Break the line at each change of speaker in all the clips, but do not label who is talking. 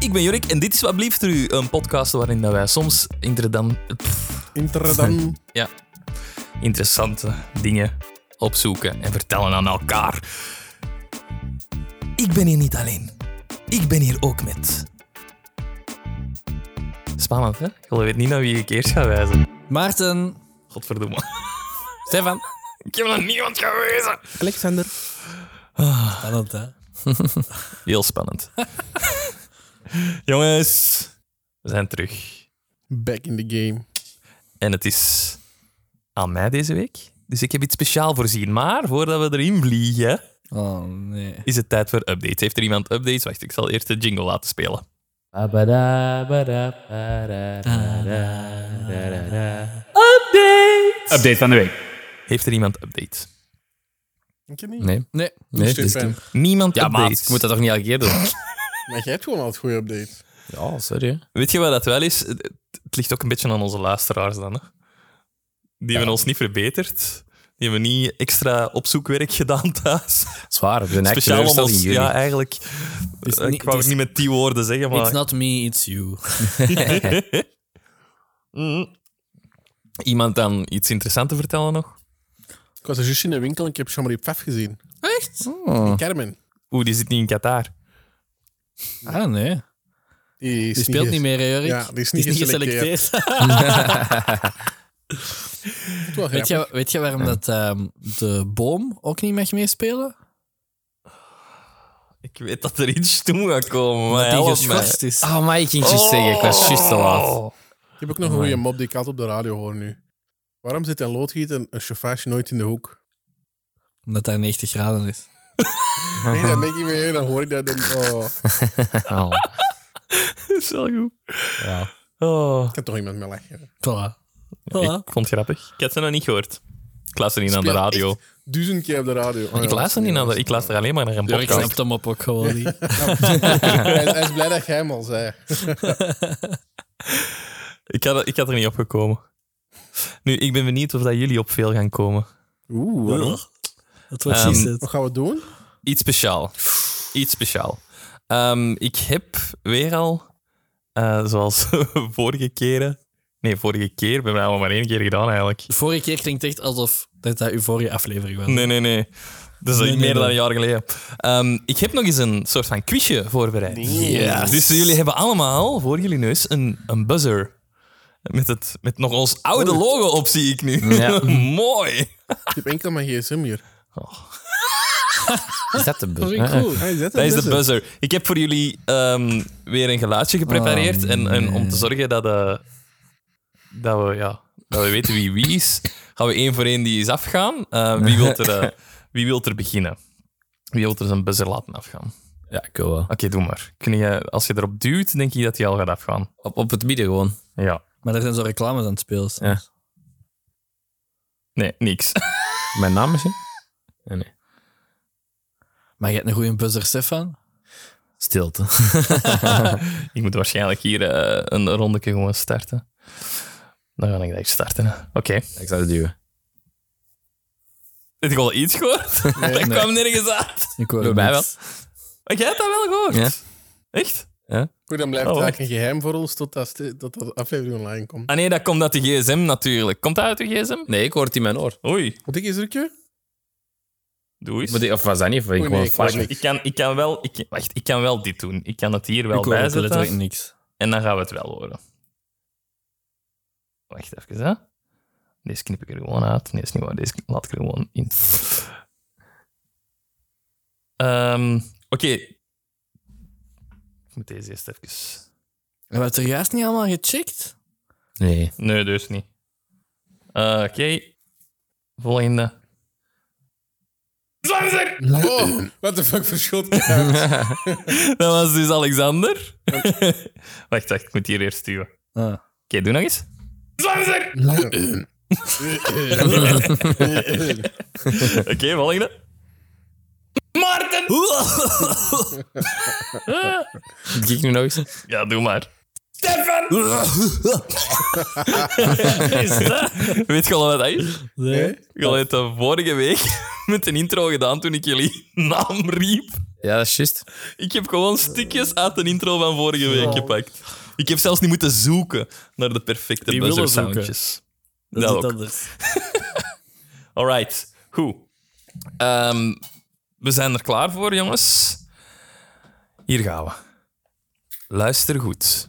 ik ben Jorik en dit is wat blieft u, een podcast waarin dat wij soms interdan, pff,
Intradam.
interessante dingen opzoeken en vertellen aan elkaar. Ik ben hier niet alleen. Ik ben hier ook met. Spannend, hè? Je weet niet naar wie ik eerst ga wijzen.
Maarten,
Godverdomme.
Stefan.
Ik heb nog niemand gewezen.
Alexander.
Spannend, hè?
Heel spannend. Jongens, we zijn terug.
Back in the game.
En het is aan mij deze week. Dus ik heb iets speciaal voorzien. Maar voordat we erin vliegen,
Oh, nee.
is het tijd voor updates. Heeft er iemand updates? Wacht, ik zal eerst de jingle laten spelen.
Update van de week.
Heeft er iemand updates?
Ik heb niet.
Nee.
Nee.
Nee,
Stefan.
dus ik- niemand
Ja, maat,
updates.
ik moet dat toch niet elke keer doen?
Maar jij hebt gewoon al het goede update.
ja, sorry.
Weet je wat dat wel is? Het, het- het ligt ook een beetje aan onze luisteraars dan. Hè? Die hebben ons niet verbeterd. Die hebben niet extra opzoekwerk gedaan thuis.
Zwaar, we zijn eigenlijk
Speciaal om
teleurgesteld
ons...
in jullie.
Ja, eigenlijk...
is
eh,
niet-
ik wou
het
het
is-
niet met die woorden zeggen, maar...
It's not me, it's you.
Mm. Iemand dan iets interessants te vertellen nog?
Ik was er juist in de winkel en ik heb Jean-Marie Pfaff gezien.
Oh.
Echt?
Carmen.
Oeh, die zit niet in Qatar.
Ah, nee.
Die, is
Die speelt
ge-
niet meer, hè, Jorik?
Ja, die is niet geselecteerd. Het was
weet,
grappig.
je, weet je waarom dat ehm, de boom ook niet mag meespelen?
Ik weet dat er iets toe gaat komen, maar Ah,
Dat die
help mij.
geschorst is.
Oh, maar ik ging het juist zeggen. Ik was juist te laat.
Ik heb ook
Oh
nog een goede mop die ik altijd op de radio hoor nu. Waarom zit een loodgieter en een chauffage nooit in de hoek?
Omdat daar 90 graden is.
Nee, dan denk ik meer, dan hoor ik dat. Dan, oh,
Oh.
Dat is wel goed.
Ja.
Oh.
kan toch iemand mee lachen.
Voilà. Voilà.
Ik vond het grappig. Ik had ze nog niet gehoord. Ik luister niet naar de
Speelt
radio.
echt Duizend keer op de radio. Oh, ja,
Ik luister niet naar de... Ik luister alleen maar naar een
Jorik
podcast.
snapt hem op ook gewoon niet.
hij, hij is blij dat jij hem al zei.
Ik had, ik had er niet op gekomen. Nu, ik ben benieuwd of dat jullie op veel gaan komen.
Oeh,
Dat was precies
Ehm,
het.
Wat gaan we doen?
Iets speciaal. Iets speciaal. Ehm, ik heb weer al, eh, zoals vorige keren... Nee, vorige keer. We hebben het maar één keer gedaan, eigenlijk.
De vorige keer klinkt echt alsof dat dat uw vorige aflevering was.
Nee, nee, nee. Dat is
Nee,
meer
nee,
dan
nee.
een jaar geleden. Ehm, ik heb nog eens een soort van quizje voorbereid.
Yes.
Dus jullie hebben allemaal voor jullie neus een, een buzzer. Met, het, met nog ons oude logo op, zie ik nu.
Ja.
Mooi.
Ik heb enkel mijn gsm hier.
Is dat de bus? Ah,
vind ik goed.
Hij zet
Dat is de
buzzer.
buzzer. Ik heb voor jullie ehm, weer een geluidje geprepareerd.
Oh,
en, en om
nee.
te zorgen dat, eh, dat, we, ja, dat we weten wie wie is, gaan we één voor één die is afgaan. Eh, wie, wilt er, eh, wie wilt er beginnen? Wie wilt er zijn buzzer laten afgaan?
Ja, ik wel.
Oké, doe maar. Kun je, als je erop duwt, denk ik dat hij al gaat afgaan.
Op, op het midden gewoon.
Ja.
Maar er zijn zo reclames aan het spelen.
Ja.
Nee, niks.
Mijn naam is Nee, nee.
Maar je hebt een goede buzzer, Stefan.
Stilte.
ik moet waarschijnlijk hier eh, een rondeke gewoon starten. Dan ga ik direct starten. hè. Oké.
Ik zou het duwen.
Heb ik al iets gehoord? dat
nee.
kwam nergens uit.
Ik hoor
Bij
hem
mij
niet.
Maar jij hebt dat wel gehoord?
Ja.
Echt?
Goed, dan blijft
Oh,
het
wacht.
eigenlijk een geheim voor ons totdat tot de aflevering online komt.
Ah nee, dat komt uit de gsm natuurlijk. Komt dat uit de gsm?
Nee, ik hoor het in mijn oor.
Oei,
Wat ik is er een keer?
doe eens.
Maar die- Of was dat niet? Of ben ik
Oh,
Oei,
gewoon
Oh, nee, ik was
fuck?
niet.
Ik kan, ik kan wel... Ik, wacht, ik kan wel dit doen. Ik kan het hier wel
Ik hoor ook letterlijk
bijzetten.
niks.
En dan gaan we het wel horen. Wacht even, hè. Deze knip ik er gewoon uit. Nee, is niet waar. Deze laat ik er gewoon in. Ehm, Oké. Ik moet deze eerst even...
We hebben het er juist niet allemaal gecheckt.
Nee.
Nee, dus niet. Eh, Oké. Volgende. Alexander!
Oh, wat de fuck voor schot. Ja,
Dat was dus Alexander. wacht, wacht. Ik moet hier eerst sturen. Oké,
Ah.
doe nog eens. Alexander! Oké, volgende. Maarten!
Kijk nu nog eens.
Ja, doe maar. Stefan! Is dat- Weet je al wat dat is?
Nee.
Je had het vorige week met een intro gedaan toen ik jullie naam riep.
Ja, dat is juist.
Ik heb gewoon stukjes uit de intro van vorige week gepakt. Ik heb zelfs niet moeten zoeken naar de perfecte
Die willen
buzzer
zoeken.
soundjes.
Dat,
Dat
is
Nou,
ook.
iets anders.
Alright, goed. Ehm, we zijn er klaar voor, jongens. Hier gaan we. Luister goed.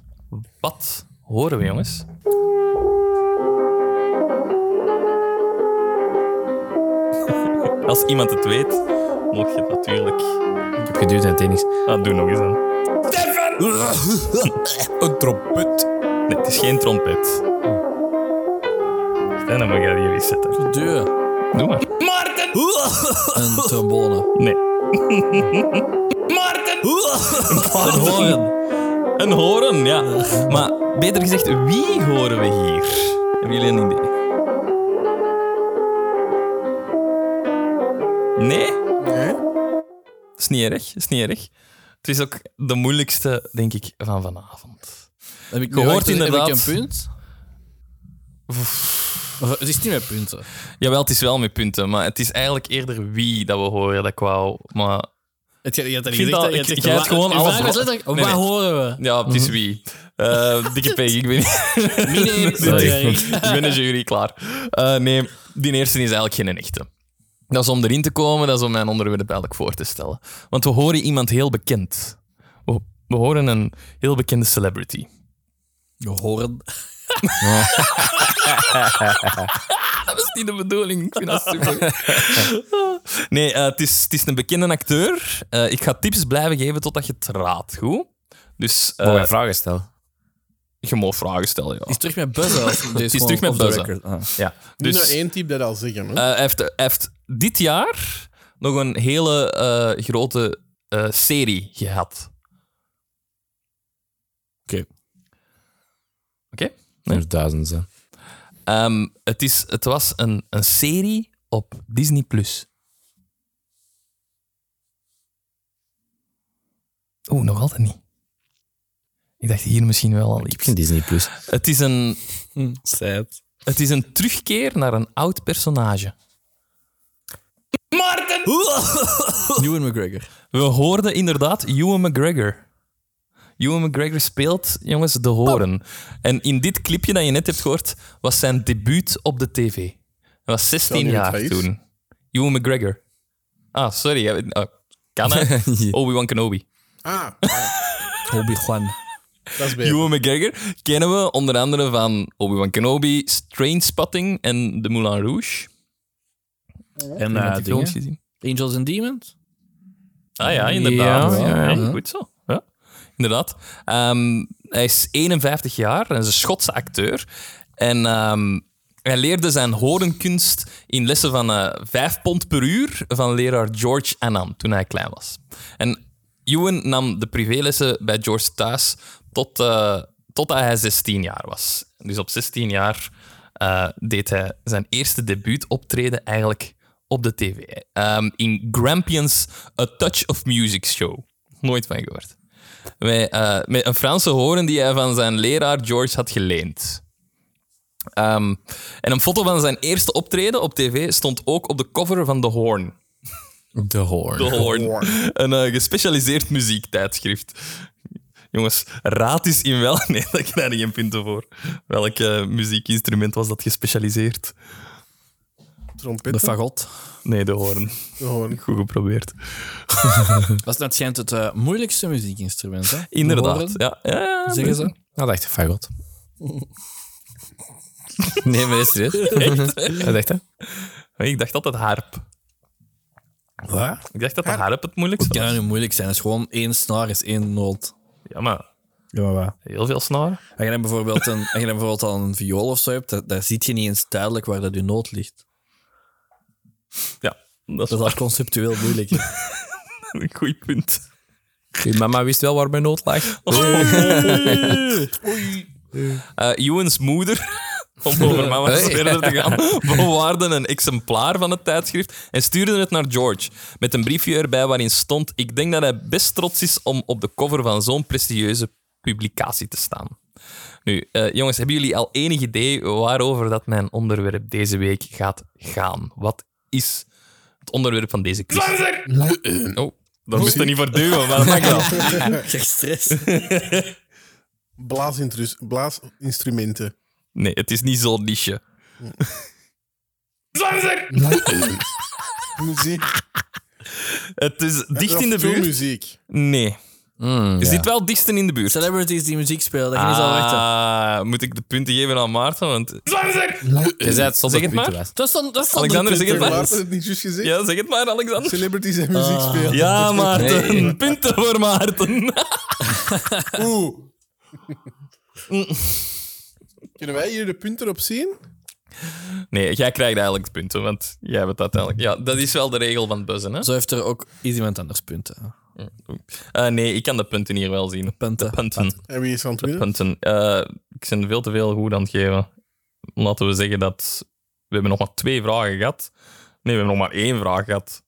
Wat horen we, jongens? Als iemand het weet, mocht je het natuurlijk.
Ik heb geduwd en het deed niks.
Ah, doe nog eens aan.
Een trompet.
Nee, het is geen trompet. En dan moet je hier eens zetten.
Deur.
Doe maar.
Een trombone.
Nee.
Een hoorn.
Een horen, ja. Maar beter gezegd, wie horen we hier? Hebben jullie een idee? Nee?
Nee?
Dus- Dat is niet erg. Dat is niet erg. Het is ook de moeilijkste, denk ik, van vanavond.
Heb
Je
ik
hoort
heb ik
inderdaad-
een punt? Of, Het is niet meer punten.
Jawel, het is wel met punten, maar het is eigenlijk eerder wie dat we horen dat ik wou. Maar
Het, je had dat
Ik
niet
vind
gezegd.
dat-
hè? Je
ik-
had
ik
gezegd,
had gewoon
waar-
alles
waar
bro-
is letterlijk-
Nee,
Waar
nee.
horen we?
ja, het is wie. Eh, dikke P, ik ben
Meneer
Sorry.
Zwijg.
Ik ben een jury klaar. Eh, nee, die eerste is eigenlijk geen echte. Dat is om erin te komen, dat is om mijn onderwerp eigenlijk voor te stellen. Want we horen iemand heel bekend. We, we horen een heel bekende celebrity.
Je horen.
Dat is niet de bedoeling. Ik vind dat super. nee, eh, het, is, het is een bekende acteur. Eh, ik ga tips blijven geven totdat je het raadt. Goed? Dus eh,
Mogen wij vragen stellen?
je mag vragen stellen. Ja.
Is terug met buzzen. of- deze
is
gewoon
terug met
off the
buzzen.
record? Ah.
Ja.
Nu
Dus-
naar één type dat al zeggen. Hè?
Eh, hij, heeft, hij heeft dit jaar nog een hele eh, grote eh, serie gehad.
Oké.
Oké.
Er duizenden zijn.
Ehm, het, is, het was een, een serie op Disney+. Plus. Oeh, nog altijd niet. Ik dacht hier misschien wel al
Ik heb
iets.
geen Disney Plus.
Het is een,
Sad.
het is een terugkeer naar een oud personage.
Ewan McGregor.
We hoorden inderdaad Ewan McGregor. Ewan McGregor speelt, jongens, de horen. En in dit clipje dat je net hebt gehoord, was zijn debuut op de tv. Hij was 16
Zou die
jaar
het wees?
toen. Ewan McGregor. Ah, sorry. ja, oh, kan hij? Obi-Wan Kenobi.
Ah,
Hobby Juan.
dat is beter.
Ewan McGregor kennen we onder andere van Obi-Wan Kenobi, Trainspotting en de Moulin Rouge.
En
Heb je
eh,
die
dingen.
films gezien?
Angels and Demons.
Ah ja, inderdaad.
Ja, ja, ja.
Goed zo. Ja, inderdaad. Ehm, hij is 51 jaar en is een Schotse acteur. En ehm, hij leerde zijn horenkunst in lessen van eh 5 pond per uur van leraar George Annan toen hij klein was. En Ewan nam de privélessen bij George thuis tot, eh totdat hij 16 jaar was. Dus op 16 jaar eh, deed hij zijn eerste debuutoptreden eigenlijk op de tv. Ehm, in Grampians A Touch of Music Show. Nooit van gehoord. Met, eh, met een Franse horen die hij van zijn leraar George had geleend. Ehm, en een foto van zijn eerste optreden op tv stond ook op de cover van The Horn.
De hoorn.
De Hoorn. Een eh, gespecialiseerd muziektijdschrift. Jongens, raad eens in wel. Nee, daar krijg je geen punten voor. Welk eh, muziekinstrument was dat gespecialiseerd?
De
Trompet.
fagot.
Nee, de hoorn.
Gewoon.
Goed geprobeerd.
Dat is net schijnt het eh, moeilijkste muziekinstrument. Hè?
Inderdaad.
Horen,
Ja, ja, ja.
Zeggen ze.
Dat dacht ik, fagot. Nee, maar is het Wat dacht je?
Ik dacht dat het harp.
Wat?
Ik dacht dat de harp het moeilijkste
Het kan
was.
nou niet moeilijk zijn. Het is gewoon één snaar, is één noot.
Ja, maar
Ja, maar waar?
heel veel snaren.
Als je dan bijvoorbeeld, een, als je dan bijvoorbeeld al een viool of zo hebt, daar, daar zie je niet eens duidelijk waar dat je noot ligt.
Ja, dat
Dat
is
is
wel
al conceptueel moeilijk.
een goed punt. Oh,
Uw mama wist wel waar mijn nood lag.
Eh Ewan's moeder, om over mama eens
Hey.
verder te gaan, bewaarde een exemplaar van het tijdschrift en stuurde het naar George. Met een briefje erbij waarin stond: Ik denk dat hij best trots is om op de cover van zo'n prestigieuze publicatie te staan. Nu, eh, jongens, hebben jullie al enig idee waarover dat mijn onderwerp deze week gaat gaan? Wat is het onderwerp van deze quiz? Oh, Daar moest je niet voor duwen, maar dat mag wel.
Ik krijg stress.
Blaasintrus- blaasinstrumenten.
Nee, het is niet zo'n niche. Zijn ze er?
Muziek.
Het is dicht
Of
in de buurt.
filmmuziek.
Nee. Is
ja.
dit wel dichtsten in de buurt?
Celebrities die muziek spelen, dat je niet zal wachten.
Ah, moet ik de punten geven aan Maarten? Want... Zijn ze er?
Je zei het stond
Zeg
op
het maar.
Pinterest.
Dat stond, dat stond
Alexander,
drie
zeg het
Heeft
maar.
Maarten
punten.
het niet juist gezegd?
Ja, zeg het maar, Alexander.
Celebrities en muziek spelen.
Ja, Maarten.
Nee.
Punten voor Maarten.
Oeh.
Mm.
Kunnen wij hier de punten op zien?
Nee, jij krijgt eigenlijk de punten, want jij hebt het uiteindelijk. Ja, dat is wel de regel van het buzzen, hè?
Zo heeft er ook iets iemand anders punten.
Eh, nee, ik kan de punten hier wel zien.
Punten.
De punten.
En wie is aan het
De
midden?
punten. Eh, ik ben veel te veel goed aan het geven. Laten we zeggen dat... We hebben nog maar twee vragen gehad. Nee, we hebben nog maar één vraag gehad.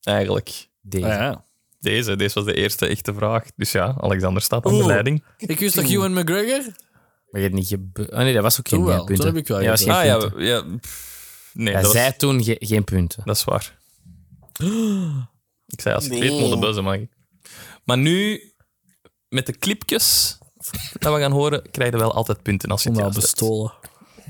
Eigenlijk.
Deze.
Ah, ja.
Deze, deze was de eerste echte vraag. Dus ja, Alexander staat aan de
Oeh.
leiding.
Ik wist toch Ewan McGregor?
Maar je hebt niet gebe- Ah nee, dat was ook geen
Toen wel.
punten.
Toen heb ik wel
Ja, dat was
gegeven.
geen
Ah ja,
punten.
we- ja pff, nee,
Hij
dat, was-
zei toen ge- geen punten.
dat is waar. Ik zei, als ik het
Nee.
weet, moet de buzzen maken. Maar nu, met de clipjes dat we gaan horen, krijg je wel altijd punten als je het
Toen wel
juist hebt.
bestolen.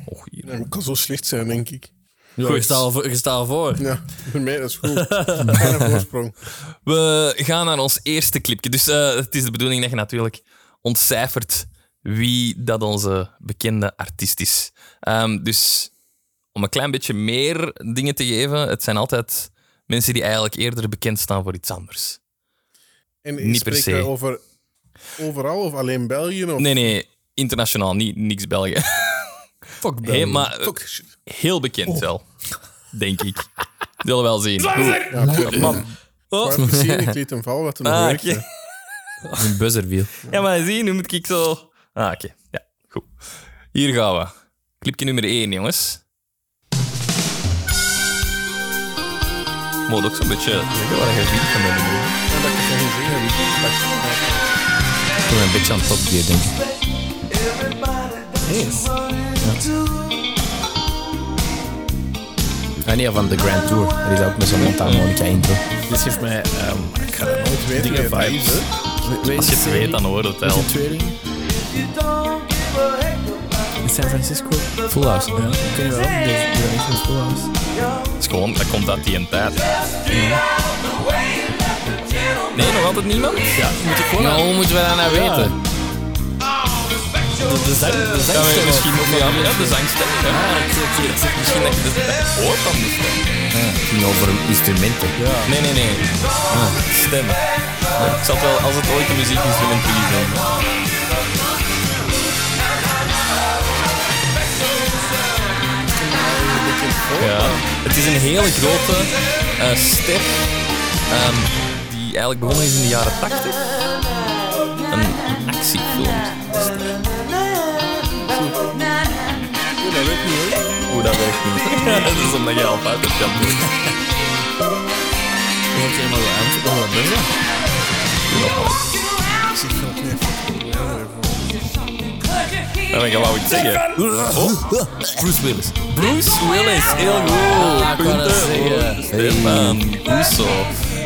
Och, hier.
Ja, maar ik kan zo slecht zijn, denk ik.
Ja,
Goed.
je staat al voor- je staat al voor.
Ja, voor mij dat is goed. Bijna voorsprong.
We gaan naar ons eerste clipje. Dus eh, het is de bedoeling dat je natuurlijk ontcijfert wie dat onze bekende artiest is. Ehm, dus om een klein beetje meer dingen te geven, het zijn altijd mensen die eigenlijk eerder bekend staan voor iets anders.
En
Niet per
spreken
se.
wij over overal of alleen België? Of...
Nee, nee, internationaal, niet, niks België.
Fuck Oh. België.
Hey, maar eh,
Fuck, shit.
heel bekend wel, denk ik. Zullen we wel zien.
Ja, ik man.
Oh.
Maar precies, ik liet hem vallen wat hem
Ah,
ah,
oké.
Een buzzerwiel.
Ja, maar zie, nu moet ik zo... Ah, oké. Ja, goed. Hier gaan we. Clipje nummer 1, jongens. Moet ook zo'n beetje... Ik wil er geen vriend van hebben.
Toen een beetje aan het opgeven, denk ik. Ah nee, van de Grand Tour. Er is ook met zo'n mondharmonica intro.
Dit geeft mij... ehm, ik ga dat nooit
Weet je
Dingen
wie dat is,
vibes.
hè?
Als je het weet, dan hoor je het wel.
In San Francisco.
Full house.
Ja, ik weet niet waarom. Die die zijn echt in Full House.
Het is gewoon... Dat komt uit die een tijd. Nee, nog altijd niemand? Ja.
Moet ik gewoon...
Maar hoe moeten we dat nou
Ja.
weten?
De, de zang... De
Dan
zangstem
kan je
ook.
misschien nog wel aan ja, de zangstem. hè. Misschien dat je de stem hoort dan de stem.
Het ging over instrumenten.
Nee, nee, nee. Stem. Ik zal het wel, als het ooit een muziekinstrument willen zijn. Ja, het is een hele grote eh ster ehm, die eigenlijk begonnen is in de jaren 80. Een actiefilm. Hoe dat werkt niet. dat is omdat je al fout hebt gehad.
Je moet helemaal zo aan. Oh, wat ben je?
Dat ben ik al wou ik zeggen. Oh, Bruce Willis. Bruce Willis, heel goed.
wou dat
Punten.
zeggen.
Stefan Russo.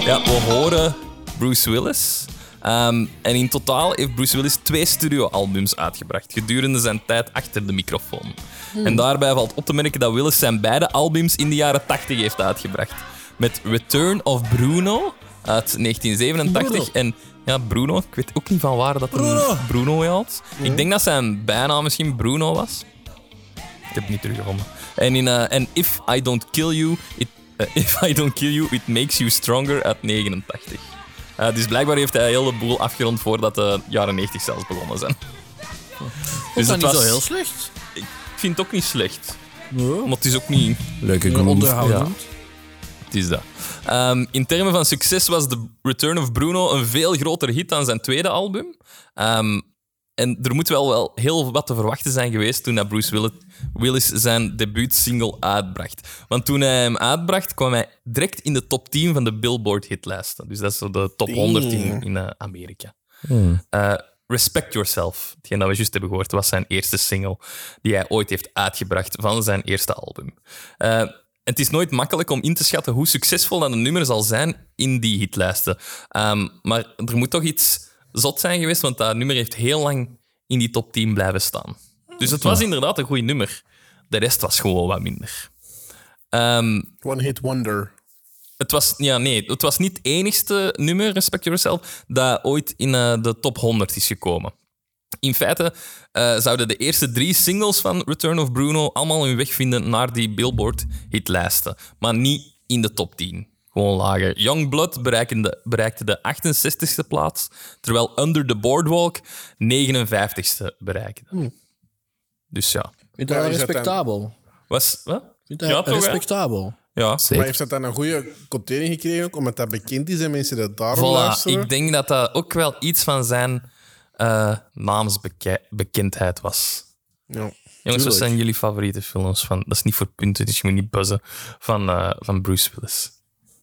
Ja, we horen Bruce Willis. Ehm, en in totaal heeft Bruce Willis twee studioalbums uitgebracht gedurende zijn tijd achter de microfoon.
Hmm.
En daarbij valt op te merken dat Willis zijn beide albums in de jaren 80 heeft uitgebracht. Met Return of Bruno uit 1987 en ja, Bruno. Ik weet ook niet van waar dat Bruno, Bruno haalt.
Hmm.
Ik denk dat zijn bijnaam misschien Bruno was. Ik heb het niet teruggevonden. En in eh, en If I Don't Kill You, it, eh, If I Don't Kill You, It Makes You Stronger uit 89. Eh, dus blijkbaar heeft hij heel de boel afgerond voordat de jaren 90 zelfs begonnen zijn.
Is
Dus
dat
het was,
niet zo heel slecht? Oh.
ik vind het ook niet slecht. Maar het is ook niet...
Leuke
Een
groove.
onderhoudend.
Het is dat. Ehm, in termen van succes was The Return of Bruno een veel groter hit dan zijn tweede album. Ehm, en er moet wel, wel heel wat te verwachten zijn geweest toen dat Bruce Willis, Willis zijn debuutsingle uitbracht. Want toen hij hem uitbracht, kwam hij direct in de top 10 van de Billboard-hitlijsten. Dus dat is zo de top 100 in, in eh, Amerika. Eh, Respect Yourself, hetgeen dat we juist hebben gehoord, was zijn eerste single die hij ooit heeft uitgebracht van zijn eerste album. Eh, En het is nooit makkelijk om in te schatten hoe succesvol dat een nummer zal zijn in die hitlijsten. Ehm, maar er moet toch iets zot zijn geweest, want dat nummer heeft heel lang in die top 10 blijven staan. Dus het was inderdaad een goed nummer. De rest was gewoon wat minder. Ehm,
One Hit Wonder.
het was, ja, nee, het was niet het enigste nummer, Respect Yourself, dat ooit in eh, de top 100 is gekomen. In feite eh, zouden de eerste drie singles van Return of Bruno allemaal hun weg vinden naar die Billboard-hitlijsten, maar niet in de top 10. Gewoon lager. Youngblood bereikende, bereikte de 68e plaats, terwijl Under the Boardwalk 59e bereikte. Dus ja.
Vind
je dat
dat ehm,
Ja, is dat
respectabel?
Was, wat?
Vind
Ja, toch,
dat
hè?
respectabel?
Ja.
Maar heeft dat dan een goede quotering gekregen ook? Omdat dat bekend is en mensen dat daarom
Voilà,
luisteren?
ik denk dat dat ook wel iets van zijn eh, naamsbekendheid was.
Ja.
Jongens, wat
Tuurlijk.
zijn jullie favoriete films van? Dat is niet voor punten, dus je moet niet buzzen. Van, eh, van Bruce Willis.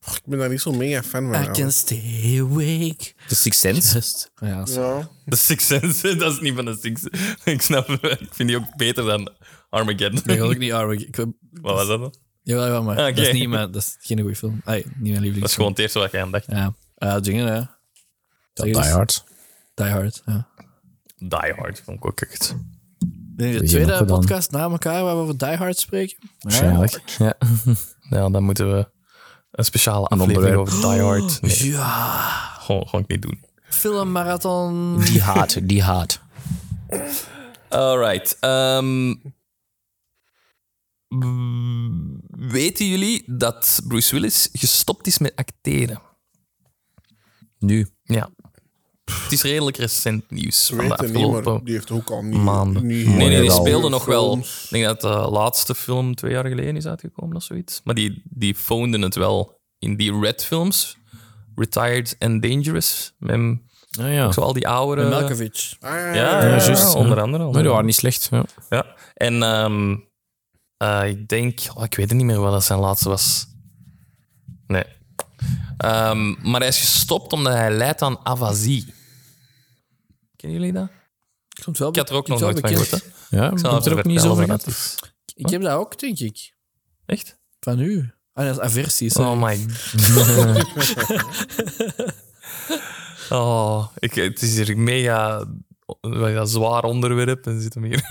Ik ben daar niet zo mega fan van. eigenlijk.
stay awake.
The Sixth Sense.
Just. Ja, zo.
Ja.
The Sixth Sense, dat is niet van de Sixth Sense. Ik snap het, ik vind die ook beter dan Armageddon.
Ik wil ook niet Arwick. Ik,
Wat was dat dan?
jawel, jawel, maar dat,
Oké.
is niet mijn, dat is geen goede film. Ai, niet mijn lievelingsfilm.
Dat is gewoon het eerste wat ik aan dacht.
Ja, Eh dingen, hè.
Die Hard.
Die Hard, ja.
Die Hard vond ik ook echt.
De
je nog
tweede
gedaan?
podcast na elkaar waar we over Die Hard spreken.
Waarschijnlijk.
Ja. ja, dan moeten we een speciale aflevering
onderwerp.
over Die Hard. Nee,
Ja,
gewoon, gewoon niet doen.
filmmarathon.
Die Hard. Die Hard.
Alright. ehm, w- weten jullie dat Bruce Willis gestopt is met acteren?
Nu.
Ja. Het is redelijk recent nieuws.
Ik
Van de
weet het niet, maar
afgelopen
die heeft ook al niet...
maanden.
niet
nee, nee, die
Jawel.
speelde nog wel.
films. Ah,
Ik denk dat de laatste film twee jaar geleden is uitgekomen of zoiets. Maar die, die foonden het wel in die Red films. Retired and Dangerous. Met
Ah ja.
zo al die
Eh,
oudere...
Malkovich.
Ah, ja,
Ja,
ja,
ja,
ja.
juist.
onder andere.
Maar
onder
die
andere.
waren niet slecht. Ja.
Ja, en ehm, eh, ik denk, oh, ik weet het niet meer wat dat zijn laatste was. Nee. Ehm, maar hij is gestopt omdat hij leidt aan avasie. Kennen jullie dat?
Komt wel
Ik had er ook nog
komt
nooit
wel
van gehoord.
bekend.
hè.
Ja,
Ik
ik
zal
heb
even
er ook niet zo
vertellen
van
wat
gehad.
dat is.
Ik heb dat ook, denk ik.
Echt?
Van u. Ah, dat is aversie. sorry.
Oh my Oh, ik, het is hier mega mega zwaar onderwerp en zit hem hier.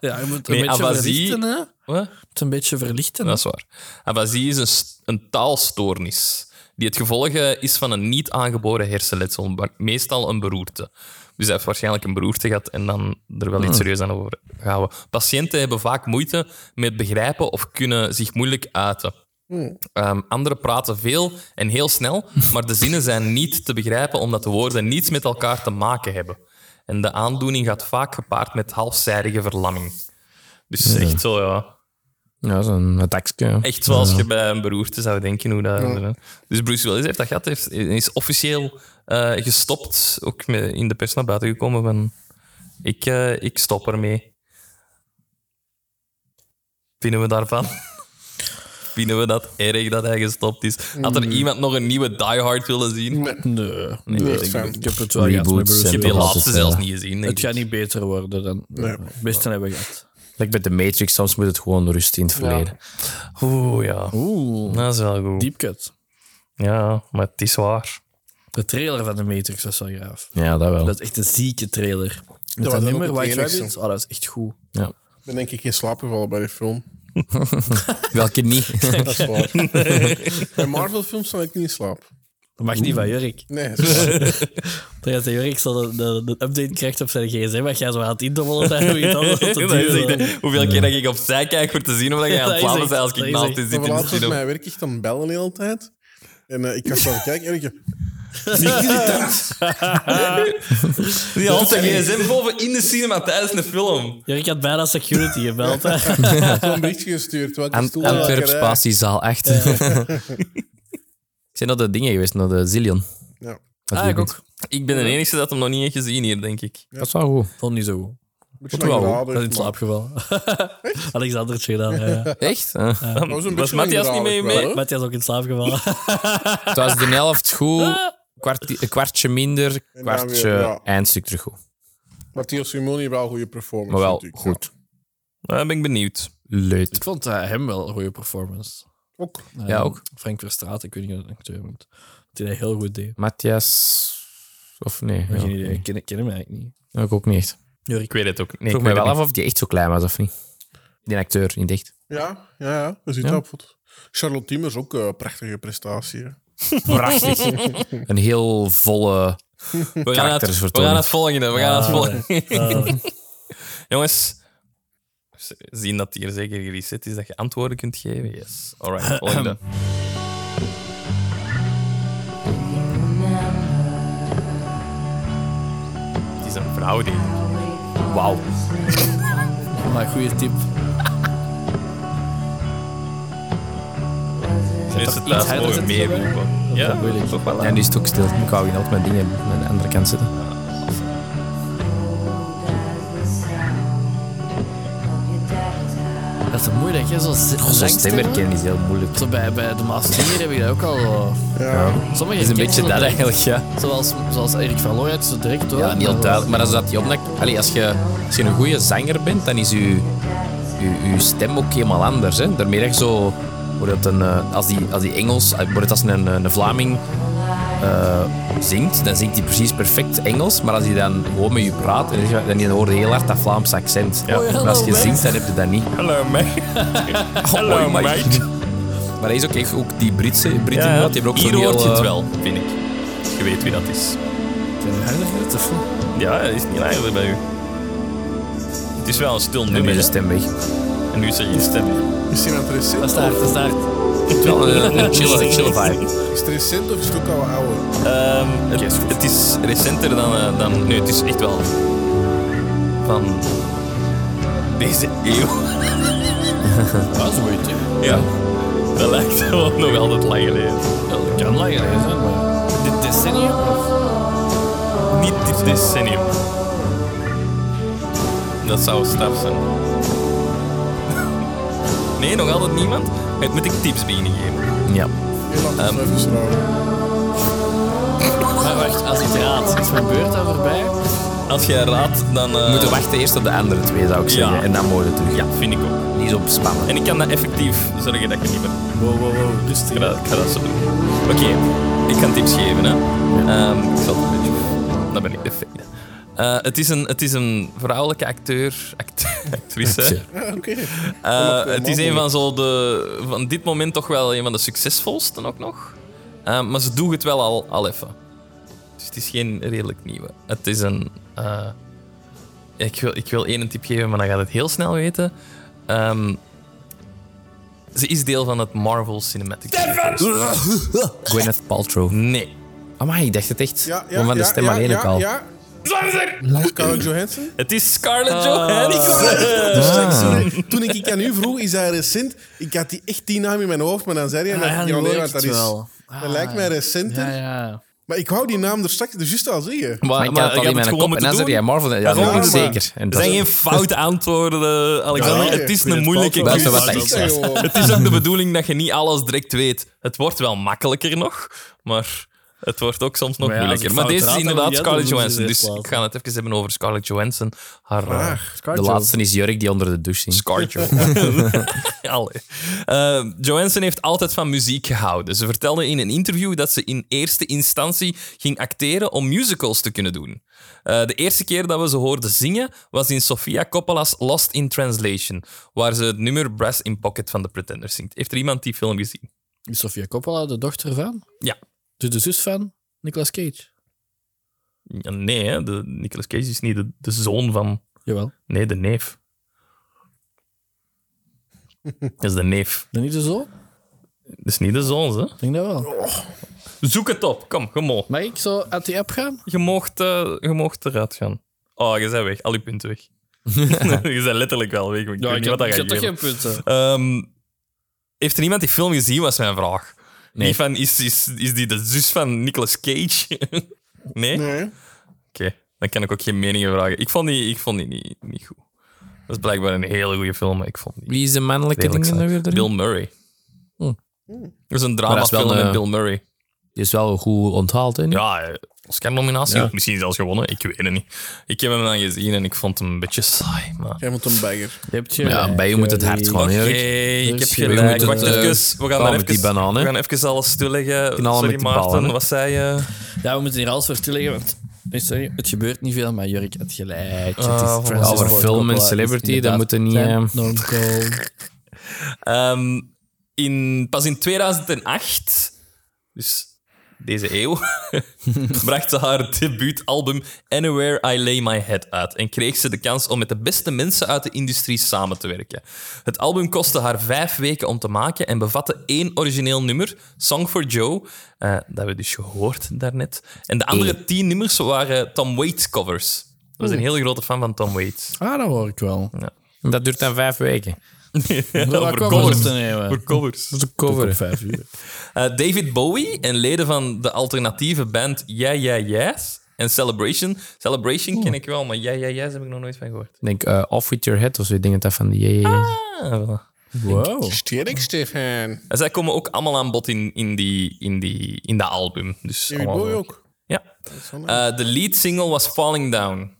Ja, je moet het
Nee,
een beetje
abasie.
verlichten, hè?
Wat?
Het een beetje verlichten.
Dat is waar. Abasie is een, st- een taalstoornis die het gevolg eh, is van een niet aangeboren hersenletsel, maar meestal een beroerte. Dus hij heeft waarschijnlijk een beroerte gehad en dan er wel iets serieus aan over gehouden. Patiënten hebben vaak moeite met begrijpen of kunnen zich moeilijk uiten. Ehm, anderen praten veel en heel snel, maar de zinnen zijn niet te begrijpen omdat de woorden niets met elkaar te maken hebben. En de aandoening gaat vaak gepaard met halfzijdige verlamming. Dus echt zo, ja.
Ja, zo'n attackje.
Echt zoals je bij een beroerte zou denken. Hoe dat, Dus Bruce Willis heeft dat gehad. Heeft, is officieel eh, gestopt. Ook met- in de pers naar buiten gekomen van... Ik, eh, ik stop ermee. Vinden we daarvan? Vinden we dat erg dat hij gestopt is? Had er iemand nog een nieuwe Die Hard willen zien?
Nee.
Nee,
Nee,
ik
fan.
ik
Ik heb het wel gehad
Reboots
met Bruce
en
heb die
Willis.
was
laatste
het,
zelfs
eh,
niet gezien. denk
Het
ik.
gaat niet beter worden dan het beste hebben we gehad.
Like bij de Matrix, soms moet het gewoon rust in het verleden.
Oeh, ja.
Oeh,
Dat is wel goed.
deep cut.
Ja, maar het is waar.
De trailer van de Matrix was wel gaaf.
Ja, dat wel.
Dat is echt een zieke trailer.
was
Met dat
dan ook
nummer
het
White
enigste.
Rabbit, oh, dat is echt goed.
Ja.
Ik ben denk ik geen slaap gevallen bij die film.
Welke niet?
Dat is waar. bij Marvel-films val ik niet in slaap.
Dat mag niet van Jurk.
Nee, dat is waar.
Dat de Jurk zo de, de, de update krijgt op zijn gsm, wat jij zo aan het indommelen bent. hoe je het allemaal te
Dat
duwen.
is echt, eh, hoeveel keer dat ik opzij kijk voor te zien of dat jij aan
Dat
het
is
slapen
echt-
bent als
dat
ik
is
naast
echt.
je zit
Maar
in de
laatst was
studio.
mij werk echt aan het bellen de hele tijd. En eh, ik ga zo kijken en ik heb-
Die had zijn gsm boven in de cinema tijdens de film.
Jurk had bijna security gebeld. hè.
zo'n berichtje gestuurd. Wat
An- Antwerp Spatie Zaal 8. Zijn dat de dingen geweest, naar de Zillion?
Ja.
Dat
Ah,
die
ik
goed-
ook.
Ik ben de enige dat hem nog niet heeft gezien hier, denk ik.
Dat is wel goed.
Vond niet zo goed.
Beetje
Moet wel,
langdradig,
Dat is in
maar-
slaap gevallen. Alexander Chela. Ja.
Echt? Eh,
Dat was een
Was
beetje
Matthias niet mee mee?
langdradig wel, hè?
Matthias is ook in slaap gevallen.
Het was de helft
Ah.
goed, kwarti- een kwartje minder,
dan
kwartje
weer, ja.
eindstuk terug goed.
Matthias Simoni heeft wel een goede performance.
Maar wel
natuurlijk.
goed.
Daar ben ik benieuwd.
Leuk.
Ik vond eh, hem wel een goede performance.
Ook.
Eh,
ook.
Frank Verstraeten, ik weet niet wat een acteur moet. Dat hij dat heel goed deed.
Matthias... Of nee? ja,
Geen idee.
nee.
Ik ken, ik ken hem eigenlijk niet.
Ja, Ik ook niet echt.
Ik weet het ook niet.
Ik vroeg mij wel af of die echt zo klein was of niet. Die acteur, niet echt.
Ja, ja, ja. Je ziet
Ja.
dat op foto. Charlotte Tiemers ook een prachtige prestatie. hè.
Prachtig. Een heel volle...
We gaan, naar het,
Karakters
we
vertonen.
gaan naar het volgende. We gaan naar het volgende.
Ah,
Jongens, z- zien dat hier zeker gereset is, dat je antwoorden kunt geven. Yes. Alright, volgende. Het is een vrouw die.
Wauw.
maar goede tip.
Is het laatst
hij dat
mogen
het
meeroepen? Ja,
dat moeilijk.
toch wel.
En nu is het ook stil. Ik wou hier altijd mijn dingen aan de andere kant zitten.
Dat is moeilijk, hè? Zo'n
Zo'n stem herkennen is heel moeilijk.
Zo bij, bij de Maas Singer heb ik dat ook al. eh,
Ja.
Sommige
Het is een beetje
herkennen
dat
direct.
eigenlijk, ja.
Zoals, zoals Erik van Looy, zo direct hoor. Eh,
Ja, niet heel
Maar-
duidelijk. Maar dat is dat die opmerking... Allee, als je, als je een goede zanger bent, dan is je, je, je stem ook helemaal anders. Hè? Daarmee echt zo... Wordt het een, eh, als, die, als die Engels... eh, Wordt het als een, een Vlaming eh, zingt, dan zingt hij precies perfect Engels. Maar als hij dan gewoon met je praat, dan- dan hoor je heel hard dat Vlaams
Oh,
accent.
Oh,
maar als je zingt, dan heb je dat niet.
Hallo, mate. Hallo,
Oei, maar-
mate.
Maar hij is ook echt ook die Britse... Britten, ja, Die hebben ook
Hier
zo'n
hoort
heel,
je het
eh,
wel, vind ik. Als je weet wie dat is. Ja, dat is niet eigenlijk bij u. Het is wel een stil
Nu
nummer.
met de
hè?
stem weg.
En nu zeg je stem.
Is hij aan het recent?
Dat is daar, dat is daar.
Het is wel een, een chille, chille vibe.
Is het recent of is het ook al wat ouder?
Ehm, het, het is recenter dan, eh, dan... Nee, het is echt wel... Van... Deze eeuw.
Dat is een goede tip.
Ja. Dat lijkt wel nog altijd lang geleden.
Dat kan langer zijn, maar. Dit decennium?
Niet dit decennium. Dat zou straf zijn. Nee, nog altijd niemand? Het moet ik tips beginnen geven.
Ja.
Heel lang um,
Maar wacht, als ik raad, is mijn beurt dan voorbij?
Als jij raadt, dan... eh,
We moeten wachten eerst op de andere twee, zou ik zeggen.
Ja.
En dan mogen we terug.
Ja, vind ik ook.
Niet zo spannen.
En ik kan dat effectief zorgen dat je niet meer...
Wow, wow, wow.
dus Ik ga dat, ik ga dat zo doen. Oké, ik kan tips geven. Hè. Ehm, ik zal het een beetje... Dat ben ik de fijne. Eh, het, is een, het is een vrouwelijke acteur... act- actrice.
Oké.
Eh,
veel
het is een
mogelijk.
van, zo de, van dit moment toch wel een van de succesvolsten ook nog. Eh, maar ze doen het wel al, al even. Dus het is geen redelijk nieuwe. Het is een... eh, ik, wil, ik wil één tip geven, maar dan gaat het heel snel weten. Ehm, ze is deel van het Marvel Cinematic Universe.
Gwyneth Paltrow.
Nee.
Amai, ik dacht het echt.
Ja, ja,
Gewoon van de
ja,
stem
ja,
alleen
ja,
ook al.
Ja. Scarlett Johansson?
Het is Scarlett Johansson.
Sorry, Toen ik ik aan u vroeg, is hij recent? Ik had die echt die naam in mijn hoofd, maar dan zei hij dat ik
Ah,
niet
dan
alleen
weet
wat dat
ik
is.
het wel.
dat lijkt mij recenter.
Ja, ja.
Maar ik wou die naam er straks dus juist al zeggen.
Maar ik had het al in mijn kop en dan zei jij Marvel. Ja,
Gewoon
dat is
maar-
zeker. En
Er
dat
zijn
is-
geen foute antwoorden, eh, Alexander.
Ja,
het is
ik weet
een
het
moeilijke
wel.
quiz.
Buiten wat
Ik
ik
zei
zeg.
gewoon,
Het is ook de bedoeling dat je niet alles direct weet. Het wordt wel makkelijker nog, maar het wordt ook soms nog
Maar ja, als
moeilijker.
je
Maar
fout
deze is
raadt, dan
inderdaad
moet je
Scarlett
het doen,
Johansson.
dus
Dus
het is
ik ga het even hebben over Scarlett Johansson. Haar eh,
De laatste is Jurk die onder de douche zingt.
Scarjo. Allee. Eh, Johansson heeft altijd van muziek gehouden. Ze vertelde in een interview dat ze in eerste instantie ging acteren om musicals te kunnen doen. Eh, de eerste keer dat we ze hoorden zingen was in Sofia Coppola's Lost in Translation, waar ze het nummer Brass in Pocket van The Pretender zingt. Heeft er iemand die film gezien?
Is Sofia Coppola de dochter van?
Ja.
De, de zus van Nicolas Cage?
Ja, nee, hè? De Nicolas Cage is niet de, de zoon van...
Jawel.
Nee, de neef. Dat is de neef.
Dan niet de zo?
Dat is niet de zoon, hè?
Ik denk dat wel.
Zoek het op. Kom, kom op.
Mag ik zo uit die app gaan?
Je mocht, eh, je mocht eruit gaan. Oh, je bent weg. Al je punten weg. je bent letterlijk wel weg. maar Ik weet niet wat dat gaat
heb toch
geven.
geen punten.
Ehm, heeft er iemand die film gezien, was mijn vraag. Niet van, is, is, is die de zus van Nicolas Cage? nee? Oké,
Nee.
dan kan ik ook geen meningen vragen. Ik vond die, ik vond die niet, niet goed. Dat is blijkbaar een hele goede film, maar ik vond die
Wie is de mannelijke
redelijk
dingen
saai.
er weer erin?
Bill Murray.
Hm.
Dat is een
dat is wel
dramafilm
een-
met Bill Murray.
Die is wel goed onthaald, hè? nu?
Ja, eh, Oscar-nominatie.
Ja.
Misschien zelfs gewonnen, ik weet het niet. Ik heb hem dan gezien en ik vond hem een beetje saai. Maar...
Jij moet een bagger.
Heb je,
Ja, bij je moet het hard gaan,
Oké,
Erik.
ik heb
Dus
gelijk.
we moeten
Wacht
het, eh,
even, we gaan,
gaan
daar
met die
even,
banaan, hè.
we gaan even alles toeleggen.
Knallen
Sorry
met die
Maarten,
ballen, hè.
wat zei je?
Ja, we moeten hier alles voor toeleggen, want... Nee, sorry, het gebeurt niet veel, maar Jurk had gelijk.
Ah,
het
voilà.
Francis
Ja,
over
Ford
film en
Coppola, het is
celebrity, dat
inderdaad
moeten niet,
zijn
eh,
norm goal.
Ehm, in, pas in 2008, dus deze eeuw, bracht ze haar debuutalbum Anywhere I Lay My Head uit en kreeg ze de kans om met de beste mensen uit de industrie samen te werken. Het album kostte haar vijf weken om te maken en bevatte één origineel nummer, Song for Joe, eh, dat hebben we dus gehoord daarnet. En de andere tien nummers waren Tom Waits covers. Ik was een hele grote fan van Tom Waits.
Ah, dat hoor ik wel.
Dat duurt dan vijf weken.
Over
Over
covers
covers.
te nemen.
Over covers.
Dat is een cover.
vijf uur.
Eh, David Bowie en leden van de alternatieve band Yeah Yeah Yes en Celebration. Celebration ken ik wel, maar Yeah Yeah Yes heb ik nog nooit van gehoord.
Ik denk eh, Off With Your Head of zo. Ik denk dat dat van die... JJJ is.
Ah, voilà.
Wow.
Sterk, Stefan.
En zij komen ook allemaal aan bod in, in, die, in, die, in dat album. Dus
David
allemaal
Bowie
leuk.
ook.
Ja.
Dat is wel nice.
Eh, de lead single was Falling Down.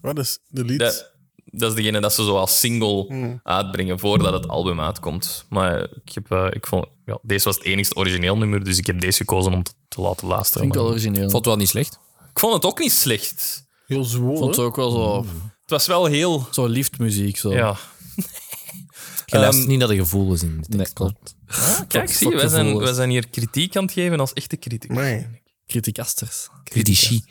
Wat is de lied?
Dat, dat is degene dat ze zo als single uitbrengen voordat het album uitkomt. Maar ik, heb, eh, ik vond, ja, deze was het enigste origineel nummer, dus ik heb deze gekozen om te, te laten luisteren.
Klinkt wel
Maar
origineel.
Vond het wel niet slecht.
Ik vond het ook niet slecht.
Heel zwoel.
vond
hè?
het ook wel zo,
Het was wel heel.
zo liefdmuziek. Zo.
Ja.
Je luistert
Ehm,
niet naar de gevoelens in de tekst.
Nee, klopt.
Kijk, zie,
fuck
wij zijn,
gevoelens.
wij zijn hier kritiek aan het geven als echte kritiek.
Nee.
Criticasters.
Critici.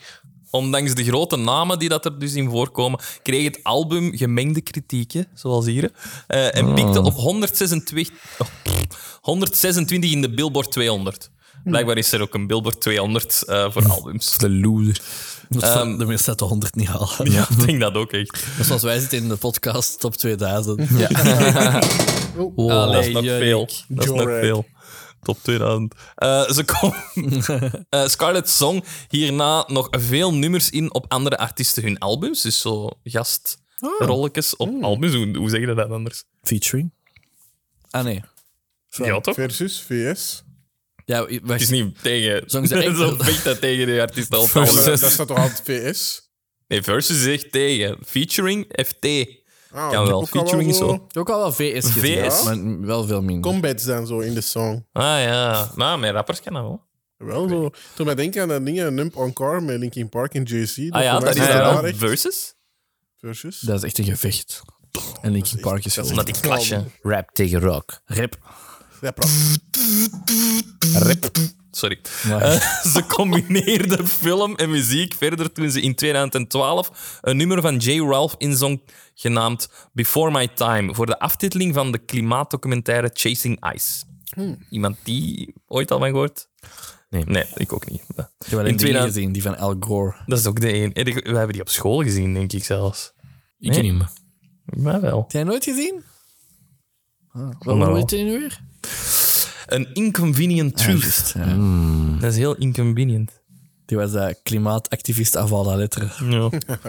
Ondanks de grote namen die dat er dus in voorkomen, kreeg het album gemengde kritieken, zoals hier. eh, en piekte op 126, oh, pff, 126 in de Billboard 200. Blijkbaar is er ook een Billboard 200 eh, voor albums.
De loser.
Dat staat- de meeste staat de 100 niet halen.
Ja, ik denk dat ook echt.
Dus Zoals wij zitten in de podcast top 2000.
Oh,
Ah, dat is nog
Allee,
veel.
Jurk.
Dat is nog
Jorek.
veel. Top 2000. Eh, ze kon... Eh, Scarlett zong hierna nog veel nummers in op andere artiesten hun albums. Dus zo gastrolletjes op
Oh.
albums. Hoe, hoe zeg je dat anders?
Featuring? Ah, nee.
Ja, toch?
Versus VS.
Ja, wacht.
Het is niet tegen...
Zong ze echt-
Zo vecht dat tegen de artiesten op
Maar
albums.
dat, dat staat toch altijd VS?
Nee, Versus zegt tegen. Featuring FT.
Ah,
Kan wel.
ook al
Featuring is
zo
wel.
Ook al wel VS gedaan,
VS?
maar wel veel minder.
Combats dan zo in de song.
Ah ja. Nou, mijn rappers kennen wel.
Wel zo. Toen mij denk aan dat ding, Nump on Car met Linkin Park en Jay-Z.
Ah ja, dat is
daar
dan
echt
Versus.
Versus.
Dat is echt een gevecht. En Linkin Park is
Omdat
gewoon
die clashen.
Rap tegen rock.
rap.
Ja, prachtig.
Sorry.
Maar-
Eh, ze combineerde film en muziek verder toen ze in 2012 een nummer van J. Ralph inzong genaamd Before My Time voor de aftiteling van de klimaatdocumentaire Chasing Ice. Iemand die ooit al van gehoord?
Nee.
Nee, ik ook niet.
Ik heb
In
alleen die
2000
gezien, die van Al Gore.
Dat is ook de een. eh, die- We hebben die op school gezien, denk ik zelfs.
Ik ken hem.
Maar wel.
Heb jij nooit gezien? Ah, wel,
Nou.
hoe heet die nu weer?
An Inconvenient Truth.
Juist, ja.
Dat is heel inconvenient.
Die was dat klimaatactivist Avalda Letter.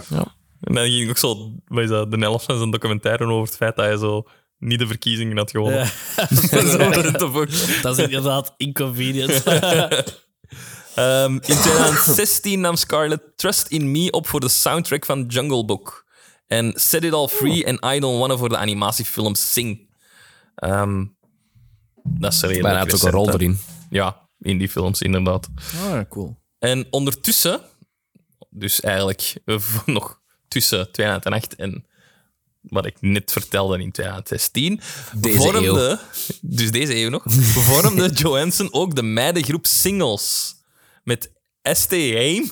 Ja. En dan ging ook zo, wat is dat, de helft van zijn documentaire over het feit dat hij zo niet de verkiezingen had gewonnen.
Ja.
Zo what the fuck.
Dat is inderdaad inconvenient.
Ehm, in 2016 nam Scarlett Trust in Me op voor de soundtrack van Jungle Book. En Set It All Free en I Don't Wanna voor de animatiefilm Sing. Ehm, dat is redelijk
Maar hij had ook een
recent,
rol
hè.
erin.
Ja, in die films, inderdaad.
Ah, cool.
En ondertussen, dus eigenlijk eh, voor nog tussen 2008 en wat ik net vertelde in 2016,
Deze
vormde, dus deze eeuw nog, vormde Johansson ook de meidengroep Singles met ST Haim,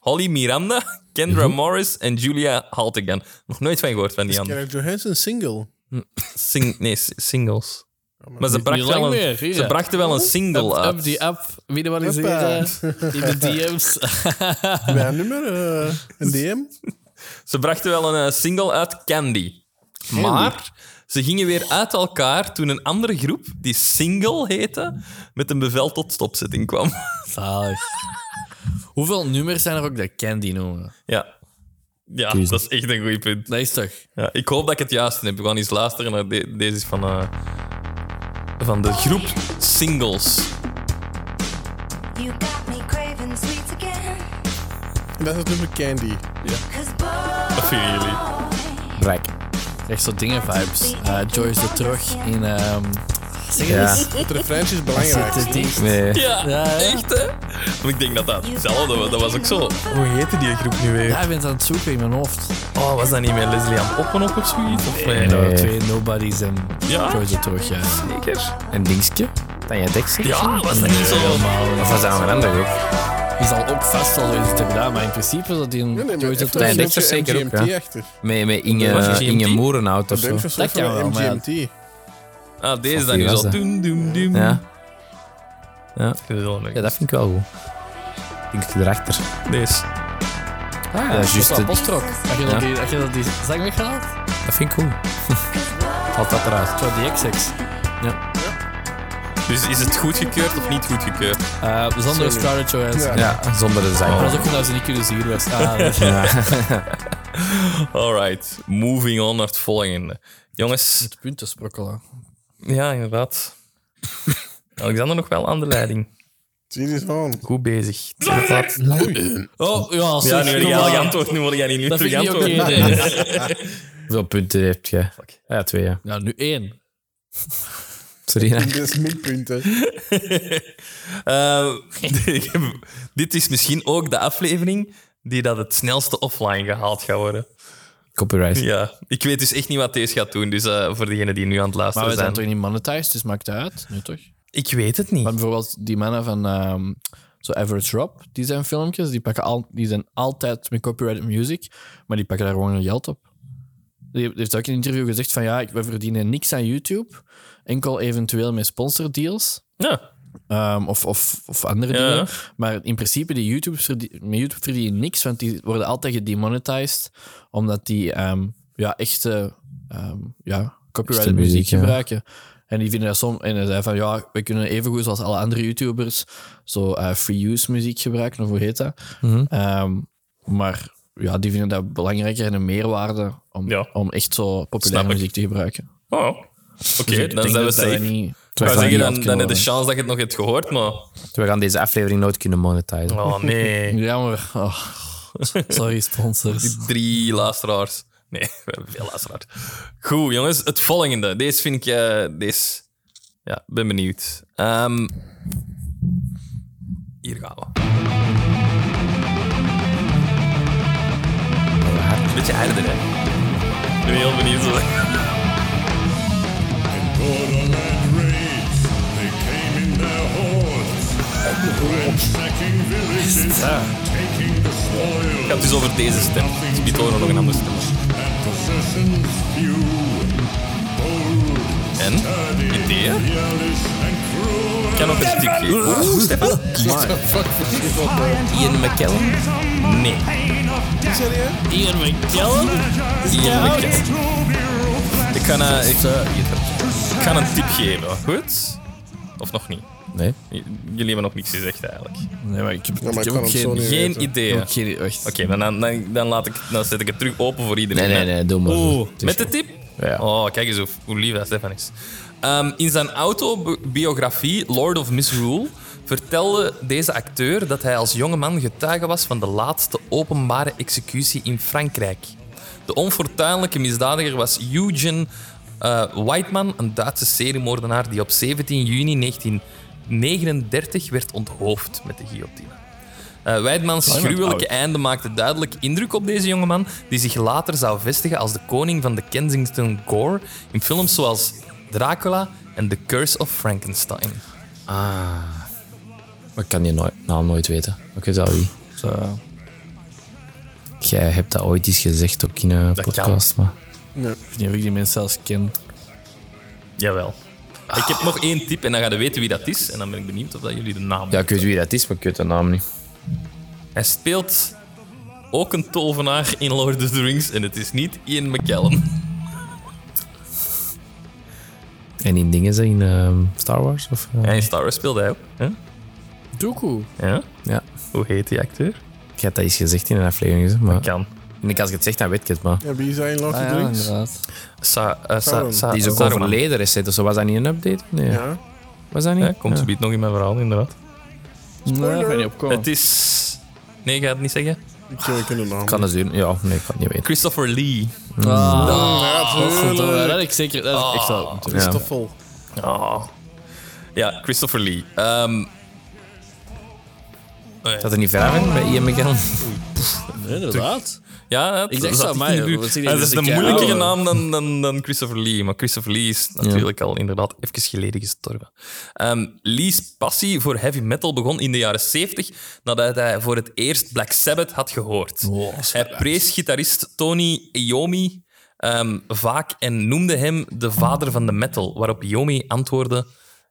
Holly Miranda, Kendra Morris en Julia Haltigan. Nog nooit van gehoord van die andere.
Scarlett Johansson single.
Sing, nee, s- singles. Maar ze brachten
lang
wel een,
meer, hier,
ze
ja.
brachten wel een single
Up,
uit.
up die app, minimaliseren in de DM's.
Bij een nummer, eh, een DM.
Ze brachten wel een eh, single uit, Candy. Maar ze gingen weer uit elkaar toen een andere groep, die Single heette, met een bevel tot stopzetting kwam.
Zalig. Hoeveel nummers zijn er ook dat Candy noemen?
ja. Ja, dat is echt een goed punt.
Dat is toch...
Ja, ik hoop dat ik het juiste heb. We gaan eens luisteren naar de- deze is van, eh, van de groep Singles.
You got me craving sweets again.
En dat is het nummer Candy.
'Cause boy,
Wat vinden jullie?
Brek.
Echt zo dingen vibes. Eh, Joyce de terug in. ehm zeg
Ja.
eens.
Het refreintje is belangrijk.
Zit die-
Nee.
Ja,
ja.
echt hè? Want ik denk dat dat hetzelfde was. Dat was ook zo. Hoe heette die groep nu weer?
Ja, ik ben het aan het zoeken in mijn hoofd.
Oh, was dat niet met Leslie aan Oppen op of zoiets? Of nee?
En
Nee.
dan twee nobodies en
Ja.
Joyce de terug. Ja.
Zeker.
Een dingetje? Dat je tekst zegt?
Ja, was dat niet zo?
Of was dat nog een ander groep?
Die zal ook vast al iets hebben gedaan, maar in principe is dat die een
Nee, nee, maar
Joyce de
het
terug.
Nee, dat
heeft
is
een
er zeker
beetje
ook, ja.
MGMT-achtig.
Met, met
Was
Inge,
het
Inge
GMT?
Moerenhout of
Dat
zo.
Bunch of zo
Dat kan wel,
van
maar ja.
MGMT.
Ah, deze
Van
dan
wie
nu
was
zo.
dat?
Doem, doem, doem.
Ja. Ja.
Ik vind het wel leuk.
ja, dat vind ik wel goed. Ik denk het erachter.
Deze.
Ah,
ja, dat is juist.
Dat
het-
was Postrok. Had je dat die- had je dat die zang weggehaald?
Dat vind ik goed. Valt dat eruit?
Zo, die XX.
Dus is het goedgekeurd of niet goedgekeurd?
Eh, Zonder Scarlett Johansson.
Ja.
Ja, zonder de zijn.
Maar dat is ook omdat ze niet kunnen zien was. Ah, dat is-
Alright, moving on naar het volgende. Jongens,
Het punten sprokkelen.
ja, inderdaad. Alexander nog wel aan de leiding.
Zie je van.
Goed bezig. Inderdaad.
Oh, ja,
Ja,
zeg,
nu wil
kom
jij al
aan.
antwoord. Nu wil jij niet nu
Dat vind
terug
ik niet oké.
antwoord.
nee.
Hoeveel punten heb je? Ja, twee, ja.
Nou, nu één.
Sorry, hè.
Dit is minpunten.
Eh, ik heb- dit is misschien ook de aflevering die dat het snelste offline gehaald gaat worden.
Copyright.
Ja, ik weet dus echt niet wat deze gaat doen. Dus eh, voor degenen die nu aan het
Maar
luisteren
we zijn
zijn.
toch niet monetized, dus maakt het uit. Nu toch?
Ik weet het niet.
Maar bijvoorbeeld die mannen van ehm, zo Average Rob, die zijn filmpjes, die, pakken al, die zijn altijd met copyrighted music, maar die pakken daar gewoon hun geld op. Die heeft- die heeft ook in een interview gezegd van ja, ik- we verdienen niks aan YouTube, enkel eventueel met sponsordeals
Ja.
ehm, of, of, of andere
Ja.
dingen. Maar in principe, die YouTubers verdien- met YouTube verdienen niks, want die worden altijd gedemonetized, omdat die ehm, ja, echte ehm, ja, copyrighted
Echte
muziek,
muziek, ja.
gebruiken. En die vinden dat soms. En hij zei van ja, we kunnen evengoed zoals alle andere YouTubers zo eh, free use muziek gebruiken, of hoe heet dat?
Mhm.
Ehm, maar ja, die vinden dat belangrijker en een meerwaarde om,
Ja.
om echt zo populaire
Snap ik.
muziek te gebruiken.
Oh. Oké,
Dus ik
dan
denk
zijn we
dat dat
safe.
niet-
Ik
dat
wou
dat
zeggen, dan,
niet uit
dan
kunnen
heb je de
worden.
chance dat je het nog hebt gehoord, maar...
We gaan deze aflevering nooit kunnen monetizen.
Oh nee.
Jammer. Oh, sorry, sponsors.
Drie luisteraars. Nee, we hebben veel luisteraars. Goed, jongens. Het volgende. Deze vind ik... eh, deze... Ja, ben benieuwd. Ehm, hier gaan we. Een beetje harder, hè. Ik ben heel benieuwd. hoor.
Borderland raids, they came in their hordes. Ransacking villages, taking the spoils.
Het gaat dus over deze stem. Het is niet horen nog een andere stem.
And possessions few. Bold,
En? Ideeën?
fearless and cruel.
Ik kan nog een stukje. Oeh, Stefan. Ian McKellen? Nee. Ian McKellen? Ian McKellen. Ik kan, eh, ik, ik kan een tip geven. Goed? Of nog niet?
Nee?
J- Jullie hebben nog niks gezegd eigenlijk.
Nee, maar ik heb,
maar
ik
ik
heb
kan
ook
hem zo
geen...
niet-
Geen
weten.
idee.
ook
Oké,
geen echt.
dan, dan, dan, laat ik, dan zet ik het terug open voor iedereen.
Nee,
hè.
nee, nee, doe maar. Dus
Oeh,
Het is
met de
goed.
tip?
Ja.
Oh, kijk eens hoe, hoe lief dat Stefan is. Ehm, in zijn autobiografie Lord of Misrule vertelde deze acteur dat hij als jongeman getuige was van de laatste openbare executie in Frankrijk. De onfortuinlijke misdadiger was Eugen eh, Whiteman, een Duitse seriemoordenaar die op 17 juni 1939 werd onthoofd met de guillotine. Eh Wijdmans
Lang wat
gruwelijke
oud.
einde maakte duidelijk indruk op deze jongeman, die zich later zou vestigen als de koning van de Kensington Gore in films zoals Dracula en The Curse of Frankenstein.
Ik kan je nooit, naam nooit weten. Oké, zou wie?
Zo.
Jij hebt dat ooit eens gezegd, ook in een
Dat
podcast. Maar...
Ik weet niet of ik die mensen zelfs ken.
Jawel. Ik heb nog één tip en dan gaan we weten wie dat is. En dan ben ik benieuwd of dat jullie de naam
Ja, ik weet wie dat is, maar ik weet de naam niet.
Hij speelt ook een tovenaar in Lord of the Rings en het is niet Ian McKellen.
En in dingen zijn in ehm, Star Wars? Of, eh?
Ja, in Star Wars speelde hij ook. hè?
Doekoe.
Ja?
Ja.
Hoe heet die acteur?
Ik had dat eens gezegd in een aflevering. hè, Maar...
Kan.
En ik, als ik het zeg, dan weet ik het. Maar...
Ja, wie zijn Lord of
Ah,
the
ja,
Rings?
inderdaad.
Sa, eh, sa,
Sauron.
sa,
Die is ook
Saruman.
overleden recent, dus was dat niet een update? Nee.
Ja.
Was dat niet?
Ja, komt
Ja.
ze nog in mijn verhaal, inderdaad.
Nee, dat ga je niet opkomen.
Het is... Nee, ik ga het niet zeggen.
Ik kan ik kunnen naam.
Kan het zien? Ja, nee, ik kan het niet weten.
Christopher Lee.
Ah. Godverdomme, dat heb ik zeker. Dat heb ik echt wel. moeten weten.
Christoffel.
Ah. Ja, Christopher Lee. Ehm,
Zat er niet ver af in bij Ian McKellen?
Nee, Inderdaad.
ja, het,
Ik dacht,
zat
zo,
ik
amai,
niet nu.
wat zie je, Dus eh,
Het is
dat is
een
een kei
moeilijkere
oude.
naam dan, dan, dan Christopher Lee. Maar Christopher Lee is natuurlijk al inderdaad even geleden gestorven. Ehm, Lee's passie voor heavy metal begon in de jaren 70 nadat hij voor het eerst Black Sabbath had gehoord. hij prees gitarist Tony Iommi ehm, vaak en noemde hem de vader van de metal, waarop Iommi antwoordde...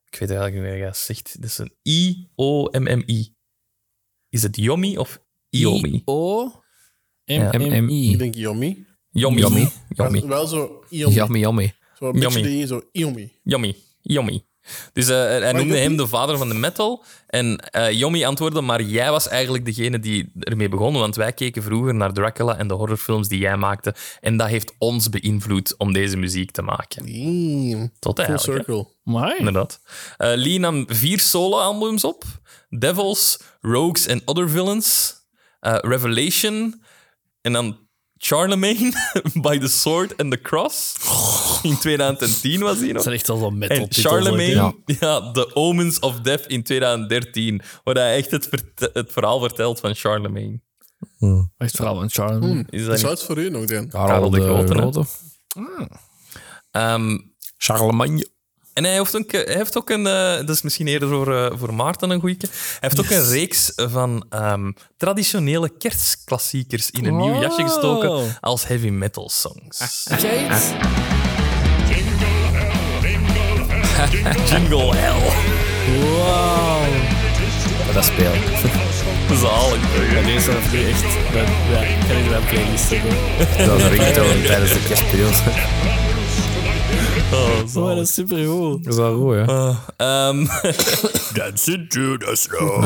Ik weet eigenlijk niet wat hij zegt. Het is een I-O-M-M-I. Is het Iommi of Iommi?
O. M-M-I.
Ik denk Yomi.
Yummy.
Yummy.
Yummy.
Yummy.
Wel zo Iomi.
Yummy, yummy.
Zo een beetje
Yomi.
dingen, zo Iomi.
Yummy. Yummy. Dus eh, hij noemde
dat
hem
niet-
de vader van de metal. En eh Yummy antwoordde, maar jij was eigenlijk degene die ermee begon. Want wij keken vroeger naar Dracula en de horrorfilms die jij maakte. En dat heeft ons beïnvloed om deze muziek te maken.
Mm,
Tot
Full
eigenlijk. hè.
circle.
Maar.
Inderdaad. Eh, Lee nam vier solo-albums op. Devils, Rogues and Other Villains, eh, Revelation en dan Charlemagne, By the Sword and the Cross. In 2010 was die nog.
Dat zijn echt al wel metal
En Charlemagne, ja. The Omens of Death in 2013, waar hij echt het, vert- het verhaal vertelt van Charlemagne.
Echt vooral van Charlemagne.
Is
Dat
dat
is
niet?
uit voor u nog, dan.
Karel de Grote, hè? Ehm,
Charlemagne.
en hij heeft ook, hij heeft ook een, eh, dat is misschien eerder voor, eh, voor Maarten een goeie. Hij heeft ook een reeks van ehm, traditionele kerstklassiekers in een nieuw jasje gestoken als heavy metal songs.
Ah.
Jingle hell, jingle hell, jingle
Jingle Hell,
Dat speelt.
zalig.
Ja, deze heb ik echt. Dat, ja, ik kan niet mijn playlist zetten.
Dat is een ringtone tijdens de kerstperiode.
Oh, zalig.
dat is super goed.
Dat is wel goed, hè?
Ehm,
Dancing to the snow.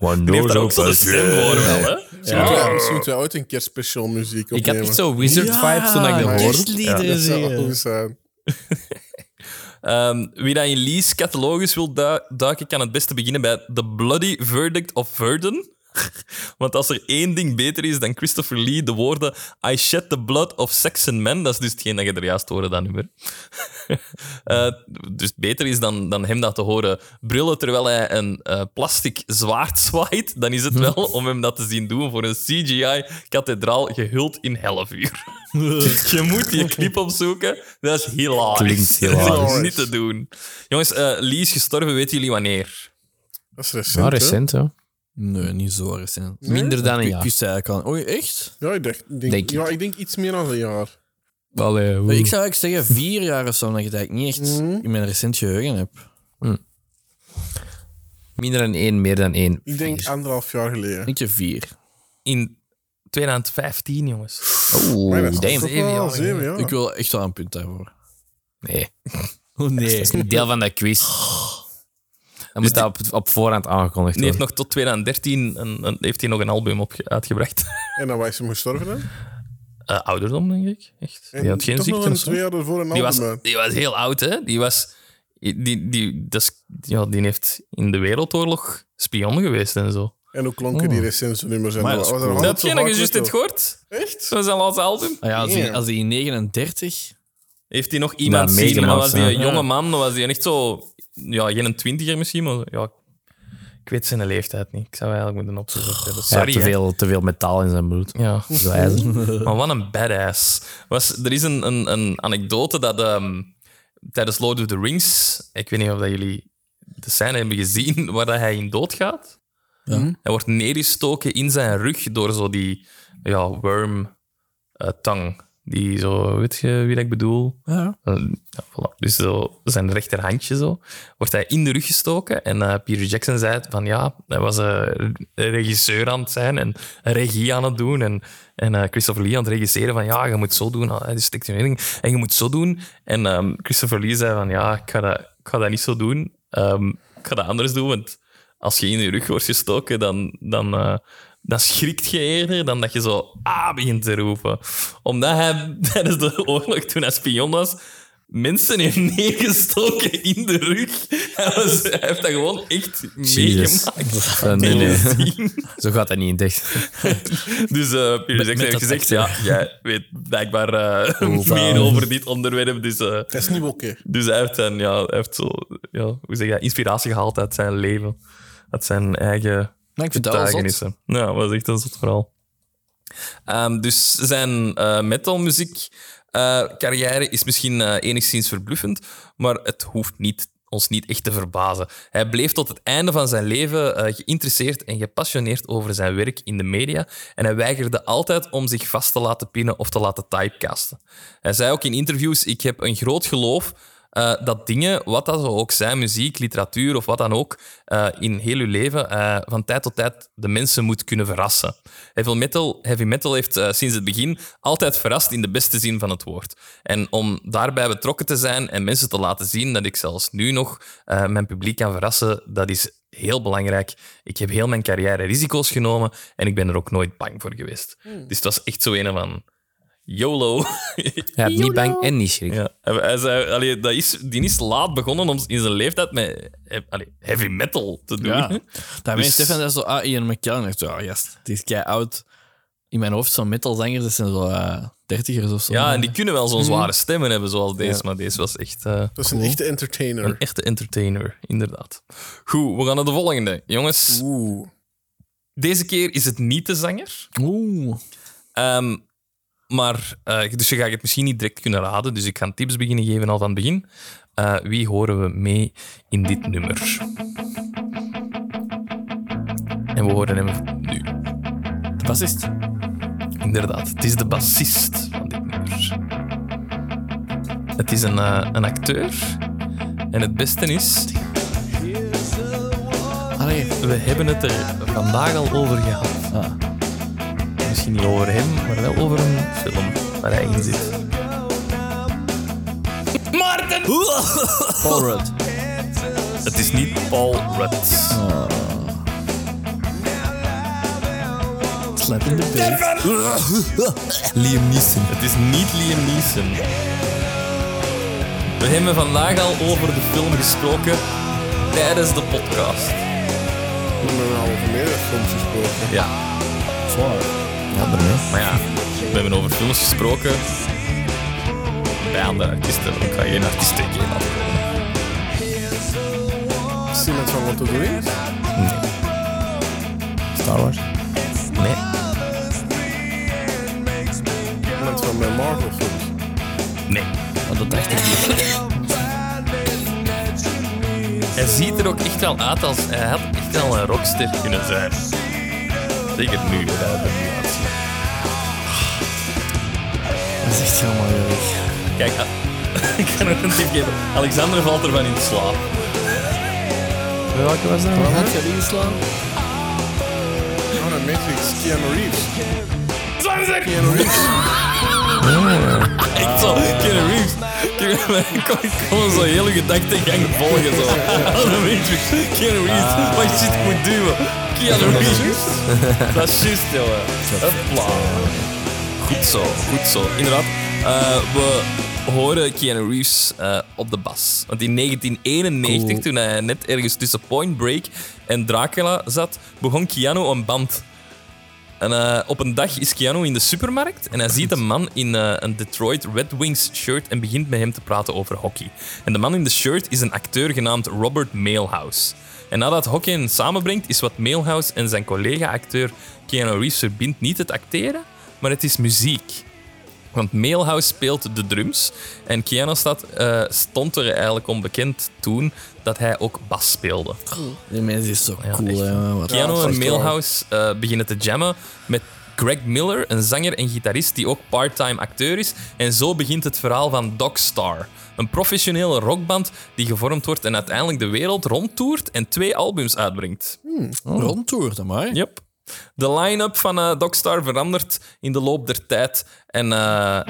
One
die heeft daar ook zo'n stem voor wel, eh, hè?
Misschien moeten wij- misschien moeten wij ooit een kerstspecial muziek
Ik had
opnemen.
echt zo wizard vibes toen ik dat hoorde.
dat zou wel goed zijn.
Ehm, wie dan in Lee's catalogus wil du- duiken, kan het beste beginnen bij The Bloody Verdict of Verdun. Want als er één ding beter is dan Christopher Lee, de woorden I shed the blood of sex and men, dat is dus hetgeen dat je er juist hoorde, dat nummer. Eh, dus beter is dan, dan hem dat te horen brullen terwijl hij een eh, plastic zwaard zwaait, dan is het wel om hem dat te zien doen voor een CGI-kathedraal gehuld in hellevuur. je moet die clip opzoeken, dat is hilarisch.
Klinkt hilarisch.
Dat is niet te doen. Jongens, eh, Lee is gestorven, weten jullie wanneer?
Dat is recent,
Nou,
hè?
recent, hè?
Nee, niet zo recent.
Minder dan een
Ik
jaar.
wist eigenlijk al. Oei, echt?
Ja, ik dacht- ik denk,
Denk ik.
ja, ik denk iets meer dan een jaar.
Allee, hoe?
Ik zou eigenlijk zeggen vier jaar of zo, omdat je het eigenlijk niet echt in mijn recent geheugen hebt.
Minder dan één, meer dan één.
Ik denk anderhalf jaar geleden.
Ik je vier.
In 2015, jongens.
Maar
Oeh,
dat is
damn.
toch wel Zeven jaar.
Ik wil echt wel een punt daarvoor.
Nee,
Oh nee.
dat is niet deel van de quiz. Dan moet dat op, op voorhand aangekondigd
Die heeft
worden.
nog tot 2013 een, een- heeft hij nog een album op, uitgebracht.
En dan was hij gestorven, hè?
Eh, ouderdom, denk ik. Echt.
En
Die had geen
Eh, toch nog
ziekte.
een
of zo.
twee jaar ervoor een
Die was,
album. uit.
die was heel oud, hè? Die was. Die, die, dat is- ja, die heeft in de Wereldoorlog spion geweest en zo.
En hoe klonken die recente nummers? En
Maar dat
was
is
er
cool.
altijd
Dat
zo
heb je nog
vaak
eens juist
met
dit gehoord?
wel. Echt?
Dat is zijn laatste album.
Ah ja, als, die,
Damn.
als die 39...
Heeft hij nog iemand
Ja,
zien? Dan
meegemaakt,
was die een
ja.
jonge
Ja.
man, dan was die echt zo... Ja, geen twintiger misschien, maar ja, ik weet zijn leeftijd niet. Ik zou eigenlijk moeten opzoeken. Dat is
Hij had
Sorry,
te
hè.
veel, te veel metaal in zijn bloed.
Ja.
Zo ijzer.
Maar wat een badass. Was, er is een, een, een anekdote dat ehm, tijdens Lord of the Rings... Ik weet niet of dat jullie de scène hebben gezien waar dat hij in dood gaat. Hij wordt neergestoken in zijn rug door zo die ja, worm-tang. die zo... Weet je wie dat ik bedoel?
Ja.
Eh, ja, voilà. Dus zo, zijn rechterhandje zo, wordt hij in de rug gestoken. En eh, Peter Jackson zei het van ja, hij was eh, regisseur aan het zijn en regie aan het doen. En, en eh, Christopher Lee aan het regisseren van ja, je moet zo doen. Ah, die stikt in de ring. En je moet zo doen. En ehm, Christopher Lee zei van ja, ik ga dat, ik ga dat niet zo doen. Ehm, ik ga dat anders doen, want als je in je rug wordt gestoken, dan... dan eh, dan schrikt je eerder dan dat je zo ah begint te roepen. Omdat hij tijdens de oorlog, toen hij spion was, mensen heeft neergestoken in de rug. Hij, was- hij heeft dat gewoon echt meegemaakt.
Eh, nee, nee.
Zien.
Zo gaat dat niet in dicht.
Dus eh Pieter Jackson
met
heeft
dat
gezegd, ja, jij weet blijkbaar eh,
Hoeveel?
meer over dit onderwerp. Dus, eh,
Dat is niet oké.
dus hij heeft, zijn, ja, hij heeft zo, ja, hoe zeg je, dat, inspiratie gehaald uit zijn leven. Uit zijn eigen
ik vind dat wel zot.
getuigenissen. Ja, dat was echt een zot verhaal. Ehm, dus zijn eh metalmuziek eh, carrière is misschien eh, enigszins verbluffend, maar het hoeft niet, ons niet echt te verbazen. Hij bleef tot het einde van zijn leven eh, geïnteresseerd en gepassioneerd over zijn werk in de media en hij weigerde altijd om zich vast te laten pinnen of te laten typecasten. Hij zei ook in interviews, ik heb een groot geloof eh, dat dingen, wat dat ook zijn, muziek, literatuur of wat dan ook, eh, in heel uw leven eh, van tijd tot tijd de mensen moet kunnen verrassen. Heavy metal, heavy metal heeft eh, sinds het begin altijd verrast in de beste zin van het woord. En om daarbij betrokken te zijn en mensen te laten zien dat ik zelfs nu nog eh, mijn publiek kan verrassen, dat is heel belangrijk. Ik heb heel mijn carrière risico's genomen en ik ben er ook nooit bang voor geweest. Dus het was echt zo een van... YOLO.
Hij hebt niet bang en niet schrik.
Ja, hij- hij zei, allee, dat is, die is laat begonnen om in zijn leeftijd met eh, allee, heavy metal te doen.
Ja. Daarmee
Dus-
Stefan dat zo, ah, Ian McKellen. Echt zo, ah, yes, die is kei oud. In mijn hoofd zo'n metalzangers, dat zijn zo eh, dertigers of zo.
Ja, en die kunnen wel
Mhm.
zo'n zware stemmen hebben zoals deze, maar deze was echt eh,
Dat is een echte entertainer.
een e- echte entertainer, inderdaad. Goed, we gaan naar de volgende. Jongens,
Oeh.
deze keer is het niet de zanger.
Oeh.
Ehm, maar, eh, dus je gaat het misschien niet direct kunnen raden, dus ik ga tips beginnen geven al van het begin. Eh, wie horen we mee in dit nummer? En we horen hem nu.
De bassist.
Inderdaad, het is de bassist van dit nummer. Het is een, eh, een acteur. En het beste is,
Allee.
we hebben het er vandaag al over gehad.
Ah.
Misschien niet over hem, maar wel over een film waar hij in zit. Maarten!
Paul Rudd.
Het is niet Paul Rudd.
Slap in the face.
Liam Neeson. Het is niet Liam Neeson. We hebben vandaag al over de film gesproken tijdens de podcast.
We hebben een halve middag soms gesproken.
Ja. Maar ja, we hebben over films gesproken. Bij andere artiesten. Ik ga geen artiesten geen afkomen.
Is iemand van wat te doen? is?
Star Wars.
Nee.
Iemand van mijn Marvel films.
Nee.
Want dat dacht ik niet.
Hij ziet er ook echt wel uit als... Hij had echt wel een rockster kunnen zijn. Zeker nu. dat hij er nu uitziet.
Dat is echt helemaal erg.
Kijk, ah, ik ga nog een tip geven. Alexander valt ervan in slaap.
Welke was dat?
Waarom had je die geslaan?
Oh, dat Matrix. Keanu Reeves.
Zwanzer!
Keanu Reeves.
Echt zo. Keanu Reeves. Keanu- Ik kon ik kon zo hele gedachtegang volgen. Zo. Keanu Reeves. Keanu Reeves. Wat shit moet duwen. Keanu Reeves. Dat is Ah. juist, jongen. Hopla. Goed zo, goed zo. Inderdaad, eh, we horen Keanu Reeves eh, op de bas. Want in 1991, toen hij net ergens tussen Point Break en Dracula zat, begon Keanu een band. En, eh, op een dag is Keanu in de supermarkt en hij ziet een man in eh, een Detroit Red Wings shirt en begint met hem te praten over hockey. En de man in de shirt is een acteur genaamd Robert Mailhouse. En nadat hockey hen samenbrengt, is wat Mailhouse en zijn collega-acteur Keanu Reeves verbindt niet het acteren, maar het is muziek. Want Mailhouse speelt de drums. En Keanu staat, eh, stond er eigenlijk onbekend toen dat hij ook bas speelde.
Die mensen is zo cool,
echt.
hè. Wat
Keanu
fuck,
en
hoor.
Mailhouse eh, beginnen te jammen met Greg Miller, een zanger en gitarist die ook part-time acteur is. En zo begint het verhaal van Dogstar. Een professionele rockband die gevormd wordt en uiteindelijk de wereld rondtoert en twee albums uitbrengt.
Oh. Rondtoert, amai.
Yep. De line-up van eh, Dogstar verandert in de loop der tijd. En eh,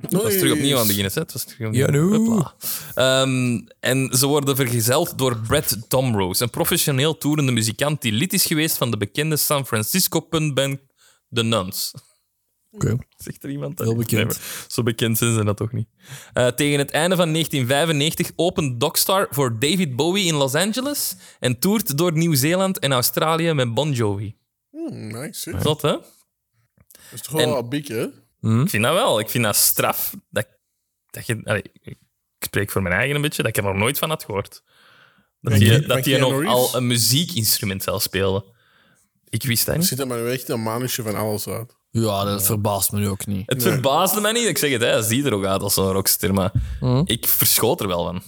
het was terug opnieuw aan het begin, hè? Het was terug opnieuw. Hopla. Ehm, en ze worden vergezeld door Brett Domrose, een professioneel toerende muzikant die lid is geweest van de bekende San Francisco punkband The Nuns.
Oké.
Zegt er iemand dat?
Heel bekend.
maar zo bekend zijn ze dat toch niet. Eh, tegen het einde van 1995 opent Dockstar voor David Bowie in Los Angeles en toert door Nieuw-Zeeland en Australië met Bon Jovi.
Hmm, nice. hè.
Zot, hè?
Dat is toch wel
En-
wat big, hè?
Ik vind dat wel. Ik vind dat straf. Dat, dat je, allee, ik spreek voor mijn eigen een beetje, dat ik er nog nooit van had gehoord. Dat
Van
die,
Ke-
dat
van
die
Keanu
nog
Reeves?
al een muziekinstrument zelf speelde. Ik wist dat
Er
niet.
zit er maar echt een manusje van alles uit.
Ja, dat verbaast me nu ook niet.
Het verbaasde mij niet. Ik zeg het, hij ziet er ook uit als zo'n rockster, maar ik verschoot er wel van.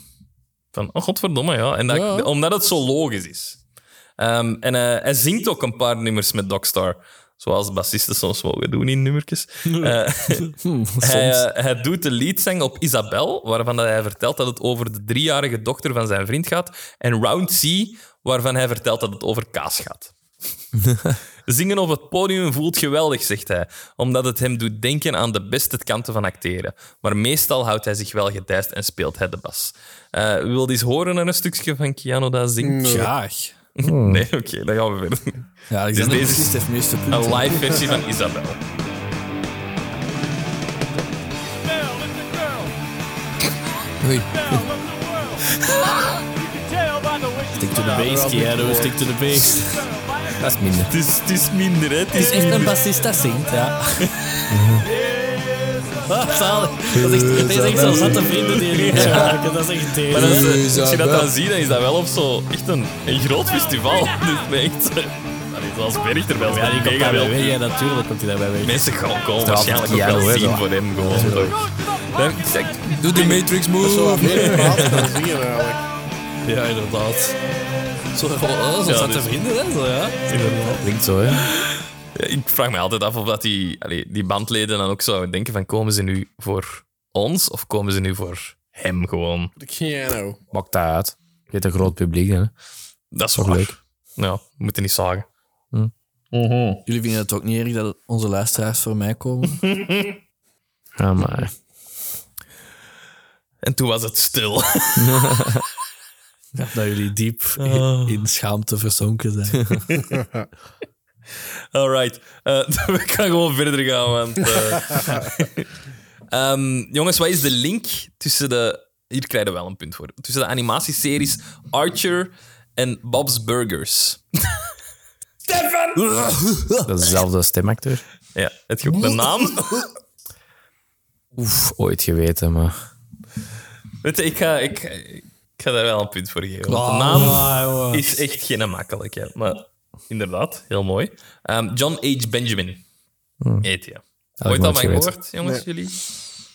Van, oh godverdomme, ja. En dat,
Ja.
Omdat het zo logisch is. Ehm, en eh, hij zingt ook een paar nummers met Dockstar. Zoals bassisten soms mogen doen in nummertjes. Eh,
Hm,
hij,
soms.
eh, hij doet de liedzang op Isabel, waarvan dat hij vertelt dat het over de driejarige dochter van zijn vriend gaat. En Round C, waarvan hij vertelt dat het over kaas gaat. Zingen op het podium voelt geweldig, zegt hij, omdat het hem doet denken aan de beste kanten van acteren. Maar meestal houdt hij zich wel gedijst en speelt hij de bas. Eh wil je eens horen naar een stukje van Keanu dat zingt?
Graag.
Nee, oké, dan gaan we verder.
Ja, ik denk dat
Dus deze-
precies het meeste punten.
Een live versie van Isabel.
Belle is the girl,
Oei.
belle of the world. You can tell by the way she
Stick to the base, Keanu. Stick to the base.
smiles, by her
Dat is minder.
Het is, het is minder, hè? Het is
echt een bassist dat zingt, ja.
Ah, Zalig. Dat is echt, dat is echt zo'n zatte vrienden die je ja. maken. Dat is echt
Maar
tegen.
dat is, eh, als je dat
Isabel.
dan ziet, dan is dat wel op zo echt een, een groot festival. Dus dat is echt, eh, allee, zoals Berg er wel.
Ja, die komt
wel.
daarbij weg. Ja, natuurlijk komt hij daarbij weg.
Mensen gaan komen waarschijnlijk ook
Keanu,
wel
hè,
zien
zo.
voor hem. Gewoon, toch? Dan, ik zeg,
Doe de Matrix
Zo wat
move.
meer praten dan zingen, eigenlijk.
Ja, inderdaad. Zo, oh, zo
Ja,
zaten
dus-
vrienden, hè? Zo, ja.
Klinkt zo, hè?
ja, ik vraag me altijd af of dat die, allee, die bandleden dan ook zouden denken van komen ze nu voor ons of komen ze nu voor hem gewoon.
De piano.
Maakt dat uit. Je hebt een groot publiek, hè?
Dat is wel
Toch
leuk. Ja, we moeten niet zagen.
Jullie vinden het ook niet erg dat onze luisteraars voor mij komen?
Ja, maar.
En toen was het stil.
dat jullie diep in-
Oh.
in schaamte verzonken zijn.
Alright. Eh we gaan gewoon verder gaan, want... eh, Ehm, jongens, wat is de link tussen de... Hier krijgen we wel een punt voor. Tussen de animatieseries Archer en Bob's Burgers.
Dat is dezelfde stemacteur.
Ja, het je ook de naam?
Oef, ooit geweten, maar.
Weet je, ik ga, ik, ik ga daar wel een punt voor geven. want de
Ah,
naam
jongen.
is echt geen makkelijke. Maar inderdaad, heel mooi. Ehm, John H. Benjamin. Heet hij. Ooit al
Hmm. nooit
van
geweten.
gehoord, jongens, jullie?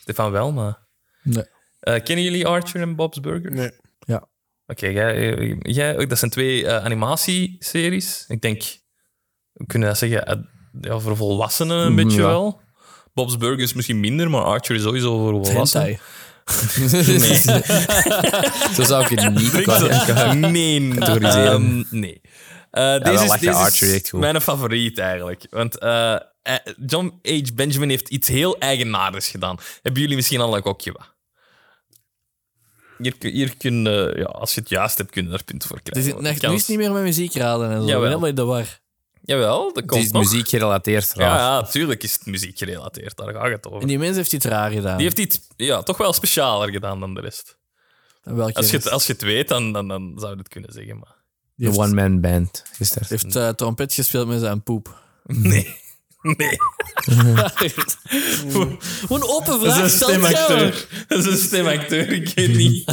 Stefan wel, maar...
Nee.
Eh, kennen jullie Archer en Bob's Burgers?
Nee.
Ja.
Oké, jij, eh, jij, ook- dat zijn twee eh, animatieseries. Ik denk, we kunnen dat zeggen, eh, ja, voor volwassenen een beetje
Mm, ja.
wel. Bob's Burgers misschien minder, maar Archer is sowieso voor volwassenen.
Hentai. Zo zou ik het niet
Niks- Nee,
Categoriseren.
ehm, nee. Eh,
wel
deze is,
lachen,
deze is
Archer echt goed.
mijn favoriet eigenlijk. Want eh, eh, John H. Benjamin heeft iets heel eigenaardigs gedaan. Hebben jullie misschien al een kokje wat? Hier, kun- hier kun, eh, ja, als je het juist hebt, kun je daar punten voor
Er
krijgen.
zit
want
echt
de kans-
niet meer met muziek raden en zo. Ik ben
Jawel.
helemaal in de war.
Jawel, dat
Het
komt
is
nog.
muziek gerelateerd,
Ja,
raar.
Ah, ja, tuurlijk is het muziek gerelateerd. Daar gaat het over.
En
Die
die mens heeft iets raar gedaan.
heeft iets ja, toch wel specialer gedaan dan de rest.
Welke
Als je
heeft,
het, als je het weet, dan, dan, dan zou je het kunnen zeggen. Maar...
De one-man band. Gisteren.
heeft eh, trompet gespeeld met zijn poep.
Nee. Nee.
Gewoon
Dat
open vraag.
is een
stel het zelf.
stemacteur. Dat is een stemacteur, ik weet niet.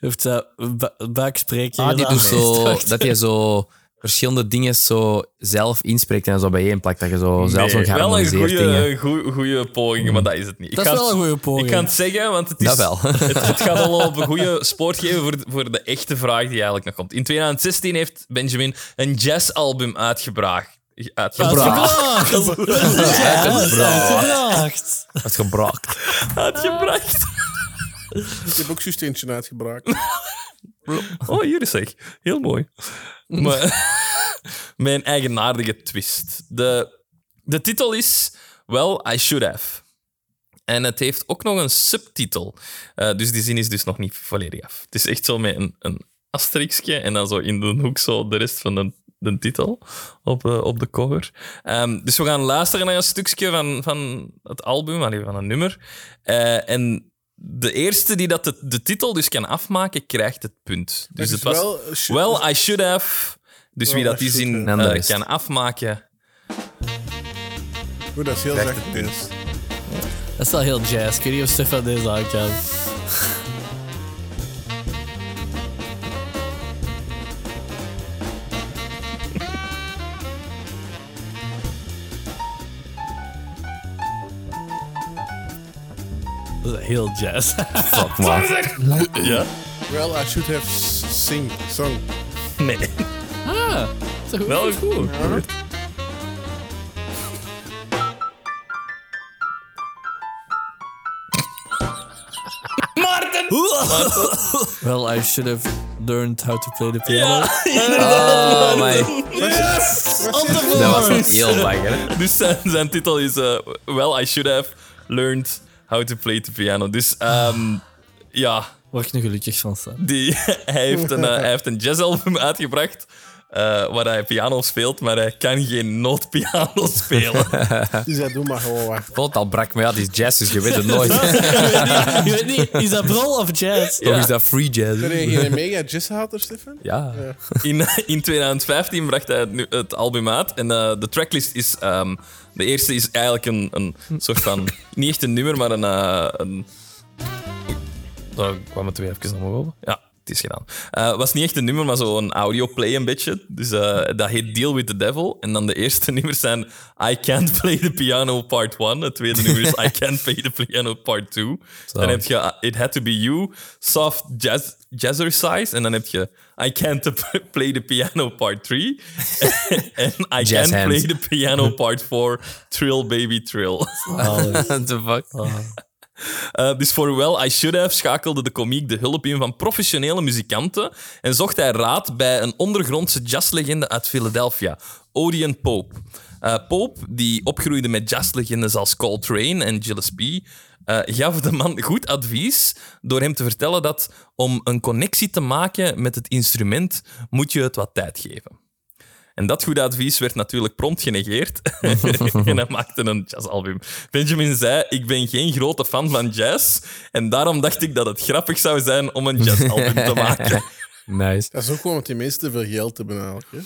Heeft eh ba- buikspreekje
Ah, die
gedaan.
doet zo, dat je zo verschillende dingen zo zelf inspreekt en zo bijeenplakt. Dat je zo zelf nog
wel een
geharmoniseerd dingen...
goede, goe- goede poging, maar dat is het niet. Ik
Dat is
ga
wel
het-
een goede poging.
Ik kan het zeggen, want het, is,
Dat wel.
het, het gaat al op een goede spoor geven voor, voor de echte vraag die eigenlijk nog komt. In 2016 heeft Benjamin een jazzalbum uitgebracht. Uitgebracht.
Uitgebracht. Uitgebracht.
Dat is gebraakt.
uitgebracht.
Ik heb ook juist eentje uitgebraakt.
Oh, hier is hij. Heel mooi. Maar, mijn eigenaardige twist. De, de titel is Well, I Should Have. En het heeft ook nog een subtitel. Eh, dus die zin is dus nog niet volledig af. Het is echt zo met een, een asterixje en dan zo in de hoek zo de rest van de de titel op, eh, op de cover. Ehm, dus we gaan luisteren naar een stukje van, van het album, allee, van een nummer. Eh, en de eerste die dat de, de titel dus kan afmaken, krijgt het punt. Dus het
is
was...
wel, eh, sh-
Well, I should have... Dus wie
Well,
dat
I
die
should
zin
have.
eh,
En de rest.
kan afmaken...
Oeh, dat is heel
krijgt
zacht.
het punt.
Dat is wel heel jazz. Ik weet niet of Stefan deze aan kan. Dat is heel jazz.
Fuck, man.
Ja?
Well, I should have s- sing, song.
Nee.
Ah, zo goed.
Wel goed.
Well, I should have learned how to play the piano.
Ja,
Oh, my. Dat was een heel bagger. hè.
dus zijn, zijn titel is eh, Well, I should have learned how to play the piano. Dus ehm, ja,
Waar ik nu gelukkig van sta.
die, hij, heeft een, eh, hij heeft een jazzalbum uitgebracht eh, waar hij piano speelt, maar hij kan geen noodpiano spelen.
Die zei, doe maar gewoon wat.
Ik vond het al brak, maar ja, die is jazz, dus je weet het nooit.
Je weet niet, is dat brol of jazz?
Toch is dat free jazz.
Ben
hè?
je geen mega jazzhater, Stefan?
Ja.
In, eh, in 2015 bracht hij het, nu- het album uit. En eh, de tracklist is... ehm, de eerste is eigenlijk een, een soort van... Niet echt een nummer, maar een... eh, een daar kwam het weer even allemaal over. Ja, het is gedaan. Eh, Het was niet echt een nummer, maar zo'n audioplay een beetje. Dus eh, dat heet Deal with the Devil. En dan de eerste nummers zijn I Can't Play the Piano Part 1. Het tweede nummer is I Can't Play the Piano Part 2. Dan heb je eh, It Had to Be You, Soft jazz, Jazzercise. En dan heb je I Can't Play the Piano Part 3. en I
Jazz
Can't
hands.
Play the Piano Part 4, Trill Baby Trill.
Ah, What the fuck?
Eh, dus voor Well I Should Have schakelde de komiek de hulp in van professionele muzikanten en zocht hij raad bij een ondergrondse jazzlegende uit Philadelphia, Odeon Pope. Eh, Pope, die opgroeide met jazzlegendes als Coltrane en Gillespie, eh, gaf de man goed advies door hem te vertellen dat om een connectie te maken met het instrument moet je het wat tijd geven. En dat goede advies werd natuurlijk prompt genegeerd. en hij maakte een jazzalbum. Benjamin zei: Ik ben geen grote fan van jazz. En daarom dacht ik dat het grappig zou zijn om een jazzalbum te maken.
Nice.
Dat is ook gewoon omdat die mensen te veel geld hebben eigenlijk. hè.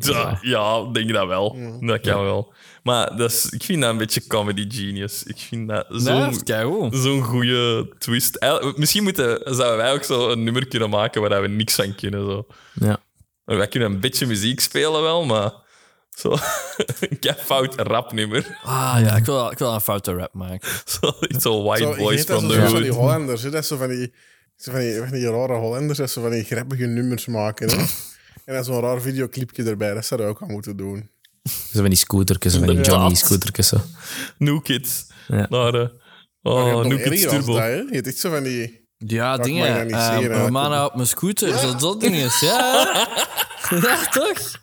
Ja, ja, ik denk dat wel. Dat kan wel. Maar dat is, ik vind dat een beetje comedy genius. Ik vind dat
Nee,
zo'n
dat is keigoed.
zo'n goede twist. Eigenlijk- Misschien moeten, zouden wij ook zo een nummer kunnen maken waar we niks aan kunnen. Zo.
Ja.
Wij kunnen een beetje muziek spelen wel, maar zo. een fout rap nummer.
Ah ja, ik wil, wel- ik wil wel een foute rap maken.
Zo, iets zo white
Zo, je
boys
weet dat
van
zo-
de
zo van
hood.
die Hollanders. hè. Dat is zo van die, zo van die, van die rare Hollanders dat ze van die grappige nummers maken. Hè. En dan zo'n raar videoclipje erbij. Dat zouden we ook aan moeten doen.
Zo van die scootertjes, van die
Inderdaad.
Johnny-scootertjes. zo.
New Kids.
Ja.
Naar, eh,
Maar je
oh,
hebt nog
New Kids
erger als
Turbo.
dat, hè. Je hebt echt zo van die...
Ja,
ik mag dat
dingen.
niet
eh,
zeggen, hè.
Romana op mijn scooter, zo dat ding is. Ja, ja toch?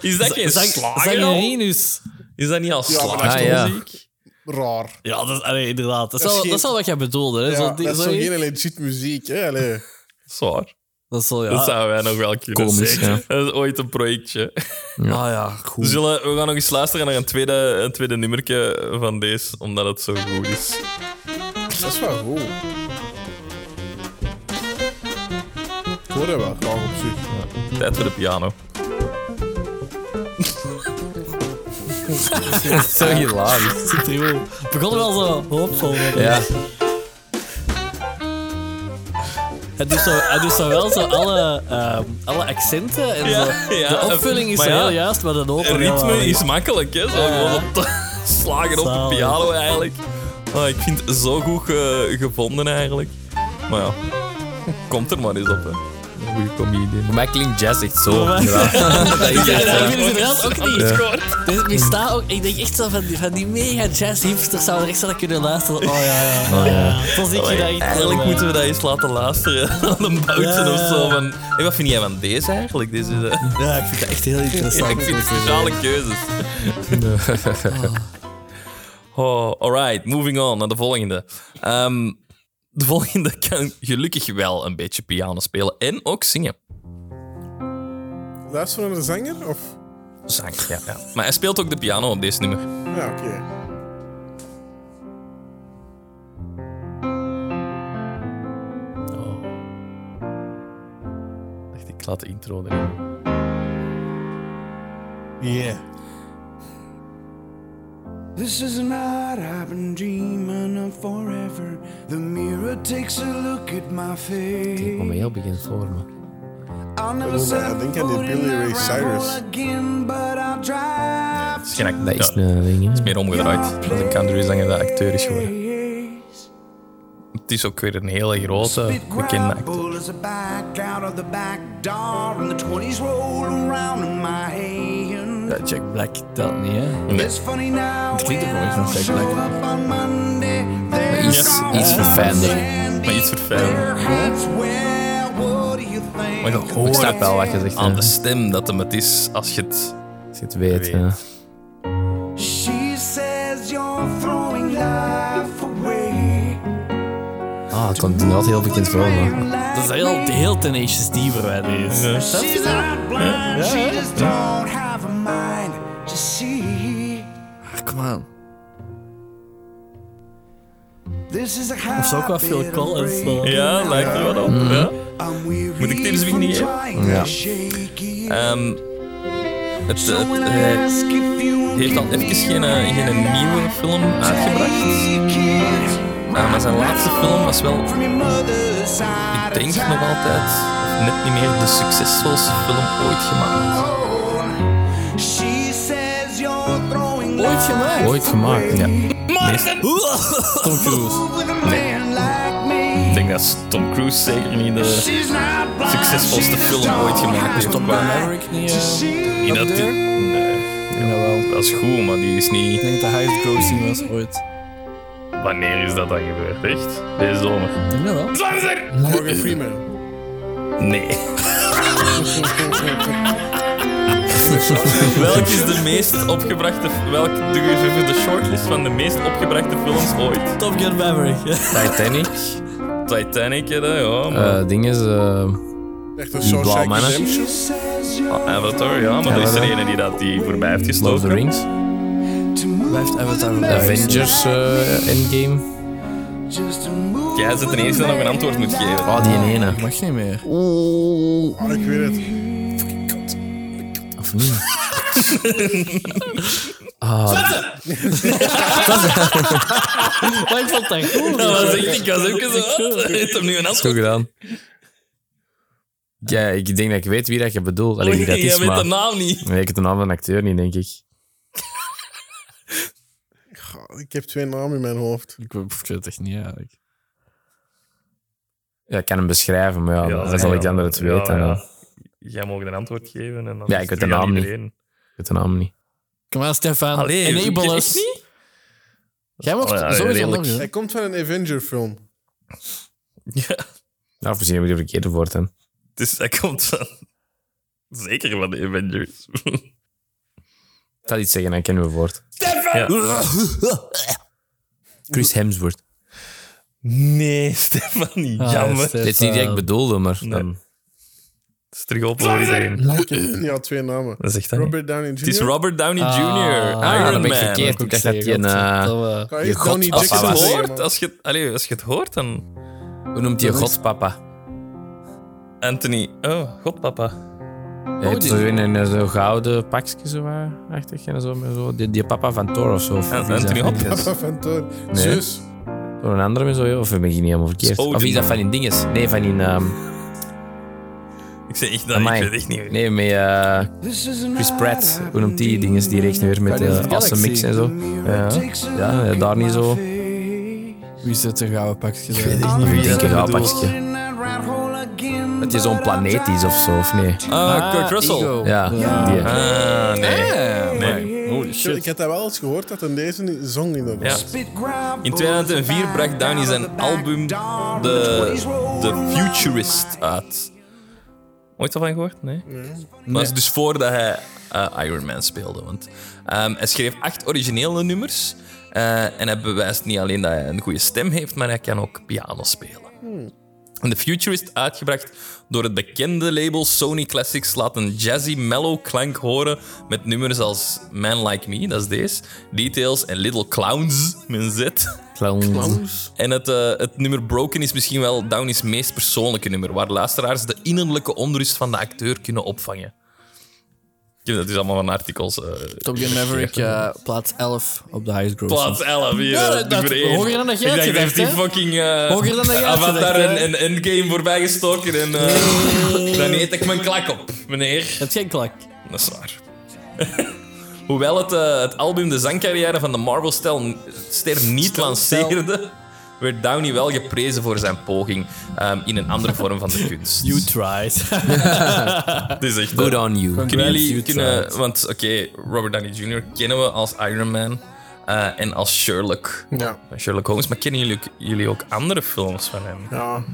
Is dat geen
Zang-
slager? al?
Zangerinus.
Is dat niet al
Ja, maar
slager?
dat
Ah,
is toch
ja.
muziek? Raar.
Ja, dat is, allee, inderdaad. Dat is,
Dat is
al,
geen-
dat is al wat jij bedoelde. Hè?
Ja,
zo,
dat is toch
zo,
geen legit muziek, hè? Allee.
Zwaar.
dat is zo, ja.
Dat zouden wij nog wel kunnen.
Komisch,
zeker.
ja.
Dat is ooit een projectje.
Ah ja, goed.
We, zullen, we gaan nog eens luisteren naar een tweede, een tweede nummertje van deze, omdat het zo goed is.
Dat is wel goed. Ik hoor dat wel graag op zich.
Tijd voor de piano.
Zo hilarisch.
Het trio begon wel zo hoopvol. worden.
Ja.
Hij doet zo, hij doet zo wel zo alle, ehm, alle accenten. En
Ja,
zo.
ja.
de opvulling is
Maar
zo
ja,
heel juist, maar de open...
Ritme is makkelijk, hè? Zo gewoon op de- slagen op de
Zalig.
piano eigenlijk. Oh, ik vind het zo goed eh, gevonden eigenlijk. Maar ja, komt er maar eens op, hè.
Goeie comedian. Voor mij klinkt jazz echt zo.
mij-
Ja. Dat is
Ja,
echt,
dat
eh,
vind ik inderdaad ook niet.
Scoort.
Dus ik sta ook, ik denk echt zo van die, van die mega jazz hipsters zouden echt zo naar kunnen luisteren. Oh ja, ja. ja. Zo zie ik je dat echt.
Eigenlijk
eh,
moeten we dat eens laten luisteren aan een bouten
Ja.
of zo. Van, hey, wat vind jij van deze eigenlijk? Deze is, eh,
Ja, ik vind dat echt heel
ja,
interessant.
ik vind speciale keuzes. Oh, alright, moving on naar de volgende. Ehm, de volgende kan gelukkig wel een beetje piano spelen en ook zingen.
Luisterende zanger? Of...
Zang, ja, ja. Maar hij speelt ook de piano op deze nummer.
Ja, oké.
Dacht Oh. ik, laat de intro erin.
Yeah.
This is a night I've been dreaming of forever. The mirror takes a look at my
Kom
face.
heel begin voor me.
I'll never
bedoel,
set
I think I did
foot in
Billy Ray
that
Cyrus.
gravel again, but I'll drive
Misschien act-
Dat
ja,
is een ding, hè.
meer omgedraaid. Dat een countryzanger dat acteur is geworden.
place.
Het is ook weer een hele grote, bekende acteur.
gravel as a bike out of the back door, and the 20s roll around in my hand.
Ja, Jack Black telt niet, hè?
It's funny now.
Het klinkt ook wel
when
eens van
I
Jack
show
Black.
up on Monday, there's
Iets,
gone
iets verfijnder.
Sandy.
Maar iets verfijnder.
Perhaps, well, what do you think?
Maar je
Ik
hoort
snap wel
het
wat je zegt.
aan
hè.
de stem dat hem het is als je het...
Als je het weet.
weet.
ja.
She says you're throwing life away.
Ah, het komt inderdaad heel bekend voor me.
Dat is heel, heel Tenacious D voor mij, deze.
She's not blind, she just don't have a mind to see.
Ah, Come on.
This is a
Of zo ook wel
high
Phil
bit
Collins.
of
wel.
Ja, lijkt er wel op.
Mhm.
Ja.
I'm weary
Moet ik deze
from
niet hebben?
trying to shake it.
Ehm, het, het,
When I
hij
ask if you
heeft al even geen, eh, geen nieuwe film uitgebracht.
kids
Ah, maar zijn laatste film was wel,
from your mother's
ik
side
denk nog altijd, net niet meer de succesvolste film ooit gemaakt.
alone. She says you're throwing
Ooit gemaakt.
Ooit gemaakt, ja.
Tom Cruise.
with a man like me.
Ik denk dat Tom Cruise zeker niet eh, de
She's not blind,
succesvolste
she just
film ooit
don't
gemaakt
have
heeft.
a
Top
mind
Maverick niet,
to
eh,
see.
in dat Nee,
Jawel.
dat is goed, maar die is niet...
Ik denk dat hij het grossing was ooit.
Wanneer is dat dan gebeurd? Echt? Deze zomer?
Ik denk dat wel.
Morgan Freeman.
Nee. Welk is de meest opgebrachte... Welk doe je even de shortlist van de meest opgebrachte films ooit?
Top Gun Maverick.
Titanic.
Titanic, hè, dat, ja, maar...
Eh ding is... eh,
Echt een
Die blauwe
Shawshank
mannen.
Redemption.
Says you're
Ah,
Eh.
Avatar, ja, maar dat is er
Avatar.
ene die dat die voorbij heeft
Lord of the
gestoken.
Rings.
to move
Blijft Avatar
with a
Ja,
man
Avengers
like
eh, Endgame.
me, just to move
Jij zit er
with
de
a
eerste dat nog een
man
antwoord moet
like
geven.
Oh, die ene.
Ik mag niet meer.
Ah, ik weet het.
Ah, Of niet?
Maar ik vond dat goed.
Dat was echt, ik was ook zo... Wat? Heeft hem nu een
Goed
antwoord?
gedaan. Ja, ik denk dat ik weet wie dat je bedoelt. Allee, wie dat
Jij
is,
weet de
maar...
naam niet.
Nee, ik heb de naam van de acteur niet, denk ik.
Goh, Ik heb twee namen in mijn hoofd.
Ik weet het echt niet eigenlijk.
Ja, ik kan hem beschrijven, maar ja, dan zal ik de ander het weten.
Ja,
Ja,
ja. Jij mag een antwoord geven en dan
Ja,
is
ik
het
weet de
terug aan
naam niet.
iedereen.
Ik weet de naam niet.
Kom aan, Stefan.
Allee, ik
Enable
weet
us.
niet.
Jij mocht
Oh ja,
sowieso
redelijk.
nog eens, hè?
Hij komt van een Avenger film.
Ja,
Nou, voorzien heb ik de verkeerde woord dan.
dus hij komt van... Zeker van de Avengers.
Ik zal iets zeggen, dan kennen we het woord.
Ja.
Chris Hemsworth.
Nee, Stefanie,
Ah,
jammer.
Stefan.
Dit is niet dat ik bedoelde, maar... Dan...
Het is terug op voor iedereen.
Ik heb niet al twee namen.
Dat zegt hij.
Robert Downey Jr.
Het is Robert Downey
Ah,
Jr.
ah,
Iron
dan ben ik
Man.
verkeerd. Ik dacht dat die een, eh,
Godverdomme.
Kan je
Je
Downey
god-
Als je,
Jackson
het
zeggen,
hoort,
man?
als, je, het- allee, als je het hoort, dan...
Hoe noemt hij godpapa?
Anthony. Oh, godpapa.
Hij heeft zo in een eh, zo'n gouden pakje zo eh, achtig en zo. met zo. Die, die papa van Thor of zo. Of
An-
wie is dat?
Anthony Hopkins.
Papa van Thor.
Nee.
Zeus.
Door een andere met zo, joh. of ben ik niet helemaal verkeerd?
Odin.
Of is dat van die dinges? Nee, van die... ehm,
Ik zeg echt dat,
Amai.
ik weet echt niet.
nee, met eh,
This is a
Chris
night
Pratt.
I've
Hoe noemt die
been
dinges? Die rechts weer met
Guardians of
de
the
awesome mix
Galaxy.
en zo. Ja,
takes a
ja, ja,
look
daar
at
niet
my
zo.
face.
Wie zit er gouden pakjes Ik
Ik denk een gouden
bedoelt.
pakje.
In that rat hole again,
Dat hij zo'n
but I'll
planeet is of zo, of nee?
Ah, Kurt Russell.
Ja, die. eh,
Ah, nee. nee.
Holy
Ik- Ik had dat wel eens gehoord dat in deze zong in dat
Ja.
was.
spit gravel
In 2004 bracht Downey zijn album The, The Futurist uit. Ooit al van gehoord? Nee? Maar dat is dus voordat hij eh, Iron Man speelde. Want ehm, hij schreef acht originele nummers. eh, en hij bewijst niet alleen dat hij een goede stem heeft, maar hij kan ook piano spelen. En The Future is uitgebracht door het bekende label Sony Classics. Laat een jazzy, mellow klank horen met nummers als Man Like Me, dat is deze. Details en Little Clowns, met een Z. En het, eh, het nummer Broken is misschien wel Downey's meest persoonlijke nummer, waar luisteraars de innerlijke onrust van de acteur kunnen opvangen. Ik heb dat dus allemaal van artikels. eh,
Top Gun Maverick, eh, plaats 11 op de highest gross.
Plaats 11 hier.
Ja,
eh,
dat-
nummer
dat-
één.
hoger dan dat jij
Ik
het
dacht,
gedacht,
heeft
hè?
die fucking eh,
Hoger dan dat jij het
Avatar
gedacht,
en,
hè?
en Endgame voorbij gestoken. En, eh, dan eet ik mijn klak op, meneer.
Dat is geen klak.
Dat is waar. Hoewel het, eh, het album de zangcarrière van de Marvel-ster niet lanceerde, werd Downey wel geprezen voor zijn poging ehm, in een andere vorm van de kunst.
You tried.
Het is echt... eh,
Good on you.
kunnen jullie
you
kunnen,
tried.
want oké, Robert Downey Jr. kennen we als Iron Man eh, en als Sherlock.
Ja.
Sherlock Holmes, maar kennen jullie, ook- jullie ook andere films van hem?
Ja.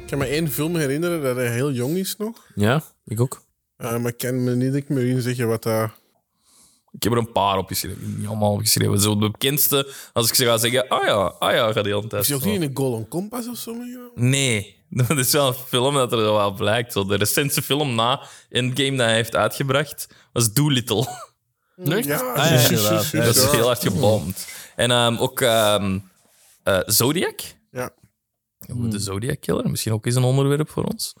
Ik kan me één film herinneren dat hij heel jong is nog.
Ja, ik ook.
Eh, maar ik kan me niet ik meer in zeggen wat dat...
Ik heb er een paar opgeschreven, niet allemaal opgeschreven. Zo de bekendste, als ik ze ga zeggen, ah ja, ah ja, gaat heel een tijd.
Is hij ook
zo.
niet in een Golden Compass of zo? meegenomen?
Nee, dat is wel een film dat er wel blijkt. Zo, de recentste film na Endgame dat hij heeft uitgebracht was Doolittle. Dus
Ja,
Ah, ja,
Ah, juist,
inderdaad.
Ah, Dat
juist, juist,
is
ja.
heel hard gebomd. En ehm, ook ehm, eh, Zodiac. Hmm.
Ja.
De Zodiac Killer, misschien ook eens een onderwerp voor ons.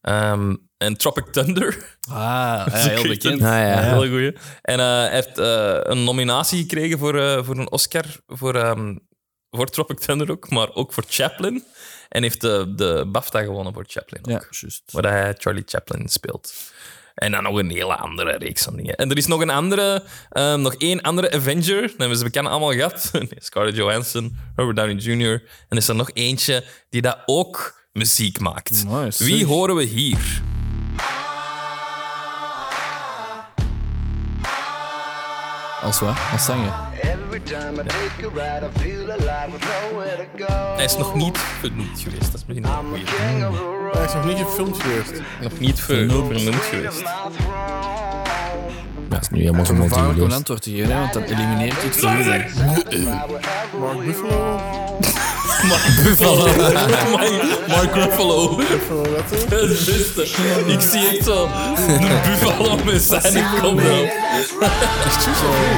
Ehm, en Tropic Thunder.
Ah, ja, heel
Echt
bekend.
Een,
Ah, ja.
Hele goeie. En eh, hij heeft eh, een nominatie gekregen voor, eh, voor een Oscar voor, ehm, voor Tropic Thunder ook, maar ook voor Chaplin. En heeft de, de BAFTA gewonnen voor Chaplin ook.
Ja, juist.
waar hij Charlie Chaplin speelt. En dan nog een hele andere reeks van dingen. En er is nog een andere, ehm, nog één andere Avenger. Dat hebben ze bekend allemaal gehad. Nee, Scarlett Johansson, Robert Downey Jr. En er is er nog eentje die dat ook muziek maakt.
Nice,
Wie
zeg.
horen we hier?
Als wat? Als zanger.
Hij is nog niet vernoemd geweest. Dat is misschien een goeie.
Hij is nog niet gefilmd geweest.
Hmm, Nog niet ver- vernoemd geweest.
Dat is nu helemaal zo'n
Vaarlijk om een
montuur.
antwoord te geven, hè, want dat elimineert iets van jullie.
Mark Buffalo.
Mark Buffalo. Mark- Mark Ruffalo.
Buffalo, wat dan?
Het beste. Ik zie echt zo de buffalo met zijn kop erop.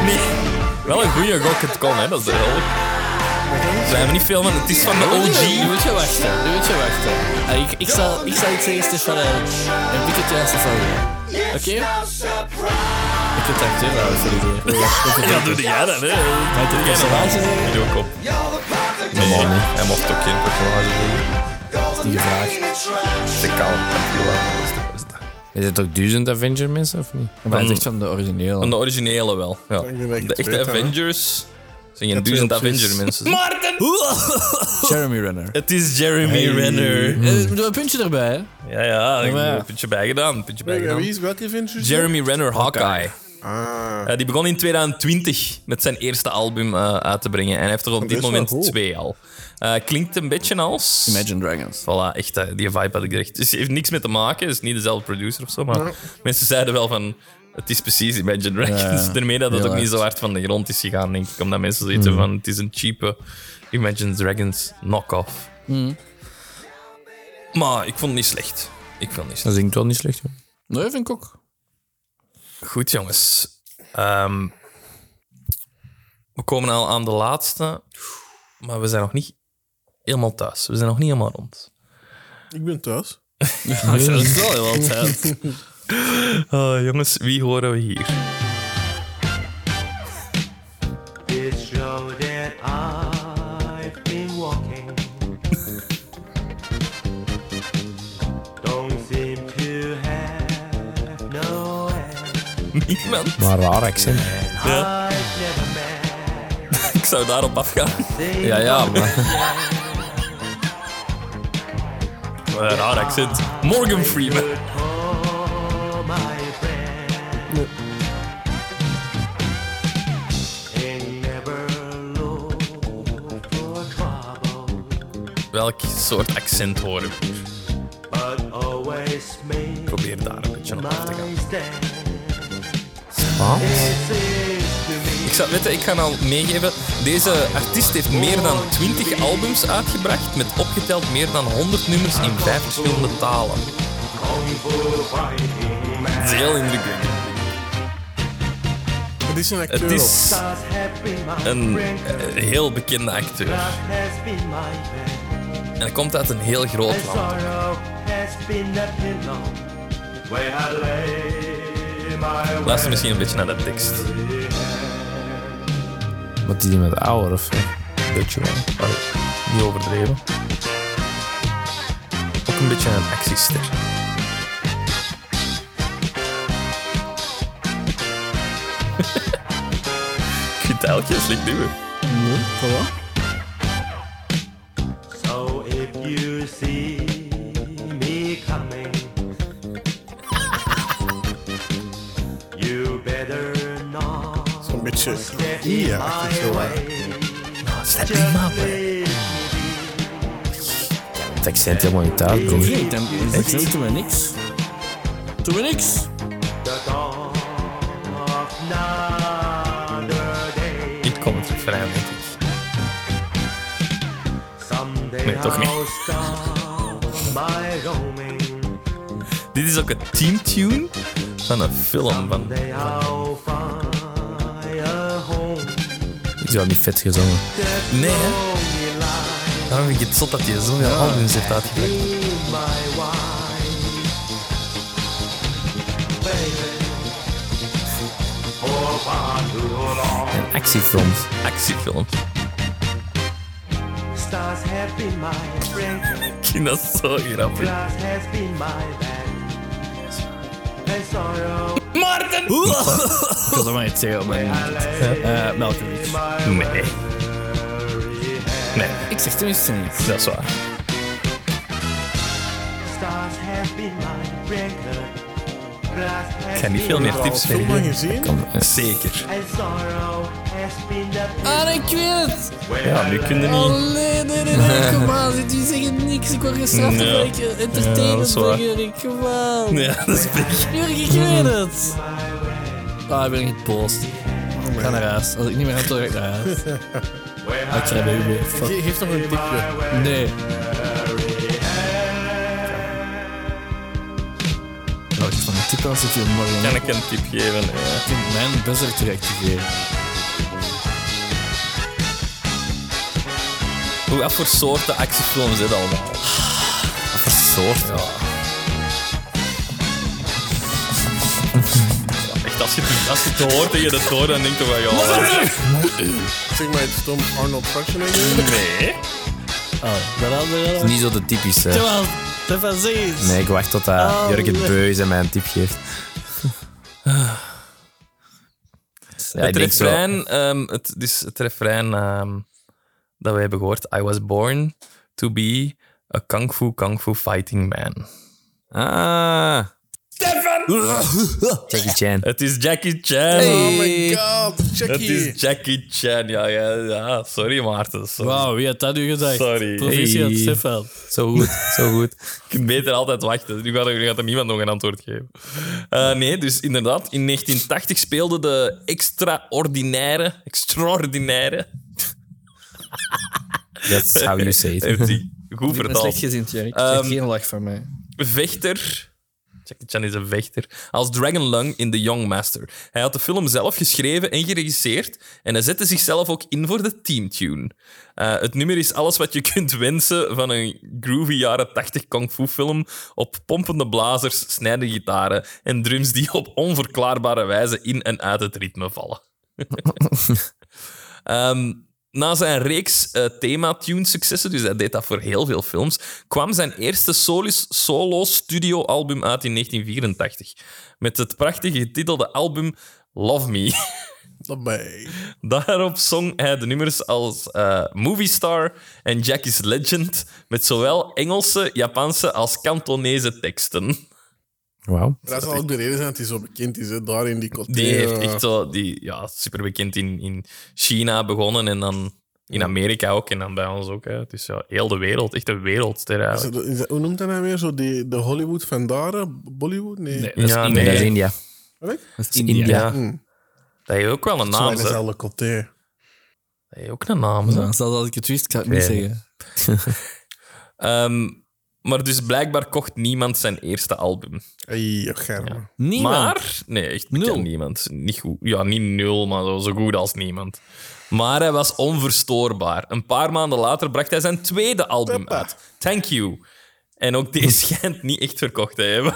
Nee. Wel een goede gok, het kon, hè. Dat is de helft. Er zijn er niet veel van. Het is van de
Nu
OG.
moet je wachten, nu moet je wachten. Ah, ik, ik, zal, ik zal iets zeggen, Stefan. eh, En pik het juiste van Oké? Ik heb het acteur trouwens voor die
Ja, doe die jij dan, hè. Dat is geen
personage zeggen?
Die doe ik op. Nee, hij mocht ook geen personage doen.
Die gevraagd.
Te kalm. Dat is dat.
Is het ook duizend Avenger mensen of niet?
Maar het is echt van de originele.
Van de originele wel. Ja.
denk dat ik
De
het
echte
weet, hè.
Avengers zijn geen duizend
opties.
Avenger mensen. Maarten!
Jeremy Renner.
Het is Jeremy Renner.
Eh, Doe een puntje erbij, hè?
Ja, ja, ik heb
maar ja.
een puntje bijgedaan. een Puntje
Hey, Wie
bijgedaan.
is welke Avenger?
Jeremy Renner, Hawkeye.
Ah.
Eh, die begon in 2020 met zijn eerste album eh, uit te brengen. En hij heeft er op
Dat
dit
is wel
moment
goed.
twee al. Eh, klinkt een beetje als...
Imagine Dragons.
Voilà, echt, eh, die vibe had ik echt. Dus het heeft niks mee te maken, het is niet dezelfde producer of zo, maar mensen zeiden wel van... Het is precies Imagine Dragons.
ja.
Daarmee dat het
Heel
ook niet
hard. Mm.
zo hard van de grond is gegaan, denk ik. Omdat mensen zoiets hebben van, het is een cheape Imagine Dragons knock-off.
Mm.
Maar ik vond het niet slecht. Ik vond het niet slecht.
Dat zingt wel niet slecht, hoor.
Nee, vind ik ook.
Goed, jongens. Ehm, we komen al aan de laatste, maar we zijn nog niet helemaal thuis. We zijn nog niet helemaal rond.
Ik ben thuis.
Dat is wel heel tijd. Oh, jongens, wie horen we hier?
This road that I've been walking don't seem to have no end.
Niemand.
Maar een raar accent.
I've never met
Ik zou daarop afgaan.
Ja, ja, maar...
Wat een raar accent. Morgan Freeman.
all my friend. And never look for trouble,
Welk soort accent horen we? hier?
but always make
Probeer daar een beetje op af te
my
gaan.
stand.
Spaans?
It seems to me
Ik zou weten, ik ga al meegeven. Deze artiest heeft meer dan 20 albums uitgebracht. Met opgeteld meer dan 100 nummers in vijf verschillende talen. Het is heel indrukwekkend.
Het is een acteur.
Het
ook.
is een eh, heel bekende acteur. En hij komt uit een heel groot land. Luister misschien een beetje naar de tekst.
Wat is die met ouder of Beetje wel. Allee, niet overdreven.
Ook een beetje een actiester. Ik vind het eigenlijk heel slecht duwen.
So if you see me coming, you better not
Zo'n beetje
step
IA
my
-achtig zo, hè.
way.
Step
Just
him up.
leave me be.
Het accent helemaal niet uit, broer.
Nee, dan doet me niks. Doe me niks.
The dawn of another day.
Ik kom het refrein, denk ik.
Someday
Nee, toch niet.
I'll stop my roaming.
Dit is ook een teamtune van een film. Van...
Someday I'll find a home.
Is wel niet vet gezongen.
Nee, hè?
Lonely life.
Daarom vind ik het zot dat hij zoveel albums heeft uitgebracht.
my wife, baby. For far too long,
Een actiefilm.
Actiefilm.
stars have been my friend,
Ik vind dat zo grappig.
glass has been my back, and sorrow
Ik wil dat maar niet zeggen, maar... Eh, Malkovich.
Nee,
Ik zeg tenminste niet.
dat is waar.
stars have been my friend, glass has
Ik ga niet veel
been
meer
my-
tips
Film maar
geven.
gezien?
Zeker.
And sorrow has been the
Ah, ik weet het!
Ja, nu kunnen niet.
Allee, nee, nee, nee, kom aan. Jullie zeggen niks. Ik word gestraft
Ja.
omdat ik
Ja, dat
entertainment
is waar.
ben, Jurk. Kom aan.
Ja, dat is een beetje...
Jurk, ik weet het. Ah, ik ben niet boos.
Oh
Ik ga naar huis. Als ik niet meer aan toe ga ik naar huis. Ah, ik ga bij Uber. Fuck.
Ge- Geef nog een tipje.
Nee. Nou, ik van de tip aan zit hier morgen.
Kan ik een tip geven? Ja.
Ik vind mijn buzzer te activeren.
Hoe- Wat voor soorten actiefilms is dat allemaal? Wat voor soorten? Ja. Echt, als je, het, als je het hoort en je het hoort, dan denk je van ja.
Zeg maar, het stom Arnold
Mm.
Schwarzenegger.
Nee.
Oh, dat hadden we
Niet zo de typische.
Terwijl, dat was iets.
Nee, ik wacht tot dat Jurk het beu is en mij een tip geeft. Ja, ik
het
denk zo.
refrein, ehm, het, dus het refrein ehm, dat we hebben gehoord. I was born to be a kung fu kung fu fighting man.
Ah. Stefan! Jackie Chan.
Het is Jackie Chan.
Oh my god,
Het
Jackie.
is Jackie Chan. Ja, ja, ja. Sorry Maarten. Sorry.
Wauw, wie had dat nu gezegd?
Sorry.
Proficiat,
Hey.
Stefan.
Zo goed, zo goed. Je kunt beter altijd wachten. Nu gaat, er- nu gaat er niemand nog een antwoord geven. Eh, nee, dus inderdaad, in 1980 speelde de extraordinaire, extraordinaire,
That's how you say it.
heeft hij goed vertaald,
gezind, Jurk.
Ehm,
geen lach van mij.
vechter. Jackie Chan is een vechter. Als Dragon Lung in The Young Master. Hij had de film zelf geschreven en geregisseerd. En hij zette zichzelf ook in voor de teamtune. Eh, het nummer is alles wat je kunt wensen van een groovy jaren 80 kung fu film. Op pompende blazers, snijdende gitaren en drums die op onverklaarbare wijze in en uit het ritme vallen. Ehm, na zijn reeks eh, thema-tune-successen, dus hij deed dat voor heel veel films, kwam zijn eerste solis- solo-studio-album uit in 1984. Met het prachtige getitelde album Love Me.
Daarbij.
Daarop zong hij de nummers als eh, Movie Star en Jackie's Legend, met zowel Engelse, Japanse als Kantonese teksten.
Wauw.
Dat zal ook de reden zijn dat hij zo bekend is, hè. daar in die coté.
Die heeft
eh,
echt zo, die, ja, superbekend in, in China begonnen en dan in Amerika ook en dan bij ons ook. Hè. Dus ja, heel de wereld, echt een wereldster
is
eigenlijk.
dat- is dat- hoe noemt hij nou weer? Zo die, de Hollywood van daar? eh, Bollywood? Nee.
Nee, dat is
Ja,
India.
Nee, dat is India.
Wat?
Dat is India.
Ja.
Hmm.
Dat heeft ook wel een
Zo
naam, hè?
in
Dat
dezelfde coté.
heeft ook een naam, hè?
Zelfs als ik het wist, ik ga het niet
Nee.
zeggen.
Ehm, maar dus blijkbaar kocht niemand zijn eerste album.
Ai, och, germe.
Niemand.
Maar, nee, echt
Nul.
nul. niemand. Niet goed. Ja, niet nul, maar zo- zo goed als niemand. Maar hij was onverstoorbaar. Een paar maanden later bracht hij zijn tweede album
Peppa.
uit. Thank you. En ook
Hm.
die schijnt niet echt verkocht te hebben.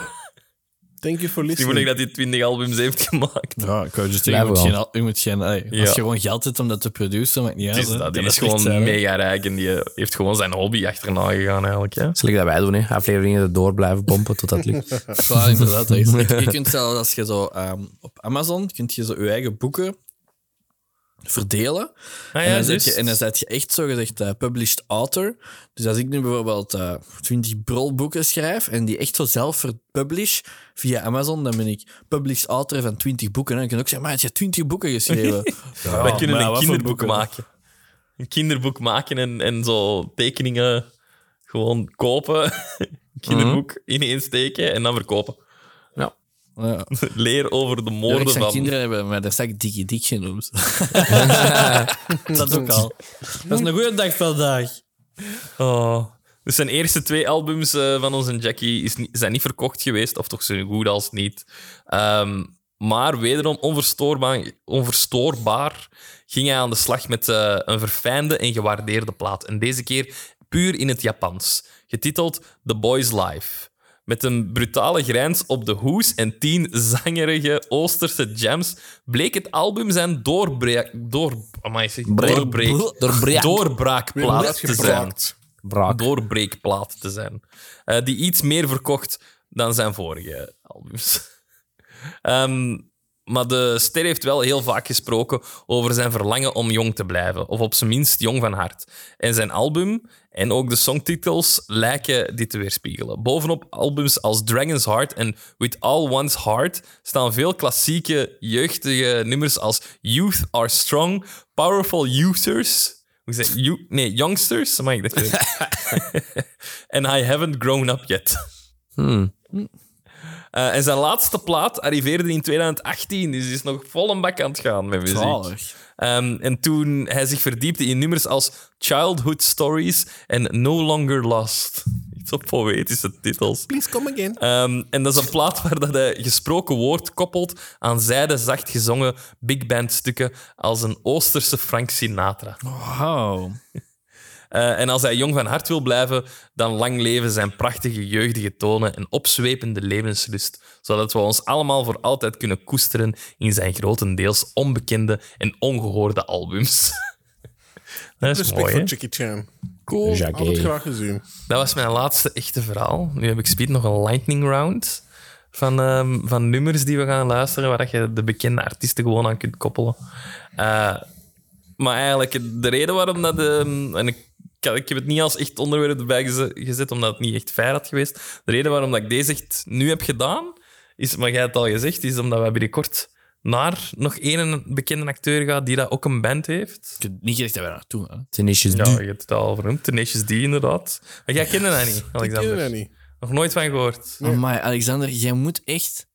Thank you for
Die moet ik
listening.
dat hij 20 albums heeft gemaakt.
Hm. Ja, ik wou dus zeggen, je moet
Blijven
geen, al- je moet geen, allee,
Ja.
als je gewoon geld hebt om dat te produceren, maakt niet uit.
Dus
hè.
dat, die
Dat
is
echt
gewoon
zijn, hè.
mega rijk en die heeft gewoon zijn hobby achterna gegaan eigenlijk. Hè?
Ah
Zal ik dat wij doen, hè? Afleveringen erdoor blijven pompen tot dat lukt.
Ja, inderdaad. dat is- je, je kunt zelfs als je zo ehm, op Amazon, kunt je zo je eigen boeken verdelen.
Ah
en,
ja,
dan zet je,
juist.
en dan zet je echt zogezegd eh published author. Dus als ik nu bijvoorbeeld eh 20 brolboeken schrijf en die echt zo zelf publish via Amazon, dan ben ik published author van 20 boeken. En dan kun je ook zeggen, maar je hebt 20 boeken geschreven. Ja,
Wij kunnen
maar
een
wat voor
kinderboek
boeken?
maken. Een kinderboek maken en, en zo tekeningen gewoon kopen. kinderboek ineens steken en dan verkopen.
Mhm. Ja.
Leer over de
Ja,
moorden
ik
van...
zijn kinderen hebben, maar daar sta ik Dikkie Dik genoemd. dat ook al. Dat is een goede dag vandaag.
Oh. Dus zijn eerste twee albums eh, van ons en Jackie is niet, zijn niet verkocht geweest, of toch zo goed als niet. Ehm, maar wederom onverstoorbaar, onverstoorbaar ging hij aan de slag met eh, een verfijnde en gewaardeerde plaat. En deze keer puur in het Japans, getiteld The Boys Life. Met een brutale grijns op de hoes en tien zangerige Oosterse jams bleek het album zijn doorbreek... Door, amai, zeg, doorbreek,
Doorbreek.
doorbraakplaat te zijn
Uitgebraakt.
Braak.
doorbreekplaat te zijn. Eh, die iets meer verkocht dan zijn vorige albums. Ehm, maar de ster heeft wel heel vaak gesproken over zijn verlangen om jong te blijven. Of op zijn minst jong van hart. En zijn album en ook de songtitels lijken dit te weerspiegelen. Bovenop albums als Dragon's Heart en With All One's Heart staan veel klassieke jeugdige nummers als Youth Are Strong, Powerful Youthers... Hoe zeg you, Nee, Youngsters? Mag ik dat zeggen? En I haven't grown up yet. Eh, en zijn laatste plaat arriveerde in 2018, dus die is nog vol een bak aan het gaan met muziek.
Zalig.
Ehm, en toen hij zich verdiepte in nummers als Childhood Stories en No Longer Lost. Iets op poëtische titels.
Please come again.
Ehm, en dat is een plaat waar dat hij gesproken woord koppelt aan zijde zacht gezongen big band stukken als een Oosterse Frank Sinatra.
Wow.
Eh, en als hij jong van hart wil blijven, dan lang leven zijn prachtige jeugdige tonen en opzwepende levenslust, zodat we ons allemaal voor altijd kunnen koesteren in zijn grotendeels onbekende en ongehoorde albums. Dat is
Respect
mooi, hè?
voor Jackie Chan.
Cool.
Altijd graag gezien.
Dat was mijn laatste echte verhaal. Nu heb ik speed nog een lightning round van, ehm, van nummers die we gaan luisteren, waar dat je de bekende artiesten gewoon aan kunt koppelen. Eh, maar eigenlijk de reden waarom dat... ehm, en ik, ik heb- ik heb het niet als echt onderwerp erbij geze- gezet, omdat het niet echt fair had geweest. De reden waarom dat ik deze echt nu heb gedaan, is, maar jij hebt het al gezegd, is omdat we binnenkort naar nog één bekende acteur gaan die dat ook een band heeft.
Ik heb niet gezegd dat wij naartoe gaan.
Tenacious
Ja,
D.
je hebt het al vernoemd. Tenacious D, inderdaad. Maar jij kende dat niet,
Ik ken
Alexander.
dat niet. Ah,
Nog nooit van gehoord.
Maar Alexander, jij moet echt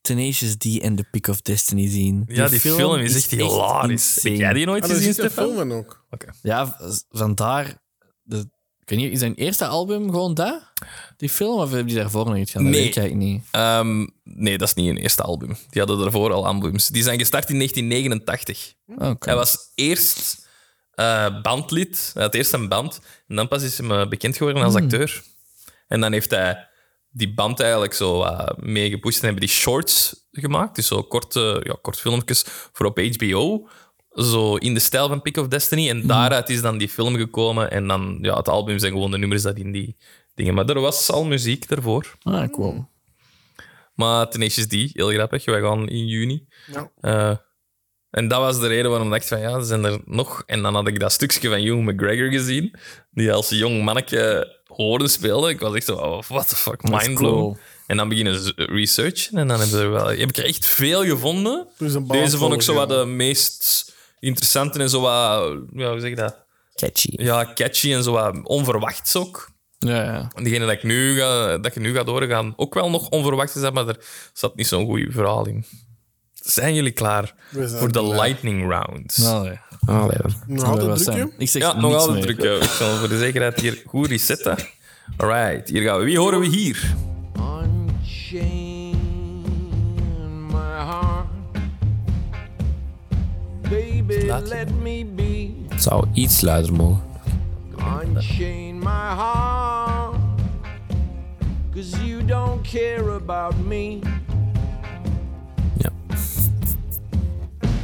Tenacious D en The Pick of Destiny zien.
Ja, die, film, is echt hilarisch.
insane.
Heb jij die nooit
Ah, dat
gezien,
is de
Stefan?
film dan ook.
Ja, v- vandaar... De, ik weet niet, is zijn eerste album gewoon dat? Die film? Of heb je daarvoor nog iets gedaan? Dat
Nee.
weet ik niet.
Ehm, nee, dat is niet hun eerste album. Die hadden daarvoor al albums. Die zijn gestart in 1989.
Oké.
Hij was eerst eh, bandlid. Hij had eerst een band. En dan pas is hij eh, bekend geworden als acteur. En dan heeft hij die band eigenlijk zo eh, mee gepusht. En hebben die shorts gemaakt. Dus zo korte ja, kort filmpjes voor op HBO. Zo in de stijl van Pick of Destiny. En daaruit is dan die film gekomen. En dan, ja, het album zijn gewoon de nummers dat in die dingen. Maar er was al muziek daarvoor.
Ah, cool.
Maar Tenacious D, heel grappig. Wij gaan in juni.
Ja.
Eh, en dat was de reden waarom ik dacht van ja, er zijn er nog. En dan had ik dat stukje van Hugh McGregor gezien, die als jong manneke hoorde speelde. Ik was echt zo, oh, what the fuck, mindblown.
cool.
En dan beginnen ze researchen en dan hebben ze wel, heb ik er echt veel gevonden.
Dus een baan
Deze vond ik zo wat
volgen.
de meest interessante en zo wat, ja, hoe zeg ik dat?
Catchy.
Ja, catchy en zo wat onverwachts ook
Ja, ja.
degene dat ik nu ga, dat je nu gaat doorgaan, ook wel nog onverwacht is, dat, maar er zat niet zo'n goed verhaal in. Zijn jullie klaar
We zijn
voor de
klaar.
lightning rounds?
Allee.
Allee, dan.
Nog altijd
Wat
druk,
zijn?
joh?
Ik zeg
ja, nog
niks
altijd
meer.
druk. ja. Ik zal voor de zekerheid hier goed resetten. Alright, hier gaan we. Wie horen we hier?
Unchain my heart. Baby,
Laat je.
let me be.
Het zou iets luider mogen.
Unchain my heart. Cause you don't care about me.
Ja.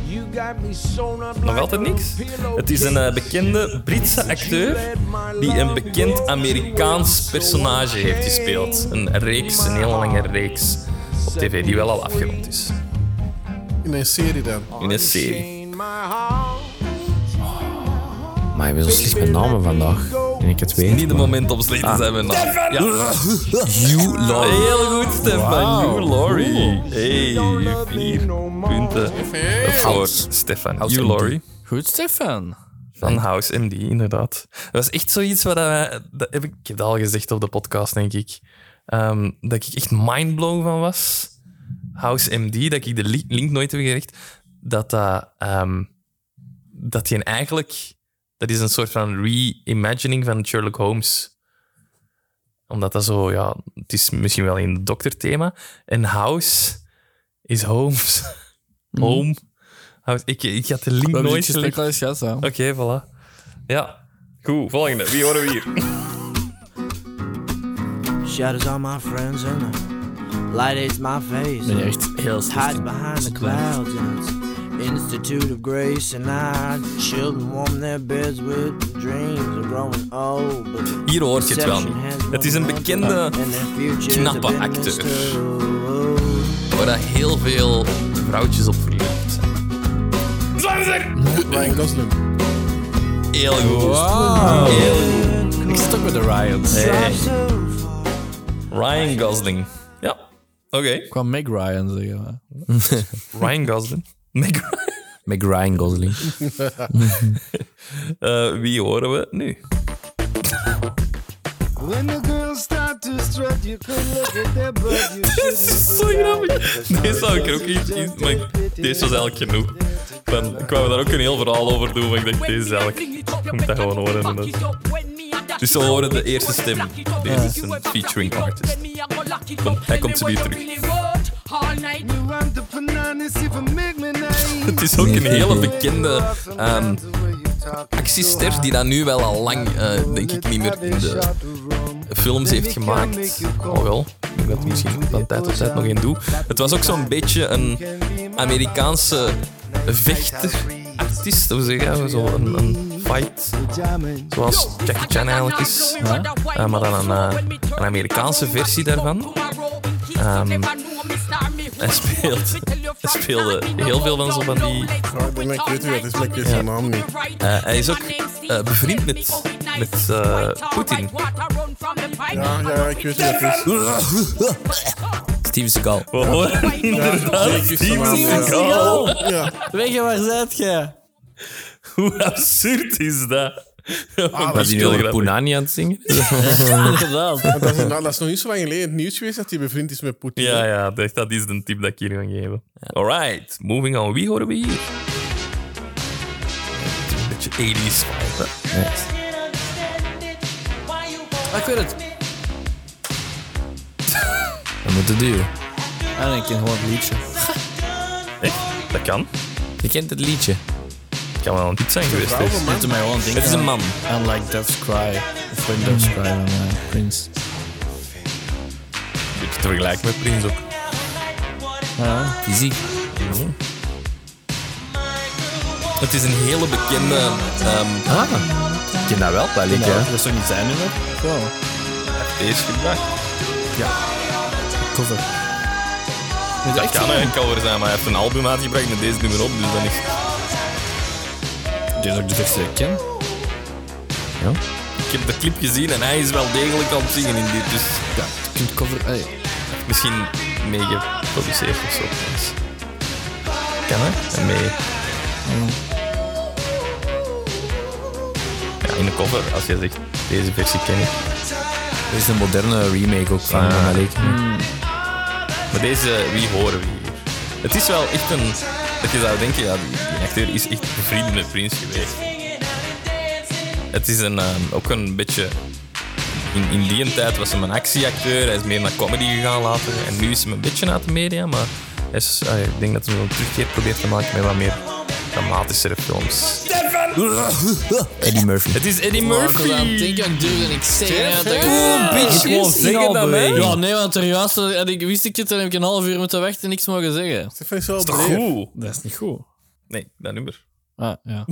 You got me sewn up
Nog
like
altijd
a
niks? Het is een
pillowcase.
eh, bekende Britse acteur die een bekend Amerikaans personage heeft gespeeld. Een reeks, een heel lange reeks op tv die wel al afgerond is.
In een serie dan.
In een serie.
Maar je bent zo slecht met namen vandaag. En ik het weet.
Niet het moment om slecht te zijn met naam. Ja. You Laurie. Heel goed, Stefan. You Laurie. Hey, vier punten voor Stefan. You Laurie.
Goed, Stefan.
Van House MD, inderdaad. Dat was echt zoiets wat wij... Dat heb ik, ik heb dat al gezegd op de podcast, denk ik. Ehm, dat ik echt mindblown van was. House MD, dat ik de li- link nooit heb gerecht. Dat dat... ehm, dat je eigenlijk... Dat is een soort van reimagining van Sherlock Holmes. Omdat dat zo... Ja, het is misschien wel in het dokterthema. En House is Holmes. Home. House. Ik, ik had de link
We hebben dit
nooit gelegd.
gesprek al eens gehad, hè.
Oké, voilà. Ja. Goed, volgende. Wie horen we hier?
Shadows on my friends and the light aids my face.
Ben je echt heel
It's
slecht.
hides behind the clouds and it's Institute of Grace and I. Children warm their beds with dreams of growing old. But the
Hier hoort je het wel niet.
perception has
Het is een
grown up
bekende,
and their futures
knappe
have been
acteur.
mistook.
waar dat heel veel vrouwtjes op verliefd zijn.
Ryan Gosling.
Heel goed. Heel goed.
Ik zit ook bij de Riot.
Ryan Gosling. Ja, oké.
Ik kwam Meg Ryan zeggen. maar.
Ryan Gosling. Meg Ryan.
Met Ryan Gosling.
Eh, wie horen we nu?
When the girls start to strut, you could look at their butt. You
Dit is zo grappig. Deze zou ik er ook iets... iets- Maar ik- deze was eigenlijk genoeg. Dan, ik wou daar ook een heel verhaal over doen, maar ik dacht, deze is eigenlijk...
Je
moet dat gewoon horen, en dat-
Dus we horen de eerste stem. Deze is een featuring artist. Want hij komt zo weer terug.
want the bananas if I make me naive.
Het is ook een hele bekende ehm, actiester
Actiester
die dat nu wel al lang, eh, denk ik, niet meer in de films heeft gemaakt. Oh wel, ik denk dat ik misschien van tijd tot tijd nog één doe. Het was ook zo'n beetje een Amerikaanse vechterartiest, hoe zeg je, dat? zo een, een fight, zoals Jackie Chan eigenlijk is. Eh, maar dan een, eh, een Amerikaanse versie daarvan. Ehm, hij, speelt, hij speelde heel veel van zo van die...
ben ik- ik weet niet wat het is, maar ik weet zijn naam niet.
Eh, hij is ook eh, bevriend met, met eh, Poetin.
Ja, ja, ik weet niet wat het is.
Steven Seagal.
We horen inderdaad Steven Seagal.
Ja,
Weg, waar zit je?
Hoe absurd is dat?
Ah,
Was hij nu over Poenani aan het zingen?
Inderdaad.
dat is, inderdaad- dat is nog niet zo lang geleden in het nieuws geweest dat hij bevriend is met Poetin.
Ja, ja, dat dat is de tip dat ik hier ga geven. Alright, moving on. Wie horen we hier? Een beetje 80s vibe, hè?
Ah, ik weet het.
Dat moet het duren.
En ik ken gewoon het liedje.
Echt? Dat kan.
Je kent het liedje.
Dat kan wel een tip zijn geweest.
Vrouw,
dus.
man.
Doe mij gewoon denken.
Het is een man.
aan- aan like Doves Cry. Of When Doves Cry van eh, Prince.
Een beetje te vergelijken met Prins ook.
Fysiek.
Het is een hele bekende... ehm
Ah. Ik ken dat wel, dat liedje.
Ja.
hè.
Dat is toch niet zijn nummer? Wow.
deze gebracht.
Cover. Is
Dat
echt
kan
zo?
een cover zijn, maar hij heeft een album uitgebracht met deze nummer op, dus dan is
Dit is ook de beste die ik ken.
Ik heb de clip gezien en hij is wel degelijk aan het zingen in dit, dus...
Ja, je kunt cover... Hey.
misschien mee geproduceerd of zo. Dus. Kan hè? En mee. Ja, in de cover, als je zegt deze versie ken ik.
Er is een moderne remake ook van
Ah.
dat liedje.
Maar deze, wie horen we hier? Het is wel echt een... Dat je zou denken, ja, die acteur is echt bevriend met Prins geweest. Het is een, ehm, ook een beetje... In, in die tijd was hij een actieacteur. Hij is meer naar comedy gegaan later. En nu is hij een beetje uit de media, maar... Hij is, ah, ik denk dat hij wel een terugkeer probeert te maken met wat meer dramatischere films.
Eddie Murphy.
Het is Eddie Murphy!
Ik denk aan durfde ik zeggen. hè, dat ik-
Cool bitches
Gewoon
in Albury.
Ja, nee, want er juist eh, had ik, wist ik het en heb ik een half uur moeten wachten en niks mogen zeggen.
Stefan is wel
Toch
breed.
goed?
Dat is niet goed.
Nee, dat nummer.
Ah, ja.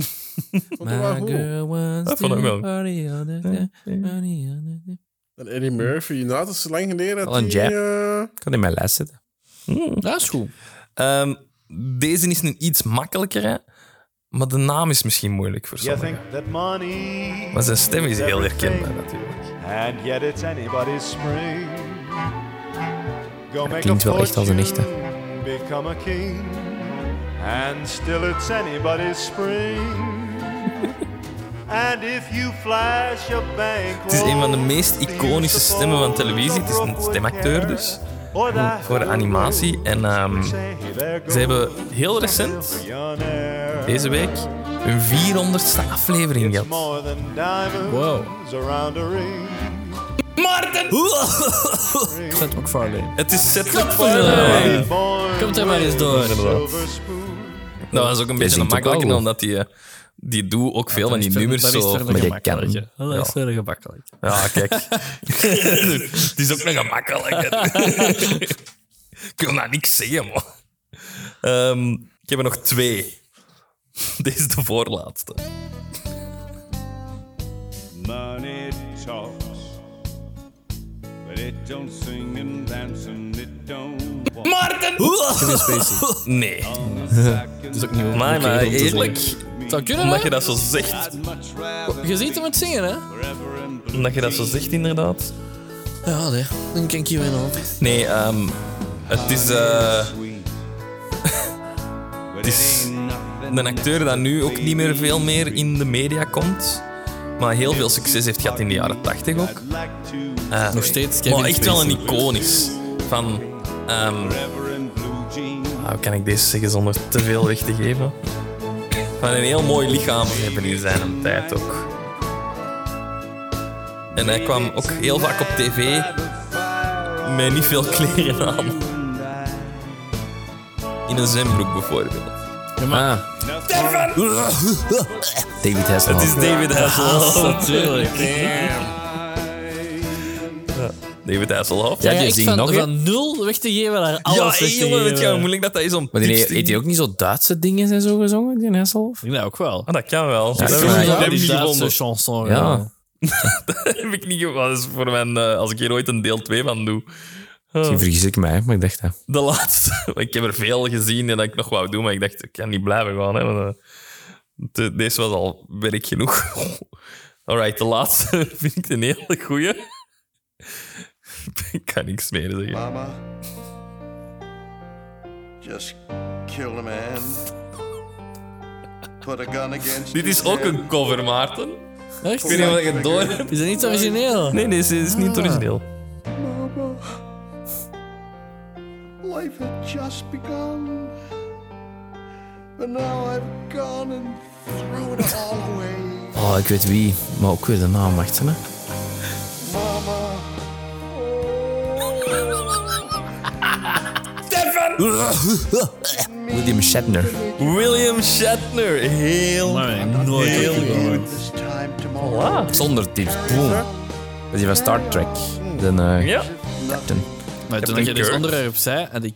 Vond ik wel goed.
Dat vond ik wel.
En Eddie Murphy, inderdaad, dat is lang geleden dat
Al een
die,
jab.
eh,
Ik kan in mijn lijst zitten.
Dat is goed.
Ehm, deze is een iets makkelijker, maar de naam is misschien moeilijk voor
You
sommigen.
think that money
Maar zijn stem is heel
everything,
herkenbaar natuurlijk.
And yet it's anybody's spring. Go make
klinkt
a
wel echt als een echte.
fortune, Become a king. And still it's anybody's spring. And if you flash a bank
Het is een van de meest iconische stemmen van televisie. Het is een stemacteur dus, voor de animatie. En ehm, ze hebben heel recent, deze week, hun 400ste aflevering gehad.
More than diamonds around a ring.
Zet McFarlane.
Het is Seth MacFarlane.
MacFarlane. Komt er maar eens door.
Silver spoon.
Dat was ook een beetje een
zingt ook
makkelijke,
wel.
omdat die, eh, die doet ook veel van die nummers
Dat is
zo.
verder
maar je
gemakkelijk,
kan.
hè. Dat is
Ja.
verder gemakkelijk.
Ja, kijk. Het is ook nog gemakkelijk. Ik wil nou niks zeggen, man. Ehm, ik heb er nog twee. Dit is de voorlaatste.
Money talks, but it don't sing and dance and it don't walk.
Nee.
Dat is ook niet
Maar, maar
om te zingen.
eerlijk,
Het zou kunnen,
omdat je
hè?
dat zo zegt,
Je ziet hem het zingen, hè?
omdat je dat zo zegt inderdaad.
Ja, nee. Dan kan ik hier weer nog.
Nee, ehm, het is... eh, het is een acteur dat nu ook niet meer veel meer in de media komt. Maar heel veel succes heeft gehad in de jaren 80 ook. Eh,
Nog steeds Kevin
Maar echt wel een
Spacey.
iconisch. Van. ehm, ah, hoe kan ik deze zeggen zonder te veel weg te geven? Van een heel mooi lichaam hebben in zijn tijd ook. En hij kwam ook heel vaak op tv met niet veel kleren aan. In een zwembroek bijvoorbeeld.
Ah. David
Het
Hasselhoff.
Oh,
is David Hasselhoff.
Natuurlijk.
David Hasselhoff.
Ja,
Ja,
die
echt
zingt
van,
nog, hè?
van nul weg te geven naar
Ja,
alles
hey,
weg te
jongen, weet je hoe
geven.
moeilijk dat dat is om
Maar die,
tekst in-
heeft hij ook niet zo Duitse dingen en zo gezongen, die Hasselhoff?
Ik denk dat ook wel.
Ah, dat kan wel. dat
ik
hebben
vind
we
dat
hem
die
niet
Duitse
gevonden.
chanson.
Ja.
Ja.
Dat heb ik niet gevonden. Dat is voor mijn, eh, als ik hier ooit een deel 2 van doe. Oh.
Misschien vergis ik mij, maar ik dacht dat.
De laatste. Ik heb er veel gezien en dat ik nog wou doen, maar ik dacht, ik kan niet blijven gaan. Hè, want, eh, de- deze was al werk genoeg. Alright, de laatste vind ik een hele goeie. Ik kan niks meer zeggen.
Mama, just kill a man. Put a gun against
Dit is
his
ook
head.
een cover, Maarten.
Echt?
Ik weet niet of je het door hebt.
Is dat niet origineel?
Nee, nee, ze is
Ah.
niet origineel.
Life had just begun. But now I've gone and thrown it all away.
Oh, ik weet wie, maar ook weer de naam, wacht hè.
Mama,
William Shatner.
William Shatner. Heel
Nee, nooit.
you this time tomorrow.
Zonder tips, boom. Dat is die van Star Trek. De, eh,
Ja.
Captain.
Maar toen dus
Captain
ik dit
Kirk.
onderwerp zei, had ik...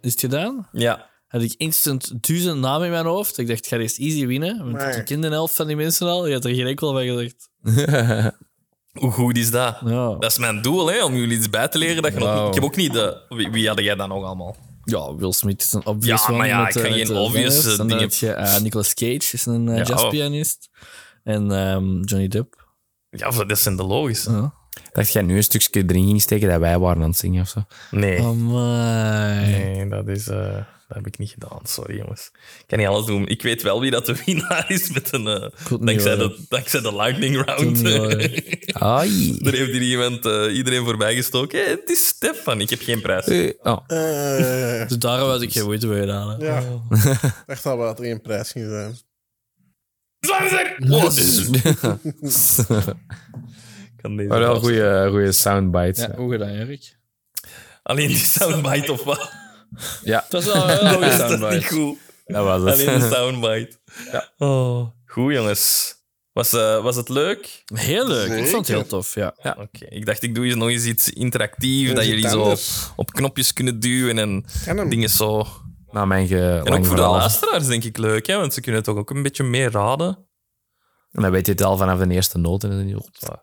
Is het gedaan?
Ja.
Had ik instant duizend namen in mijn hoofd. Ik dacht, ik ga deze easy winnen. Want
Nee.
ik ken de helft van die mensen al. Je had er geen enkel bij gezegd.
Hoe goed is dat?
Ja.
Dat is mijn doel, hè, om jullie iets bij te leren. Dat je nog
Wauw.
niet- ik heb ook niet de... Wie, wie had jij dan nog allemaal?
Ja, Will Smith is een obvious
Ja, maar
one
ja,
met,
ik ga
eh,
geen
met, eh,
obvious,
Venice.
eh,
En dan
dingen-
heb je eh, Nicolas Cage, is een eh,
Ja, oh.
jazzpianist. En ehm, Johnny Depp.
Ja, voor- dat zijn de logische.
Dacht jij nu een
Oh
stukje erin ging steken dat wij waren aan het zingen of zo?
Nee.
Amai.
Nee, dat is... eh, dat heb ik niet gedaan. Sorry, jongens. Ik kan niet alles doen. Ik weet wel wie dat de winnaar is met een... eh,
het niet
dankzij,
horen.
de, dankzij de lightning round.
niet
Ai.
er heeft hier iemand, eh, iedereen voorbij gestoken. Hey, het is Stefan. Ik heb geen prijs.
Oh.
Eh,
Dus daarom was ik geen moeite mee gedaan. hè.
ja. Ik dacht al wel dat er geen prijs ging zijn.
Zijn we er? Oh, dit is- Ik kan deze
Maar wel
vast-
goede, goede soundbites.
Ja,
Ja.
hoe gedaan, Erik?
Alleen die soundbite of wat?
Het was wel wel een goede
Dat is toch niet
soundbite.
goed?
Dat was het.
Alleen de soundbite. Oh. Goed, jongens. Was, eh, was het leuk?
Heel leuk. Ik vond het heel tof, ja.
Oké, ik dacht ik doe eens nog eens iets interactief,
Dat
dat
is
jullie
iets
zo
anders.
op knopjes kunnen duwen en
Ken hem.
dingen zo.
Nou, mijn ge-
En ook
lang
voor de
verhaal.
luisteraars denk ik leuk, hè? want ze kunnen toch ook een beetje meer raden.
En dan weet je het al vanaf de eerste noot en dan is het goed.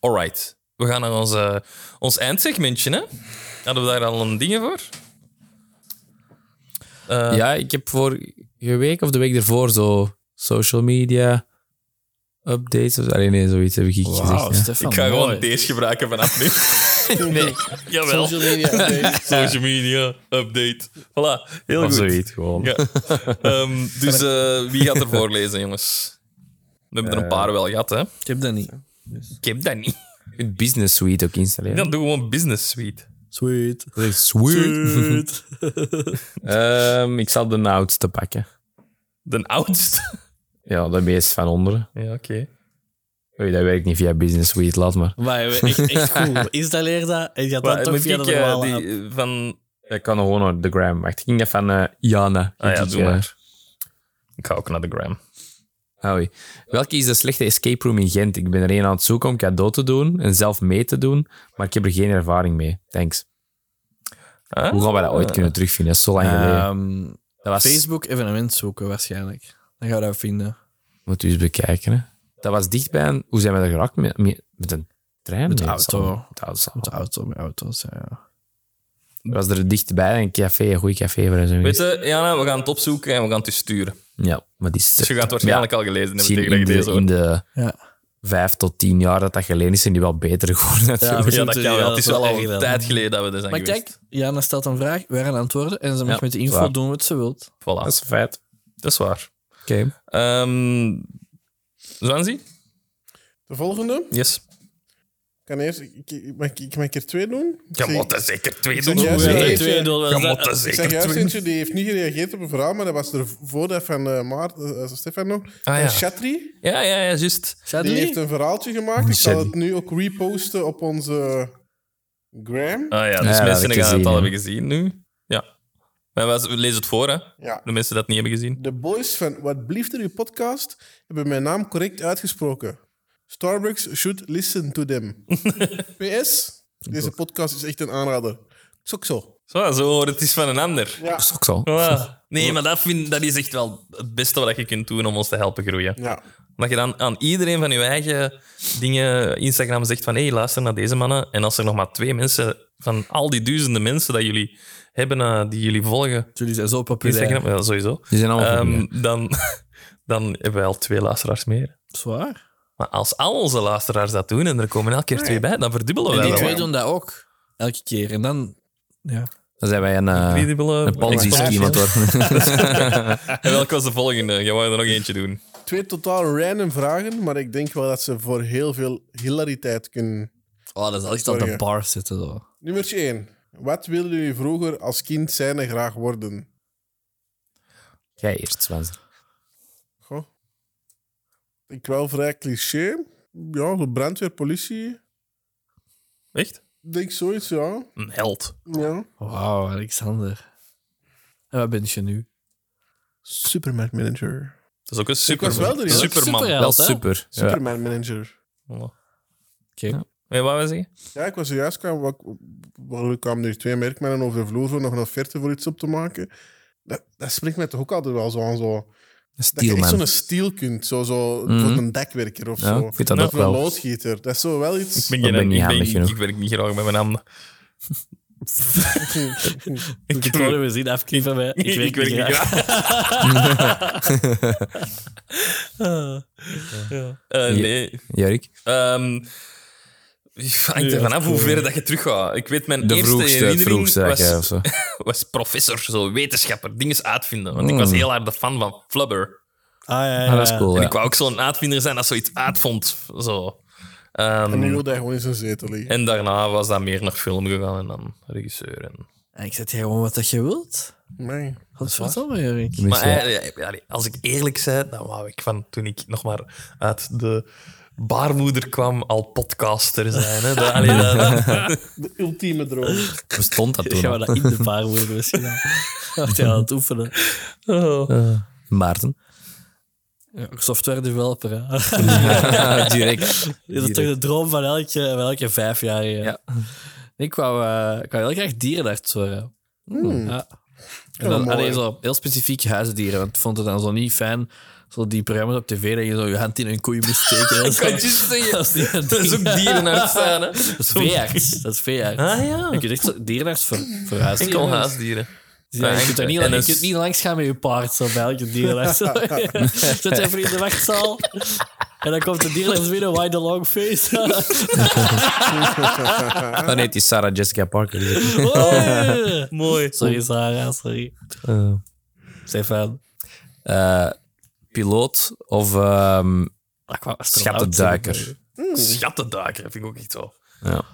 Alright, we gaan naar ons, eh, ons eindsegmentje. Hè? Hadden we daar al een dingen voor? Eh,
Ja, ik heb vorige week of de week ervoor zo social media updates. Of, allee, nee, zoiets heb ik
Wauw,
gezegd. ja.
Stefan.
Ik ga
mooi.
gewoon deze gebruiken vanaf nu.
Nee,
Jawel,
Social media. update.
social media update. Voilà, heel
of
goed.
zoiets gewoon.
Ja. Ehm, dus eh, wie gaat er voorlezen, jongens? We hebben er een paar wel gehad, hè?
Ik heb dat niet.
Ik heb dat niet.
Een business suite ook installeren.
Dan doe gewoon business suite.
Sweet.
Dat is sweet. Ehm, ik zal de oudste pakken.
De oudste.
Ja, de meest van onderen.
Ja, oké.
Oei, dat werkt niet via business suite, laat maar.
Maar echt, echt goed. Installeer dat en gaat
Maar
dan toch
moet
via
ik
de
eh,
normale app.
die, eh, van...
Ik kan nog gewoon naar de gram. Wacht, ik ging dat van eh, Jana.
Ah ja,
Ik,
doe
eh,
maar. Ik ga ook naar de gram.
Oei. Welke is de slechte escape room in Gent? Ik ben er een aan het zoeken om cadeau te doen en zelf mee te doen, maar ik heb er geen ervaring mee. Thanks.
Huh? Eh,
Hoe gaan we dat ooit kunnen terugvinden? Dat is zo lang geleden.
Ehm,
dat was,
Facebook evenement zoeken waarschijnlijk. Dan gaan we dat vinden.
Moet u eens bekijken. Hè. Dat was dichtbij. een- Hoe zijn we er geraakt? Met, met, met een trein?
Met de
Nee,
auto.
zal- Met de auto. zal-
De auto met auto's, ja, ja.
Was er dichtbij een café, een goed café waar zijn we
Weet je, Jana, we gaan het opzoeken en we gaan het u sturen.
Ja, maar die is...
Dus je gaat het waarschijnlijk al gelezen hebben
misschien
tegen dat
in
je
de,
deze
in
hoort.
de
Ja.
vijf tot tien jaar dat dat geleden is, zijn die wel beter geworden. natuurlijk.
misschien
Ja, dat
moeten
kan
we-
wel.
ja,
Het is
dat
wel
is
al
wel
een
erg
tijd
dan.
geleden dat we er zijn
Maar
geweest.
kijk, Jana stelt een vraag, wij gaan antwoorden en ze mag
Ja,
met de info
waar.
doen wat ze wilt.
Voilà.
Dat is een feit.
Dat is waar.
Oké.
Ehm Zwanzi?
De volgende.
Yes.
Ik kan eerst... Ik, ik, mag ik- ik mag ik er twee doen? Ik
Je
zeg-
moet er zeker twee
Ik
doen.
zeg juist
Nee.
eentje-
Je moet er
Ik zeg
zeker
juist
twee doen.
eentje, die heeft niet gereageerd op een verhaal, maar dat was er voordat van eh Maart, eh, Stefan nog.
Ah, ja.
En Chatri,
Ja, ja, ja, juist.
die heeft een verhaaltje gemaakt. Ik zal
Chatri.
het nu ook reposten op onze gram.
Ah ja,
Ja,
dus
dat
mensen
heb
gaan het
ik gezien,
al
ja.
hebben gezien nu. Ja. Maar we we lezen het voor, hè?
Ja.
De mensen die dat niet hebben gezien.
De boys van Wat Blieft er uw podcast hebben mijn naam correct uitgesproken. Starbucks should listen to them. PS, deze podcast is echt een aanrader. Sok zo.
Zo, zo hoor, het is van een ander.
Dat is ook zo.
Ah. Nee, maar dat, vind, dat is echt wel het beste wat je kunt doen om ons te helpen groeien.
Ja.
Dat je dan aan iedereen van je eigen dingen, Instagram, zegt van hé, hey, luister naar deze mannen. En als er nog maar twee mensen van al die duizenden mensen dat jullie hebben, eh, die jullie volgen,
Jullie zijn zo
op
populair.
Instagram, ja, sowieso,
Die zijn allemaal
ehm,
um,
dan, dan hebben wij al twee luisteraars meer.
Zwaar.
Maar als al onze luisteraars dat doen en er komen elke keer twee bij, dan verdubbelen
En
wij
die
dat.
twee doen dat ook. Elke keer. En dan... Ja.
Dan zijn wij een, eh
Verdubbelen,
een ponzi-scheme aan
exponentieel.
het worden.
En welke was de volgende? Je wou er nog eentje doen.
Twee totaal random vragen, maar ik denk wel dat ze voor heel veel hilariteit kunnen.
Oh, dat zal echt op de
Sorry.
bar zitten. Zo.
Nummer 1. Wat wilde u vroeger als kind zijn en graag worden?
Jij eerst, Swanzi.
Goh. Ik wel vrij cliché. Ja, de brandweer, politie.
Echt?
Ik Denk zoiets, ja.
Een held.
ja.
Wauw, Alexander. En wat ben je nu?
Superman manager.
Dat is ook een super,
was wel er, ja.
superman.
Superheld,
Wel
hè?
super. Ja.
Superman manager.
Voilà.
Oké.
Weet je wat we zeggen?
Ja, ik was zojuist kwam, wat- wat- er kwamen nu twee merkmannen over de vloer voor nog een offerte voor iets op te maken. Dat, dat spreekt mij toch ook altijd wel zo aan. Zo. Dat je echt
Steelman. Mhm.
zo'n stiel kunt, zo, zo voor een dekwerker of
Ja,
zo.
ik vind dat
of
ook
een
wel.
loodgieter. Dat is zo wel iets.
Ik ben,
Dat
geen,
ben ik niet
ik, ben,
handig genoeg.
ik werk niet graag met mijn handen.
Ik heb het wel zien afknippen bij.
Ik, werk niet graag. Eh, nee. Eh,
Jorik?
Ehm, hangt er vanaf hoe ver dat je terug gaat. Ik weet, mijn
De
eerste
vroegste, het
herinnering
vroegste,
was,
ja, of zo.
was professor, zo wetenschapper, dingen uitvinden. Want
Hmm.
ik was heel hard de fan van Flubber.
Ah, ja,
Ah, dat is cool,
En
ja.
ik wou ook zo'n uitvinder zijn dat zoiets uitvond. Zo. Ehm,
En nu wil hij gewoon in zijn zetel liggen.
en daarna was dat meer naar film gegaan en dan regisseur. En...
En ik zet hier gewoon wat dat je wilt.
Nee.
Wat is dat, Erik?
Maar eh, ja, ja, als ik eerlijk ben, dan wou ik van toen ik nog maar uit de baarmoeder kwam al podcaster zijn. Hè? Dat, allee, dat- dat-
De ultieme droom.
Bestond dat toen?
Gaan we
al?
dat in de paar worden misschien? dan? Wacht, ja, aan het oefenen.
Maarten.
Ja, software developer, hè.
Direct.
Ja, Dat is toch de droom van elke, van elke vijfjarige.
Ja.
Ik wou, eh, ik wou heel graag dierenarts worden.
Hmm.
Ja.
wel
En dan,
mooi.
allee, zo heel specifiek huisdieren. Want ik vond het dan zo niet fijn, zo die programma's op tv, dat je zo je hand in een koei moest steken. en zo.
kan je zeggen.
Als die-
Dat is ook dierenarts zijn. Hè?
Dat is veearts. Dat is veearts.
Ah ja,
Je kunt echt zo- dierenarts voor, voor huisdieren.
enkel huisdieren.
Ja, je kunt, daar niet,
En
lang- je
een-
kunt niet langs gaan met je paard, zo bij elke dierenarts. Zet je even in de wachtzaal. En dan komt de dierenarts binnen, wide the long face.
Dan heet die Sarah Jessica Parker.
Mooi. Sorry, Sarah, sorry.
Eh.
Zij fan.
Eh, piloot of ehm schattenduiker?
Schattenduiker vind ik ook echt zo. Oh,
Ja.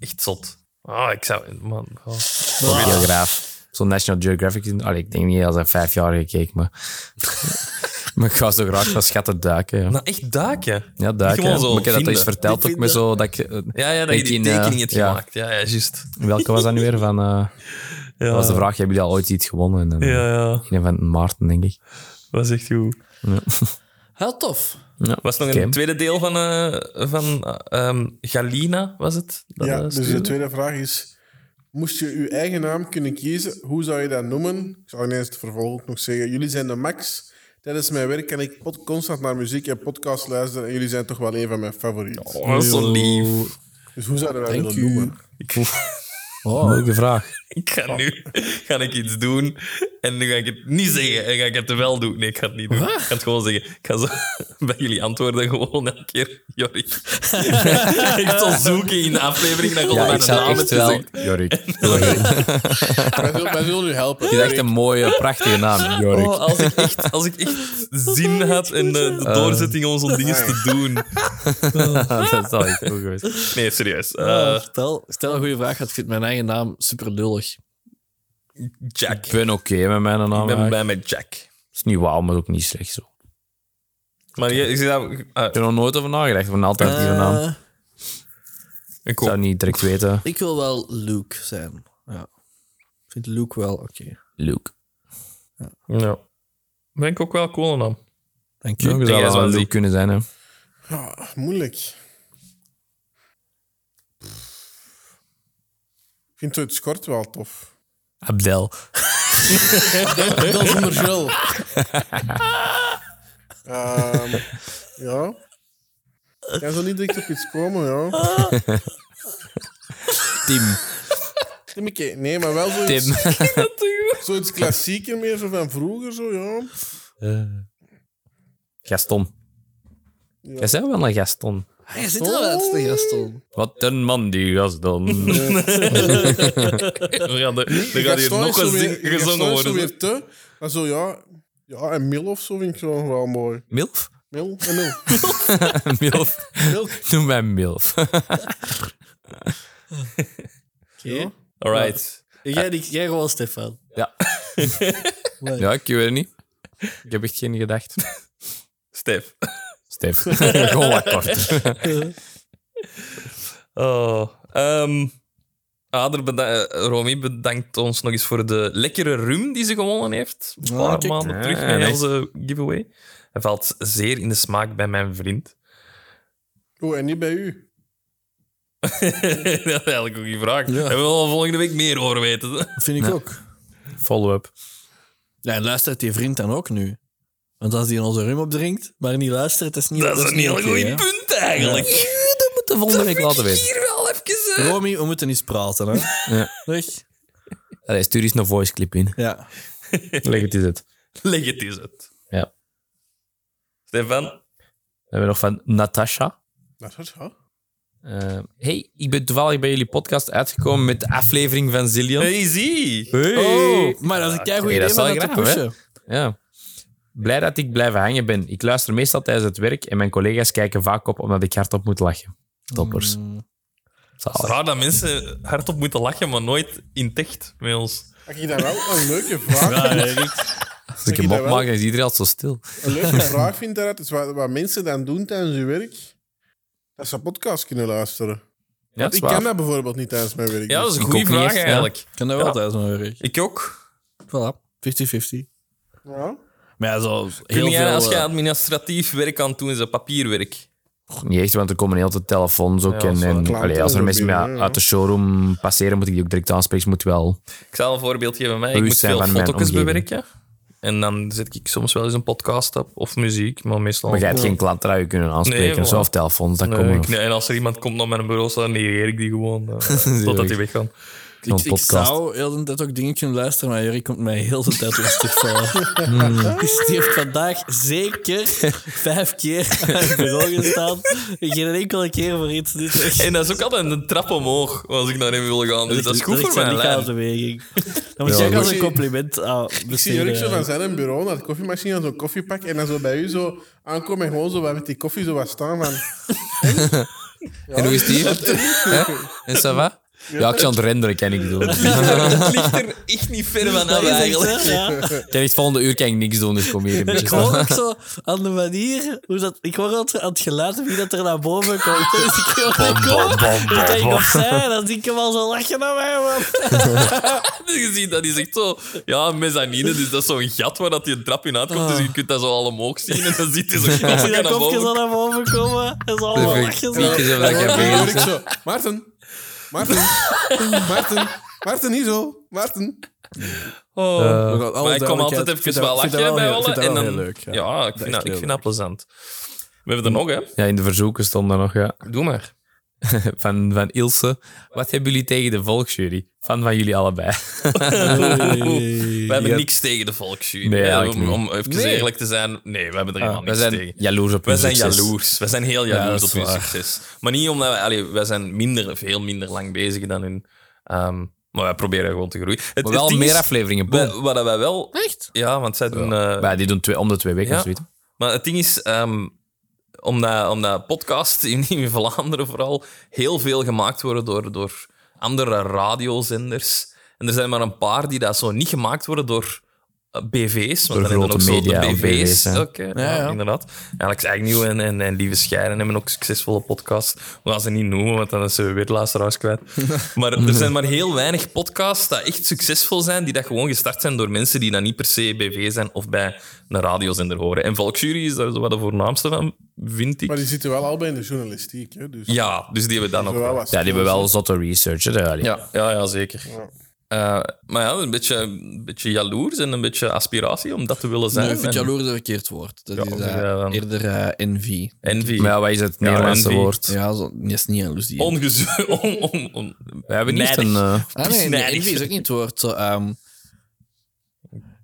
Echt zot. Ah, ik zou... Man, oh. Ah.
Videograaf. Zo'n National Geographic. in- Allee, ik denk niet als hij vijf jaar gekeken, maar... maar ik ga zo graag van schatten duiken. Ja,
Nou, echt duiken.
ja duiken.
gewoon zo
Maar ik heb dat
vinden.
eens verteld ook met zo... Dat ik, eh,
Ja, ja dat je
denk
die
in, eh,
tekening hebt
ja.
gemaakt. Ja, ja, juist.
Welke was dat nu weer? Van, eh,
Ja.
Dat was de vraag, hebben jullie al ooit iets gewonnen? En, dan-
Ja, ja.
Een van Maarten, denk ik.
Dat was echt goed.
Heel tof.
Ja.
Was nog
Oké.
een tweede deel van, eh, van eh, ehm, Galina, was het? Dat,
Ja,
eh,
dus
stuurde?
de tweede vraag is... Moest je je eigen naam kunnen kiezen, hoe zou je dat noemen? Ik zou ineens het vervolg ook nog zeggen. Jullie zijn de max. Tijdens mijn werk kan ik pod- constant naar muziek en podcasts luisteren. En jullie zijn toch wel een van mijn favorieten.
Oh, dat is zo lief.
Dus hoe zouden wij
Thank
dat
you.
noemen?
Oh, leuke vraag.
Ik ga nu ga ik iets doen en nu ga ik het niet zeggen. En ga ik het wel doen. Nee, ik ga het niet doen. Ik ga het gewoon zeggen. Ik ga zo bij jullie antwoorden gewoon elke keer. Jorik. ik zal zoeken in de aflevering dat je
Ja,
ja,
ik zou echt wel... Jorik. Jorik.
Wij zullen, wij zullen u helpen.
Het is echt een mooie, prachtige naam, Jorik.
Oh, als, ik echt, als ik echt zin had en de, de doorzetting om zo'n dingen
Ah.
te doen.
dat zal ik goed geweest.
Nee, serieus. Eh,
stel, stel een goede vraag, want ik vind mijn eigen naam super lullig.
Jack.
Ik
Ik
ben oké met mijn naam.
ben
eigenlijk.
bij met Jack.
Het is niet wauw, maar ook niet slecht zo. Ik
Maar je, ik zeg dat, ah,
heb er nog nooit over nagedacht, van altijd die naam. Ik
Eh,
ik
zou
hoop.
niet direct weten.
ik wil wel Luke zijn. Ja. Ik vind Luke wel oké.
Luke.
Ja. Ben ik ook wel cool een naam.
Dank
Ja,
je.
je
jij
zou
is
wel
wel
een Luke
die.
kunnen zijn, hè.
Ja, moeilijk. Ik vind het kort wel tof.
Abdel.
Dat zonder gel. Ehm, ja. Jij zou niet direct op iets komen, ja.
Tim.
Timmeke, nee, maar wel zoiets,
Tim.
zoiets klassieker meer, zo van vroeger, zo, ja.
Gaston. Jij zei wel een Gaston.
Hij zit wel uit de gaston.
Wat een man, die Gaston.
Ja, er, er gaat hier
Gaston is
nog
zo
eens
weer-
zing-
Gaston
gezongen
is zo
worden. zo.
weer te, maar zo, ja. Ja, en Mil of zo vind ik gewoon wel mooi.
Milf?
Mil en Mil.
Milf.
Mil.
Noem mij Milf.
Alright.
Jij, die- jij gewoon Stefan.
Ja. Ja, ik weet het niet. Ik heb echt geen gedacht.
Stef.
Stef. Gewoon wat korter.
Oh. ehm, Ader, beda- eh, Romy bedankt ons nog eens voor de lekkere rum die ze gewonnen heeft. Een paar
kijk.
maanden terug
Ja,
bij
nee.
onze giveaway. Hij valt zeer in de smaak bij mijn vriend.
Oh, en niet bij u.
dat is eigenlijk ook je vraag. We willen al volgende week meer horen weten.
Dat vind ik ook.
Follow-up.
Ja, en luistert die vriend dan ook nu? Want als die onze rum opdrinkt, maar niet luistert, dat is niet
Dat is een heel
oké, hè?
goed punt eigenlijk.
Dat moet de volgende week laten weten.
Hier wel even. eh,
Romy, we moeten eens praten, hè?
Ja.
Weg.
Allee, stuur eens een voice clip in.
Ja.
Leg het eens uit.
Leg het eens uit.
Ja.
Stefan,
We hebben nog van Natasha.
Dat is, ja.
Eh, hey, ik ben toevallig bij jullie podcast uitgekomen met de aflevering van Zillion.
Easy.
Oh, maar dat is een keigoed
Nee, dat
idee
is
om
wel
dat te
grappig, hè?
pushen.
Ja. Blij dat ik blijven hangen ben. Ik luister meestal tijdens het werk en mijn collega's kijken vaak op omdat ik hardop moet lachen. Toppers.
Het is raar dat mensen hardop moeten lachen, maar nooit in ticht met ons.
Mag ik daar wel een leuke vraag
Als ik
je
hem
dat wel?
opmaak, dan is iedereen altijd zo stil.
Een leuke vraag vind daaruit is wat, wat mensen dan doen tijdens hun werk, dat ze podcasts kunnen luisteren.
Ja, dat
Ik
is waar.
kan dat bijvoorbeeld niet tijdens mijn werk.
Ja, dat is een
Ik
goede
ook niet
vraag
echt, ja.
eigenlijk.
Kan dat wel tijdens mijn werk.
Ik ook.
Voilà, 50-50.
Ja.
Maar ja, zo heel
Kun jij,
veel...
als jij
eh,
administratief werk aan het doen is, dat papierwerk.
Niet echt, want er komen heel veel telefoons ook.
Ja, dat
en
is waar.
en
Klanten
allee, als er
en
mensen
zo
mij
binnen, ja.
uit de showroom passeren, moet ik die ook direct aanspreken. Ze Moet wel.
Ik zal een voorbeeld geven. Mij. Ik
Bewust
moet
zijn
veel
van mijn
foto's
omgeving.
bewerken. En dan zet ik soms wel eens een podcast op of muziek, maar meestal.
Maar jij hebt geen klanten dat je kunnen aanspreken.
Oh, Nee,
of zo,
voilà.
of telefoons, dat
Nee,
komen.
ik- nee, en als er iemand komt naar mijn bureau, dan negeer ik die gewoon. eh, totdat die weggaan.
Zo'n
ik, ik
podcast.
zou heel de tijd ook dingen kunnen luisteren, maar Jurik komt mij heel de tijd lastig vallen.
Hmm.
Dus die heeft vandaag zeker vijf keer aan het bureau gestaan. Geen enkele keer voor iets. Dit is echt-
En dat is ook altijd een trap omhoog als ik naar hem wil gaan. Dus dat is goed voor
mijn
mijn lijn.
lichaamsbeweging. Dan moet je ook
goed.
als een compliment ah, aan
Ik zie Jurk zo van zijn bureau naar de koffiemachine, zo'n koffiepak, en dan zo bij u zo aankomen en gewoon zo wat met die koffie zo wat staan van...
En hoe is die? Hè? en ça va? Ja, ik zou aan het renderen, kan ik doen.
Het ligt er echt niet ver van af eigenlijk.
Kan ik volgende uur kan ik niks doen, dus kom hier een beetje
Ik hoor ook zo aan de manier hoe dat. Ik hoor altijd aan het geluid wie dat er naar boven komt. Dus ik hoor hem komen. Ik denk opzij, dan zie ik hem al zo lachen naar mij, man.
Je ziet, dat is echt zo... Ja, een mezzanine, dus dat is zo'n gat waar dat die trap in
Ah.
uitkomt. Dus je kunt dat zo al omhoog zien en dan ziet hij zo'n
Ik
knopje
zie dat
naar
kopje
boven.
zo naar boven komen. En zo allemaal lachen.
Vier
zo.
keer zo dat ik heb
En
bezig.
Jurk zo, Maarten, Maarten, Maarten, Maarten, niet zo, Maarten.
Eh, Maar ik kom altijd even wel lachen bij Olle. En dan,
leuk.
ja. ik vind, dat, ik vind dat plezant. We hebben er nog, hè.
Ja, in de verzoeken stond er nog, ja.
Doe maar.
Van, van Ilse. Wat hebben jullie tegen de volksjury? Van van jullie allebei.
We hebben niks tegen de volksjury.
Nee,
Ja,
eigenlijk
om,
niet. Ah,
om even eerlijk te zijn, nee, we hebben er helemaal
We
niks
zijn
tegen.
jaloers op
Wij
hun
zijn
succes.
jaloers. Wij zijn heel jaloers
dat
op
is
hun
waar.
succes. Maar niet omdat wij... Allee, wij zijn minder, veel minder lang bezig dan hun. Ehm, maar wij proberen gewoon te groeien. Het,
Maar
het
wel
ding
meer
is-
afleveringen.
wij-
Boom.
Wat wij wel... Echt? Ja, want zij doen... eh,
Maar ja, die doen twee, om de twee weken
Ja.
of zoiets.
Maar het ding is, ehm, omdat, omdat podcasts in, in Vlaanderen vooral heel veel gemaakt worden door, door andere radiozenders. En er zijn maar een paar die dat zo niet gemaakt worden door eh, BV's. Want
Door
dan hebben
grote
we ook zo
media of
de BV's.
BV's, hè.
ook, hè. ja, inderdaad. En Alex Agnew en, en, en Lieve Scheiden hebben ook succesvolle podcasts. We gaan ze niet noemen, want dan zijn we weer de luisteraars kwijt. maar er zijn maar heel weinig podcasts dat echt succesvol zijn, die dat gewoon gestart zijn door mensen die dan niet per se BV zijn of bij een radiozender horen. En Volksjury is daar zo wat de voornaamste van, vind ik.
Maar die zitten wel allebei in de journalistiek, hè, dus...
Ja, dus die hebben we dan ook.
Zo wel
wel.
wat
Ja, die hebben wel zotte research. Hè, daar, allee.
Ja, ja, ja zeker. Eh, maar ja, een beetje, een beetje jaloers en een beetje aspiratie om dat te willen zijn.
Nee, ik vind
En-
jaloers een verkeerd woord. Dat
Ja,
is
of,
eh,
ja, dan-
eerder eh, envy.
Envy.
Maar ja, wat is het Nederlandse
envy.
woord?
Ja, zo, dat is niet jaloezie.
Ongezu- on- on- on-
We hebben niet
Nijdig.
een... eh,
Ah, nee, nee,
Snijdig.
envy is ook niet het woord. Zo, ehm,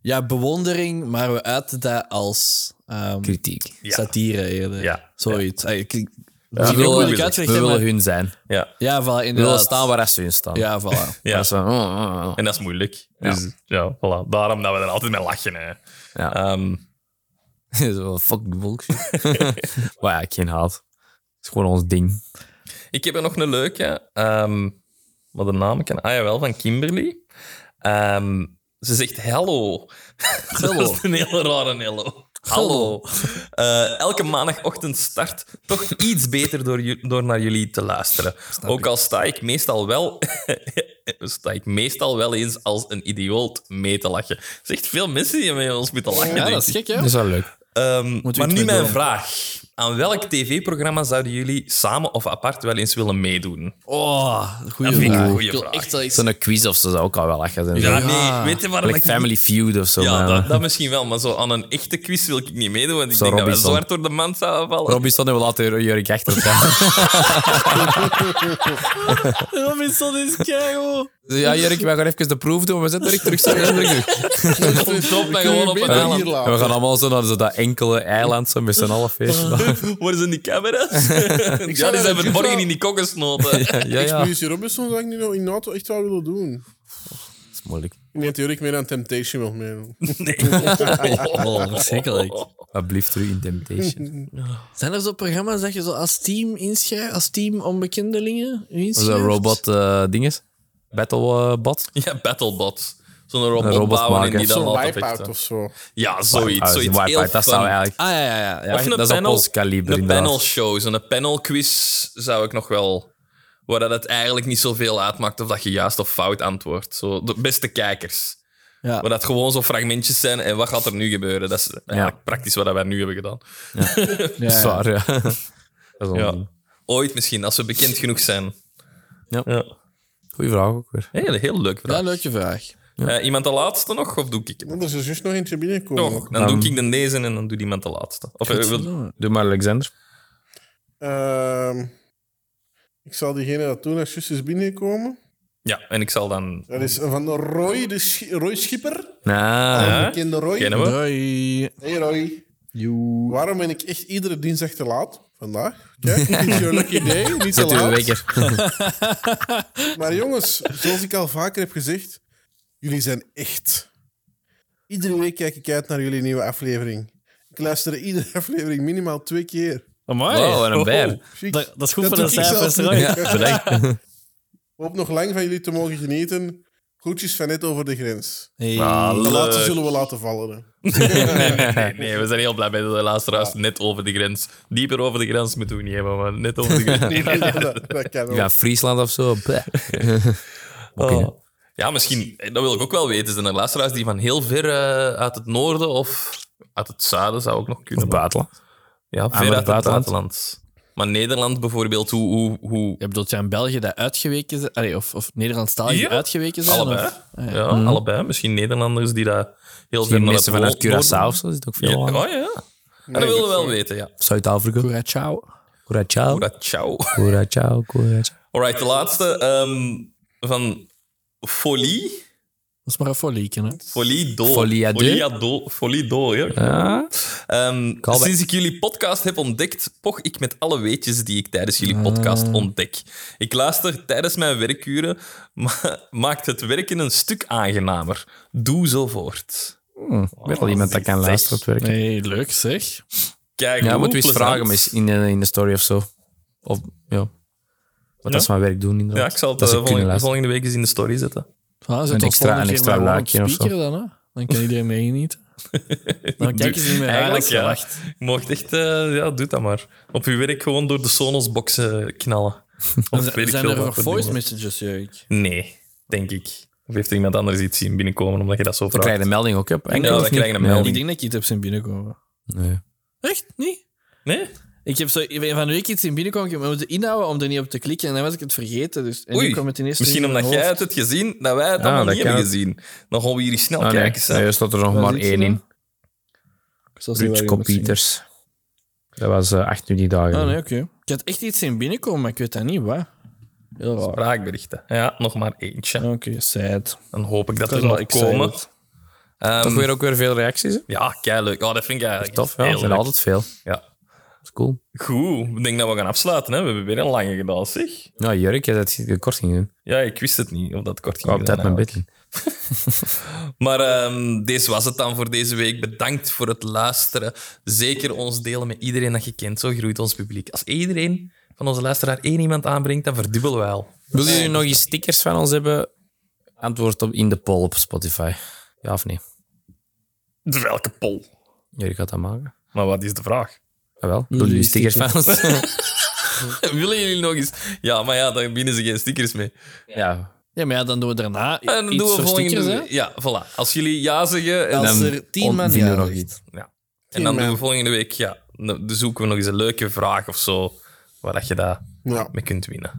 ja, bewondering, maar we uiten dat als ehm,
kritiek.
Ja.
satire eerder.
Ja.
Zoiets. Ah, ik- ik-
we
misschien ook
willen,
moeilijk
we
uitgelegd, hè,
willen
maar-
hun zijn.
Ja,
Ja, voilà,
We willen
inderdaad.
staan waar ze hun staan.
Ja, voilà.
ja.
Dat is van, oh, oh, oh.
En dat is moeilijk. Dus ja, voilà. Daarom dat we er altijd mee lachen. Hè.
Ja.
Ehm,
Zo van, fuck de bullshit. maar ja, geen haat. Het is gewoon ons ding.
ik heb er nog een leuke. ehm, wat de naam kan. Ah jawel, van Kimberly. Ehm, ze zegt hello. Dat is een hele rare hello. Hallo. Eh, elke maandagochtend start toch iets beter door, ju- door naar jullie te luisteren. Ook al sta ik meestal wel... sta ik meestal wel eens als een idioot mee te lachen. Er zijn echt veel mensen die met ons moeten lachen.
Ja,
denk
dat
ik.
is gek, hè?
Dat is wel leuk.
Ehm, maar
iets
nu
mee
mijn
doen.
vraag. Aan welk tv-programma zouden jullie samen of apart wel eens willen meedoen?
Oh, goeie
Dat vind ik
vraag.
een goeie
Ik wil
vraag.
echt wel iets-
Zo'n quiz of zo zou ook al wel lachen zijn.
Ja,
Zo.
nee, weet je waarom
Like
ik niet-
Family Feud of zo.
Ja,
maar-
dat, dat misschien wel, maar zo aan een echte quiz wil ik niet meedoen, want ik
Zo
denk dat
Robinson.
we zwart door de mand zouden vallen.
Robinson en we laten Jurk achter gaan.
Robinson is keigoed.
ja, Jurk, wij gaan even de proef doen. We zetten Jurk terug. Eh, zo, we zetten Jurk terug.
Top,
gewoon op een
En we gaan allemaal zo naar zo dat enkele eiland zo met z'n allen feestje.
Waar zijn die camera's? ja,
zou
die
dat
zijn
ook
vanmorgen
wel-
in die kokken gesnoten.
Ja, ja.
Expeditie Robinson zou ik nu nog in de auto echt wel willen doen.
Dat is moeilijk.
Ik denk dat ik meer aan Temptation wil meedoen.
Oh, verschrikkelijk.
Alsjeblieft, terug in Temptation.
Zijn er zo programma's dat je zo als team inschrijft? Als team onbekendelingen
Was
inschrijft?
dat robot eh dinges? Battlebot?
ja, Battlebot. Zo'n robot,
robot
bouwen en
maken.
die dan
Zo'n
altijd
wipeout
echt-
of zo.
Ja,
Ah,
zoiets. zoiets
Wipeout,
heel
dat zou
fun.
eigenlijk...
Ah, ja, ja, ja. ja.
Of een
dat is op
panel,
ons kaliber,
een
inderdaad.
panelshow, zo'n panelquiz zou ik nog wel... Waar dat het eigenlijk niet zoveel uitmaakt of dat je juist of fout antwoordt. Zo, de beste kijkers.
Ja.
Waar dat gewoon zo fragmentjes zijn en wat gaat er nu gebeuren. Dat is eigenlijk praktisch wat dat wij nu hebben gedaan.
Ja, ja.
Zwaar, ja. dat is wel
Ja.
een
Ooit misschien, als we bekend genoeg zijn.
Ja.
ja.
Goeie vraag ook weer.
Heel, heel leuk
Ja,
vraag.
leuke vraag.
Eh, iemand de laatste nog, of doe ik het?
Want er is juist nog eentje binnenkomen.
Nog, dan
Ehm.
doe ik dan deze en dan doet iemand de laatste. Of, eh, wil-
Doe maar Alexander.
Ehm, ik zal diegene dat doen als juist is binnengekomen.
ja, en ik zal dan...
Dat is van Roy, de Schi- Roy Schipper.
Nou,
Huh?
Ik ken de Roy.
Kennen we?
Hoi.
Hey Roy. Waarom ben ik echt iedere dinsdag te laat? Vandaag. Kijk, it's your lucky day. Niet te
uw
laat.
wekker.
Maar jongens, zoals ik al vaker heb gezegd, jullie zijn echt. Iedere week kijk ik uit naar jullie nieuwe aflevering. Ik luister iedere aflevering minimaal twee keer.
Amai.
Wow, en een beer.
Chic.
Dat, dat is goed
Dat
voor de
doe ik zelf
cijfers,
niet.
hoor.
Ja.
Bedankt.
Hoop nog lang van jullie te mogen genieten. Groetjes van net over de grens.
Hey.
Ah,
De laatste
leuk.
zullen we laten vallen. hè.
Nee, nee, we zijn heel blij bij de luisteraars. Net over de grens. Dieper over de grens moeten we niet hebben, maar net over de grens.
Nee, nee, nee, dat, dat kan wel.
Ja, Friesland of zo. bleh. Oké.
Oh. Ja, misschien, eh, dat wil ik ook wel weten. Zijn er luisteraars die van heel ver eh, uit het noorden of uit het zuiden zou ook nog kunnen?
Of buitenland.
Ja, ver
maar
uit het
buitenland.
buitenland. Maar Nederland bijvoorbeeld, hoe... hoe, hoe
Je bedoelt, ja, in België dat uitgeweken zijn... Allee, of, of Nederlandstalig
Ja.
die uitgeweken zijn?
allebei.
Of, Ah,
ja,
ja.
Mhm.
allebei. Misschien Nederlanders die daar heel
Die
ver naar
mensen
het
vanuit
noorden-
Curaçao of zo zit ook
Ja,
veel aan.
oh ja. dat willen we wel weten, ja.
Zuid-Afrika.
Curaçao.
Curaçao.
Curaçao.
Curaçao. Curaçao.
Alright, de laatste ehm, van Folie.
Dat is maar een folieken, hè.
Folie Do.
Folie à deux.
Folie à deux. Folie Do, ja.
Ja.
Ehm,
Callback.
sinds ik jullie podcast heb ontdekt, poch ik met alle weetjes die ik tijdens jullie podcast
Ah.
ontdek. Ik luister tijdens mijn werkuren, maar maakt het werken een stuk aangenamer. Doe zo voort.
Weer al iemand dat kan luisteren op het werk.
Hey, leuk, zeg.
Kijk,
Ja,
hoe
moeten we
plezant.
eens vragen mis- in, de- in de story of zo. Of, ja. Wat dat is mijn werk doen,
Ja,
inderdaad.
ik zal het
Dat ze
eh,
kunnen
volgende,
luisteren.
volgende week eens in de story zetten.
Ah, zet
Een
een
extra-
extra,
een extra
extra laakje
luikje of
of
zo.
speaker dan, hè. Dan kan iedereen meegenieten. Dan kijken ze niet meer aan
Eigenlijk,
als
ja.
ze lacht.
Je mocht echt, eh, ja, doe dat maar. Op uw werk gewoon door de Sonos-boxen knallen. Of weet ik
Zijn
veel
er
wat
nog
voor
voice
dingen.
messages, Jurk?
Nee, denk ik. Of heeft er iemand anders iets zien binnenkomen omdat je dat zo
We
vraagt?
krijgen een melding ook, hè? op enkel,
Ja,
of
we
niet?
krijgen een
Nee.
melding.
Ik denk dat ik iets heb zien binnenkomen.
Nee.
Echt? Niet?
Nee?
Ik heb zo van de week iets zien binnenkomen, ik heb me moeten inhouden om er niet op te klikken en dan was ik het vergeten. Dus, en nu
Oei,
kwam het ineens
misschien
terug in
omdat
mijn
jij het
hoofd.
hebt gezien, dat wij het
Ja,
allemaal
Ah,
niet
dat kan
hebben
ook.
gezien. Dan gaan we hier snel
Ah, nee.
kijken. hè.
nee, er staat er nog
Waar
maar
zit ze
één
dan?
in.
Ik zal zien waar
Ruud
je hem moet zien.
Computers. Dat was eh, 8 juni dagen.
Ah, nee, oké. Ik had echt iets zien binnenkomen, maar ik weet dat niet, wat. Heel raar. Oké,
Spraakberichten. Ja, nog maar eentje.
sad.
Dan hoop ik dat
Dat
er
is wel
nog komen.
excited.
Ehm,
Toch weer ook weer veel reacties. Hè?
ja, leuk. Oh, dat vind ik eigenlijk
Tof, ja.
heel
Er zijn
leuk.
altijd veel. Dat
Ja.
is cool.
Goed, ik denk dat we gaan afsluiten. Hè. We hebben weer een lange gedaan, zeg.
Nou, Jurk, je zet de korting in.
Ja, ik wist het niet of dat kort ging.
Op tijd mijn
gedaan,
bed.
Maar ehm deze was het dan voor deze week. Bedankt voor het luisteren. Zeker ons delen met iedereen dat je kent. Zo groeit ons publiek. Als iedereen van onze luisteraar één iemand aanbrengt, dan verdubbelen wij al.
Wil jullie nog eens stickers van ons hebben? Antwoord op in de poll op Spotify. Ja of nee?
De welke pol?
Jurk gaat dat maken. Ah,
Maar wat is de vraag?
Jawel. Wil jullie
jullie
stickers van ons?
Willen jullie nog eens? Ja, maar ja, dan binnen ze geen stickers mee.
ja.
Ja, maar ja, dan doen we daarna
En dan
iets
doen we
voor
volgende
stickers, hè?
week. Ja, voilà. Als jullie ja zeggen, en
Als
dan,
er tien man
ontvinden we
ja
nog
zegt.
iets.
en dan doen we volgende week, ja, dan zoeken we nog eens een leuke vraag of zo, waar dat je daar
Ja.
mee kunt winnen.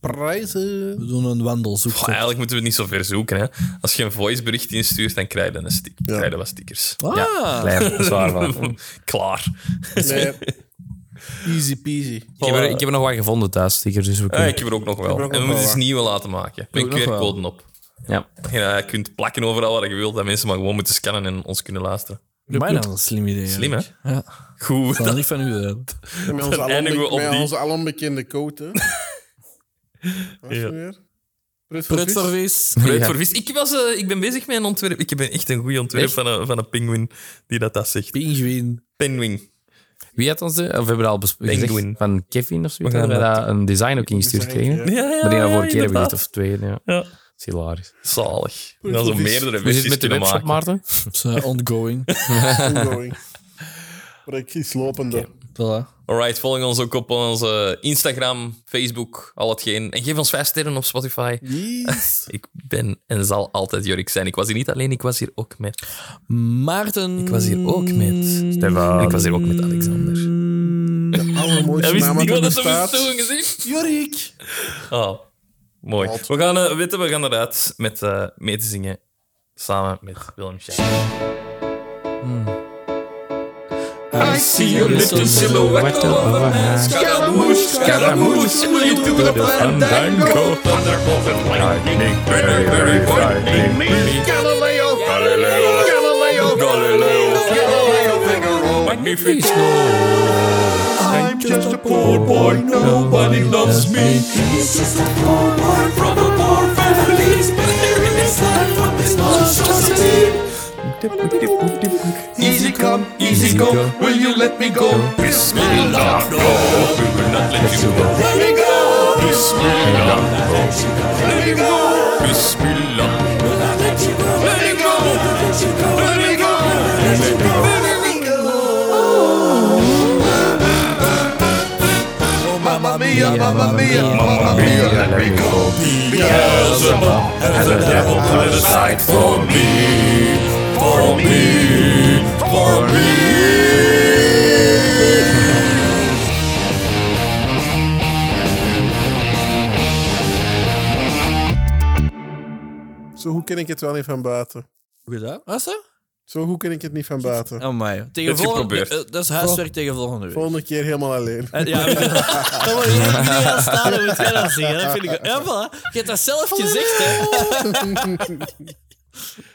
Prijzen.
We doen een wandelzoek.
Maar eigenlijk moeten we het niet zo ver zoeken. Hè. Als je een voicebericht instuurt, dan krijg je, een stick, krijg je wat stickers.
Ah,
Klein, zwaar van.
Klaar.
Nee. Easy peasy.
Ik heb, er, eh, ik heb er nog wat gevonden thuis, stickers. Dus we
Ah,
kunnen...
ik heb er ook nog
heb er
wel.
ook
En we
nog
moeten
wel
eens
wat.
nieuwe laten maken. Met
ook nog wel.
QR-coden op.
Ja.
En, eh, je kunt plakken overal waar je wilt, dat mensen maar gewoon moeten scannen en ons kunnen luisteren.
Bijna een slim idee.
Slim, hè?
eigenlijk. Ja.
Goed.
Dat is niet van u. hè.
Met onze,
Dan eindigen we
alom,
op
met
die.
onze alombekende code. hè. Wat is het weer? Prut voor
Pret
vis?
service.
Breed voor vis. Ik, was, eh, ik ben bezig met een ontwerp. Ik ben echt een goede ontwerp van een, van een penguin die dat, dat zegt.
Pinguïn.
Penguin.
Wie had ons de, of we hebben al besproken
Penguin.
gezegd, van Kevin of zoiets,
We gaan
hadden wij daar een design ook ingestuurd
Design,
gekregen.
ja.
Dat
ja,
die we vorige keer hebben
inderdaad.
gezien, of twee. Ja.
Ja.
Dat is hilarisch.
Zalig.
Prut
Dat is
voor
een
vis.
meerdere
Hoe
versies
zit het met de
kunnen
webshop,
maken.
Maarten?
Dat is, eh, ongoing.
Ongoing. Project is lopende.
Voilà.
Alright, volg ons ook op onze Instagram, Facebook, al hetgeen. En geef ons vijf sterren op Spotify.
Yes.
Ik ben en zal altijd Jorik zijn. Ik was hier niet alleen, ik was hier ook met.
Maarten.
Ik was hier ook met.
Mm.
Stefan.
En ik was hier ook met Alexander.
De
Hij
allermooiste
wist
naam
niet
dat
wat dat
er
zo
bestaat.
bestoen gezien.
Jorik.
Oh, mooi.
Wat?
We gaan, eh, weten, we gaan eruit met eh, mee te zingen. Samen met Willem Schijn.
I see your little silhouette of a man.
Scaramouche, Scaramouche, will you do the fandango? Thunderbolt and lightning, very, very frightening me. Galileo, Galileo, Galileo, Galileo, Galileo, Figaro, Magnifico.
I'm just a poor boy,
Nobody loves me.
It's just a poor boy from a poor family. Sparing his life from this monstrosity.
Easy come, easy go. Will you let me go?
Bismillah, no, we will not let you go.
Let me go.
Bismillah, no,
Let me go.
Bismillah.
Will I let you go? Let me go. Will I let you go? Let me go. Let me go. Let me go.
Oh, mamma mia, mamma mia, mamma mia. Let me go.
Beelzebub has a devil put aside for me, for me, for me.
Zo goed ken ik het wel niet van buiten.
Hoe gedaan? Was dat?
Zo goed ken ik het niet van buiten.
Oh, my. Tegen
Het
volgende,
geprobeerd.
eh, dat is huiswerk tegen volgende week.
Volgende keer helemaal alleen.
Eh, Ja, dat moet je niet gaan staan, dan moet jij dat zeggen. Dat vind ik... Ja, voilà. Je hebt dat zelf gezegd, hè.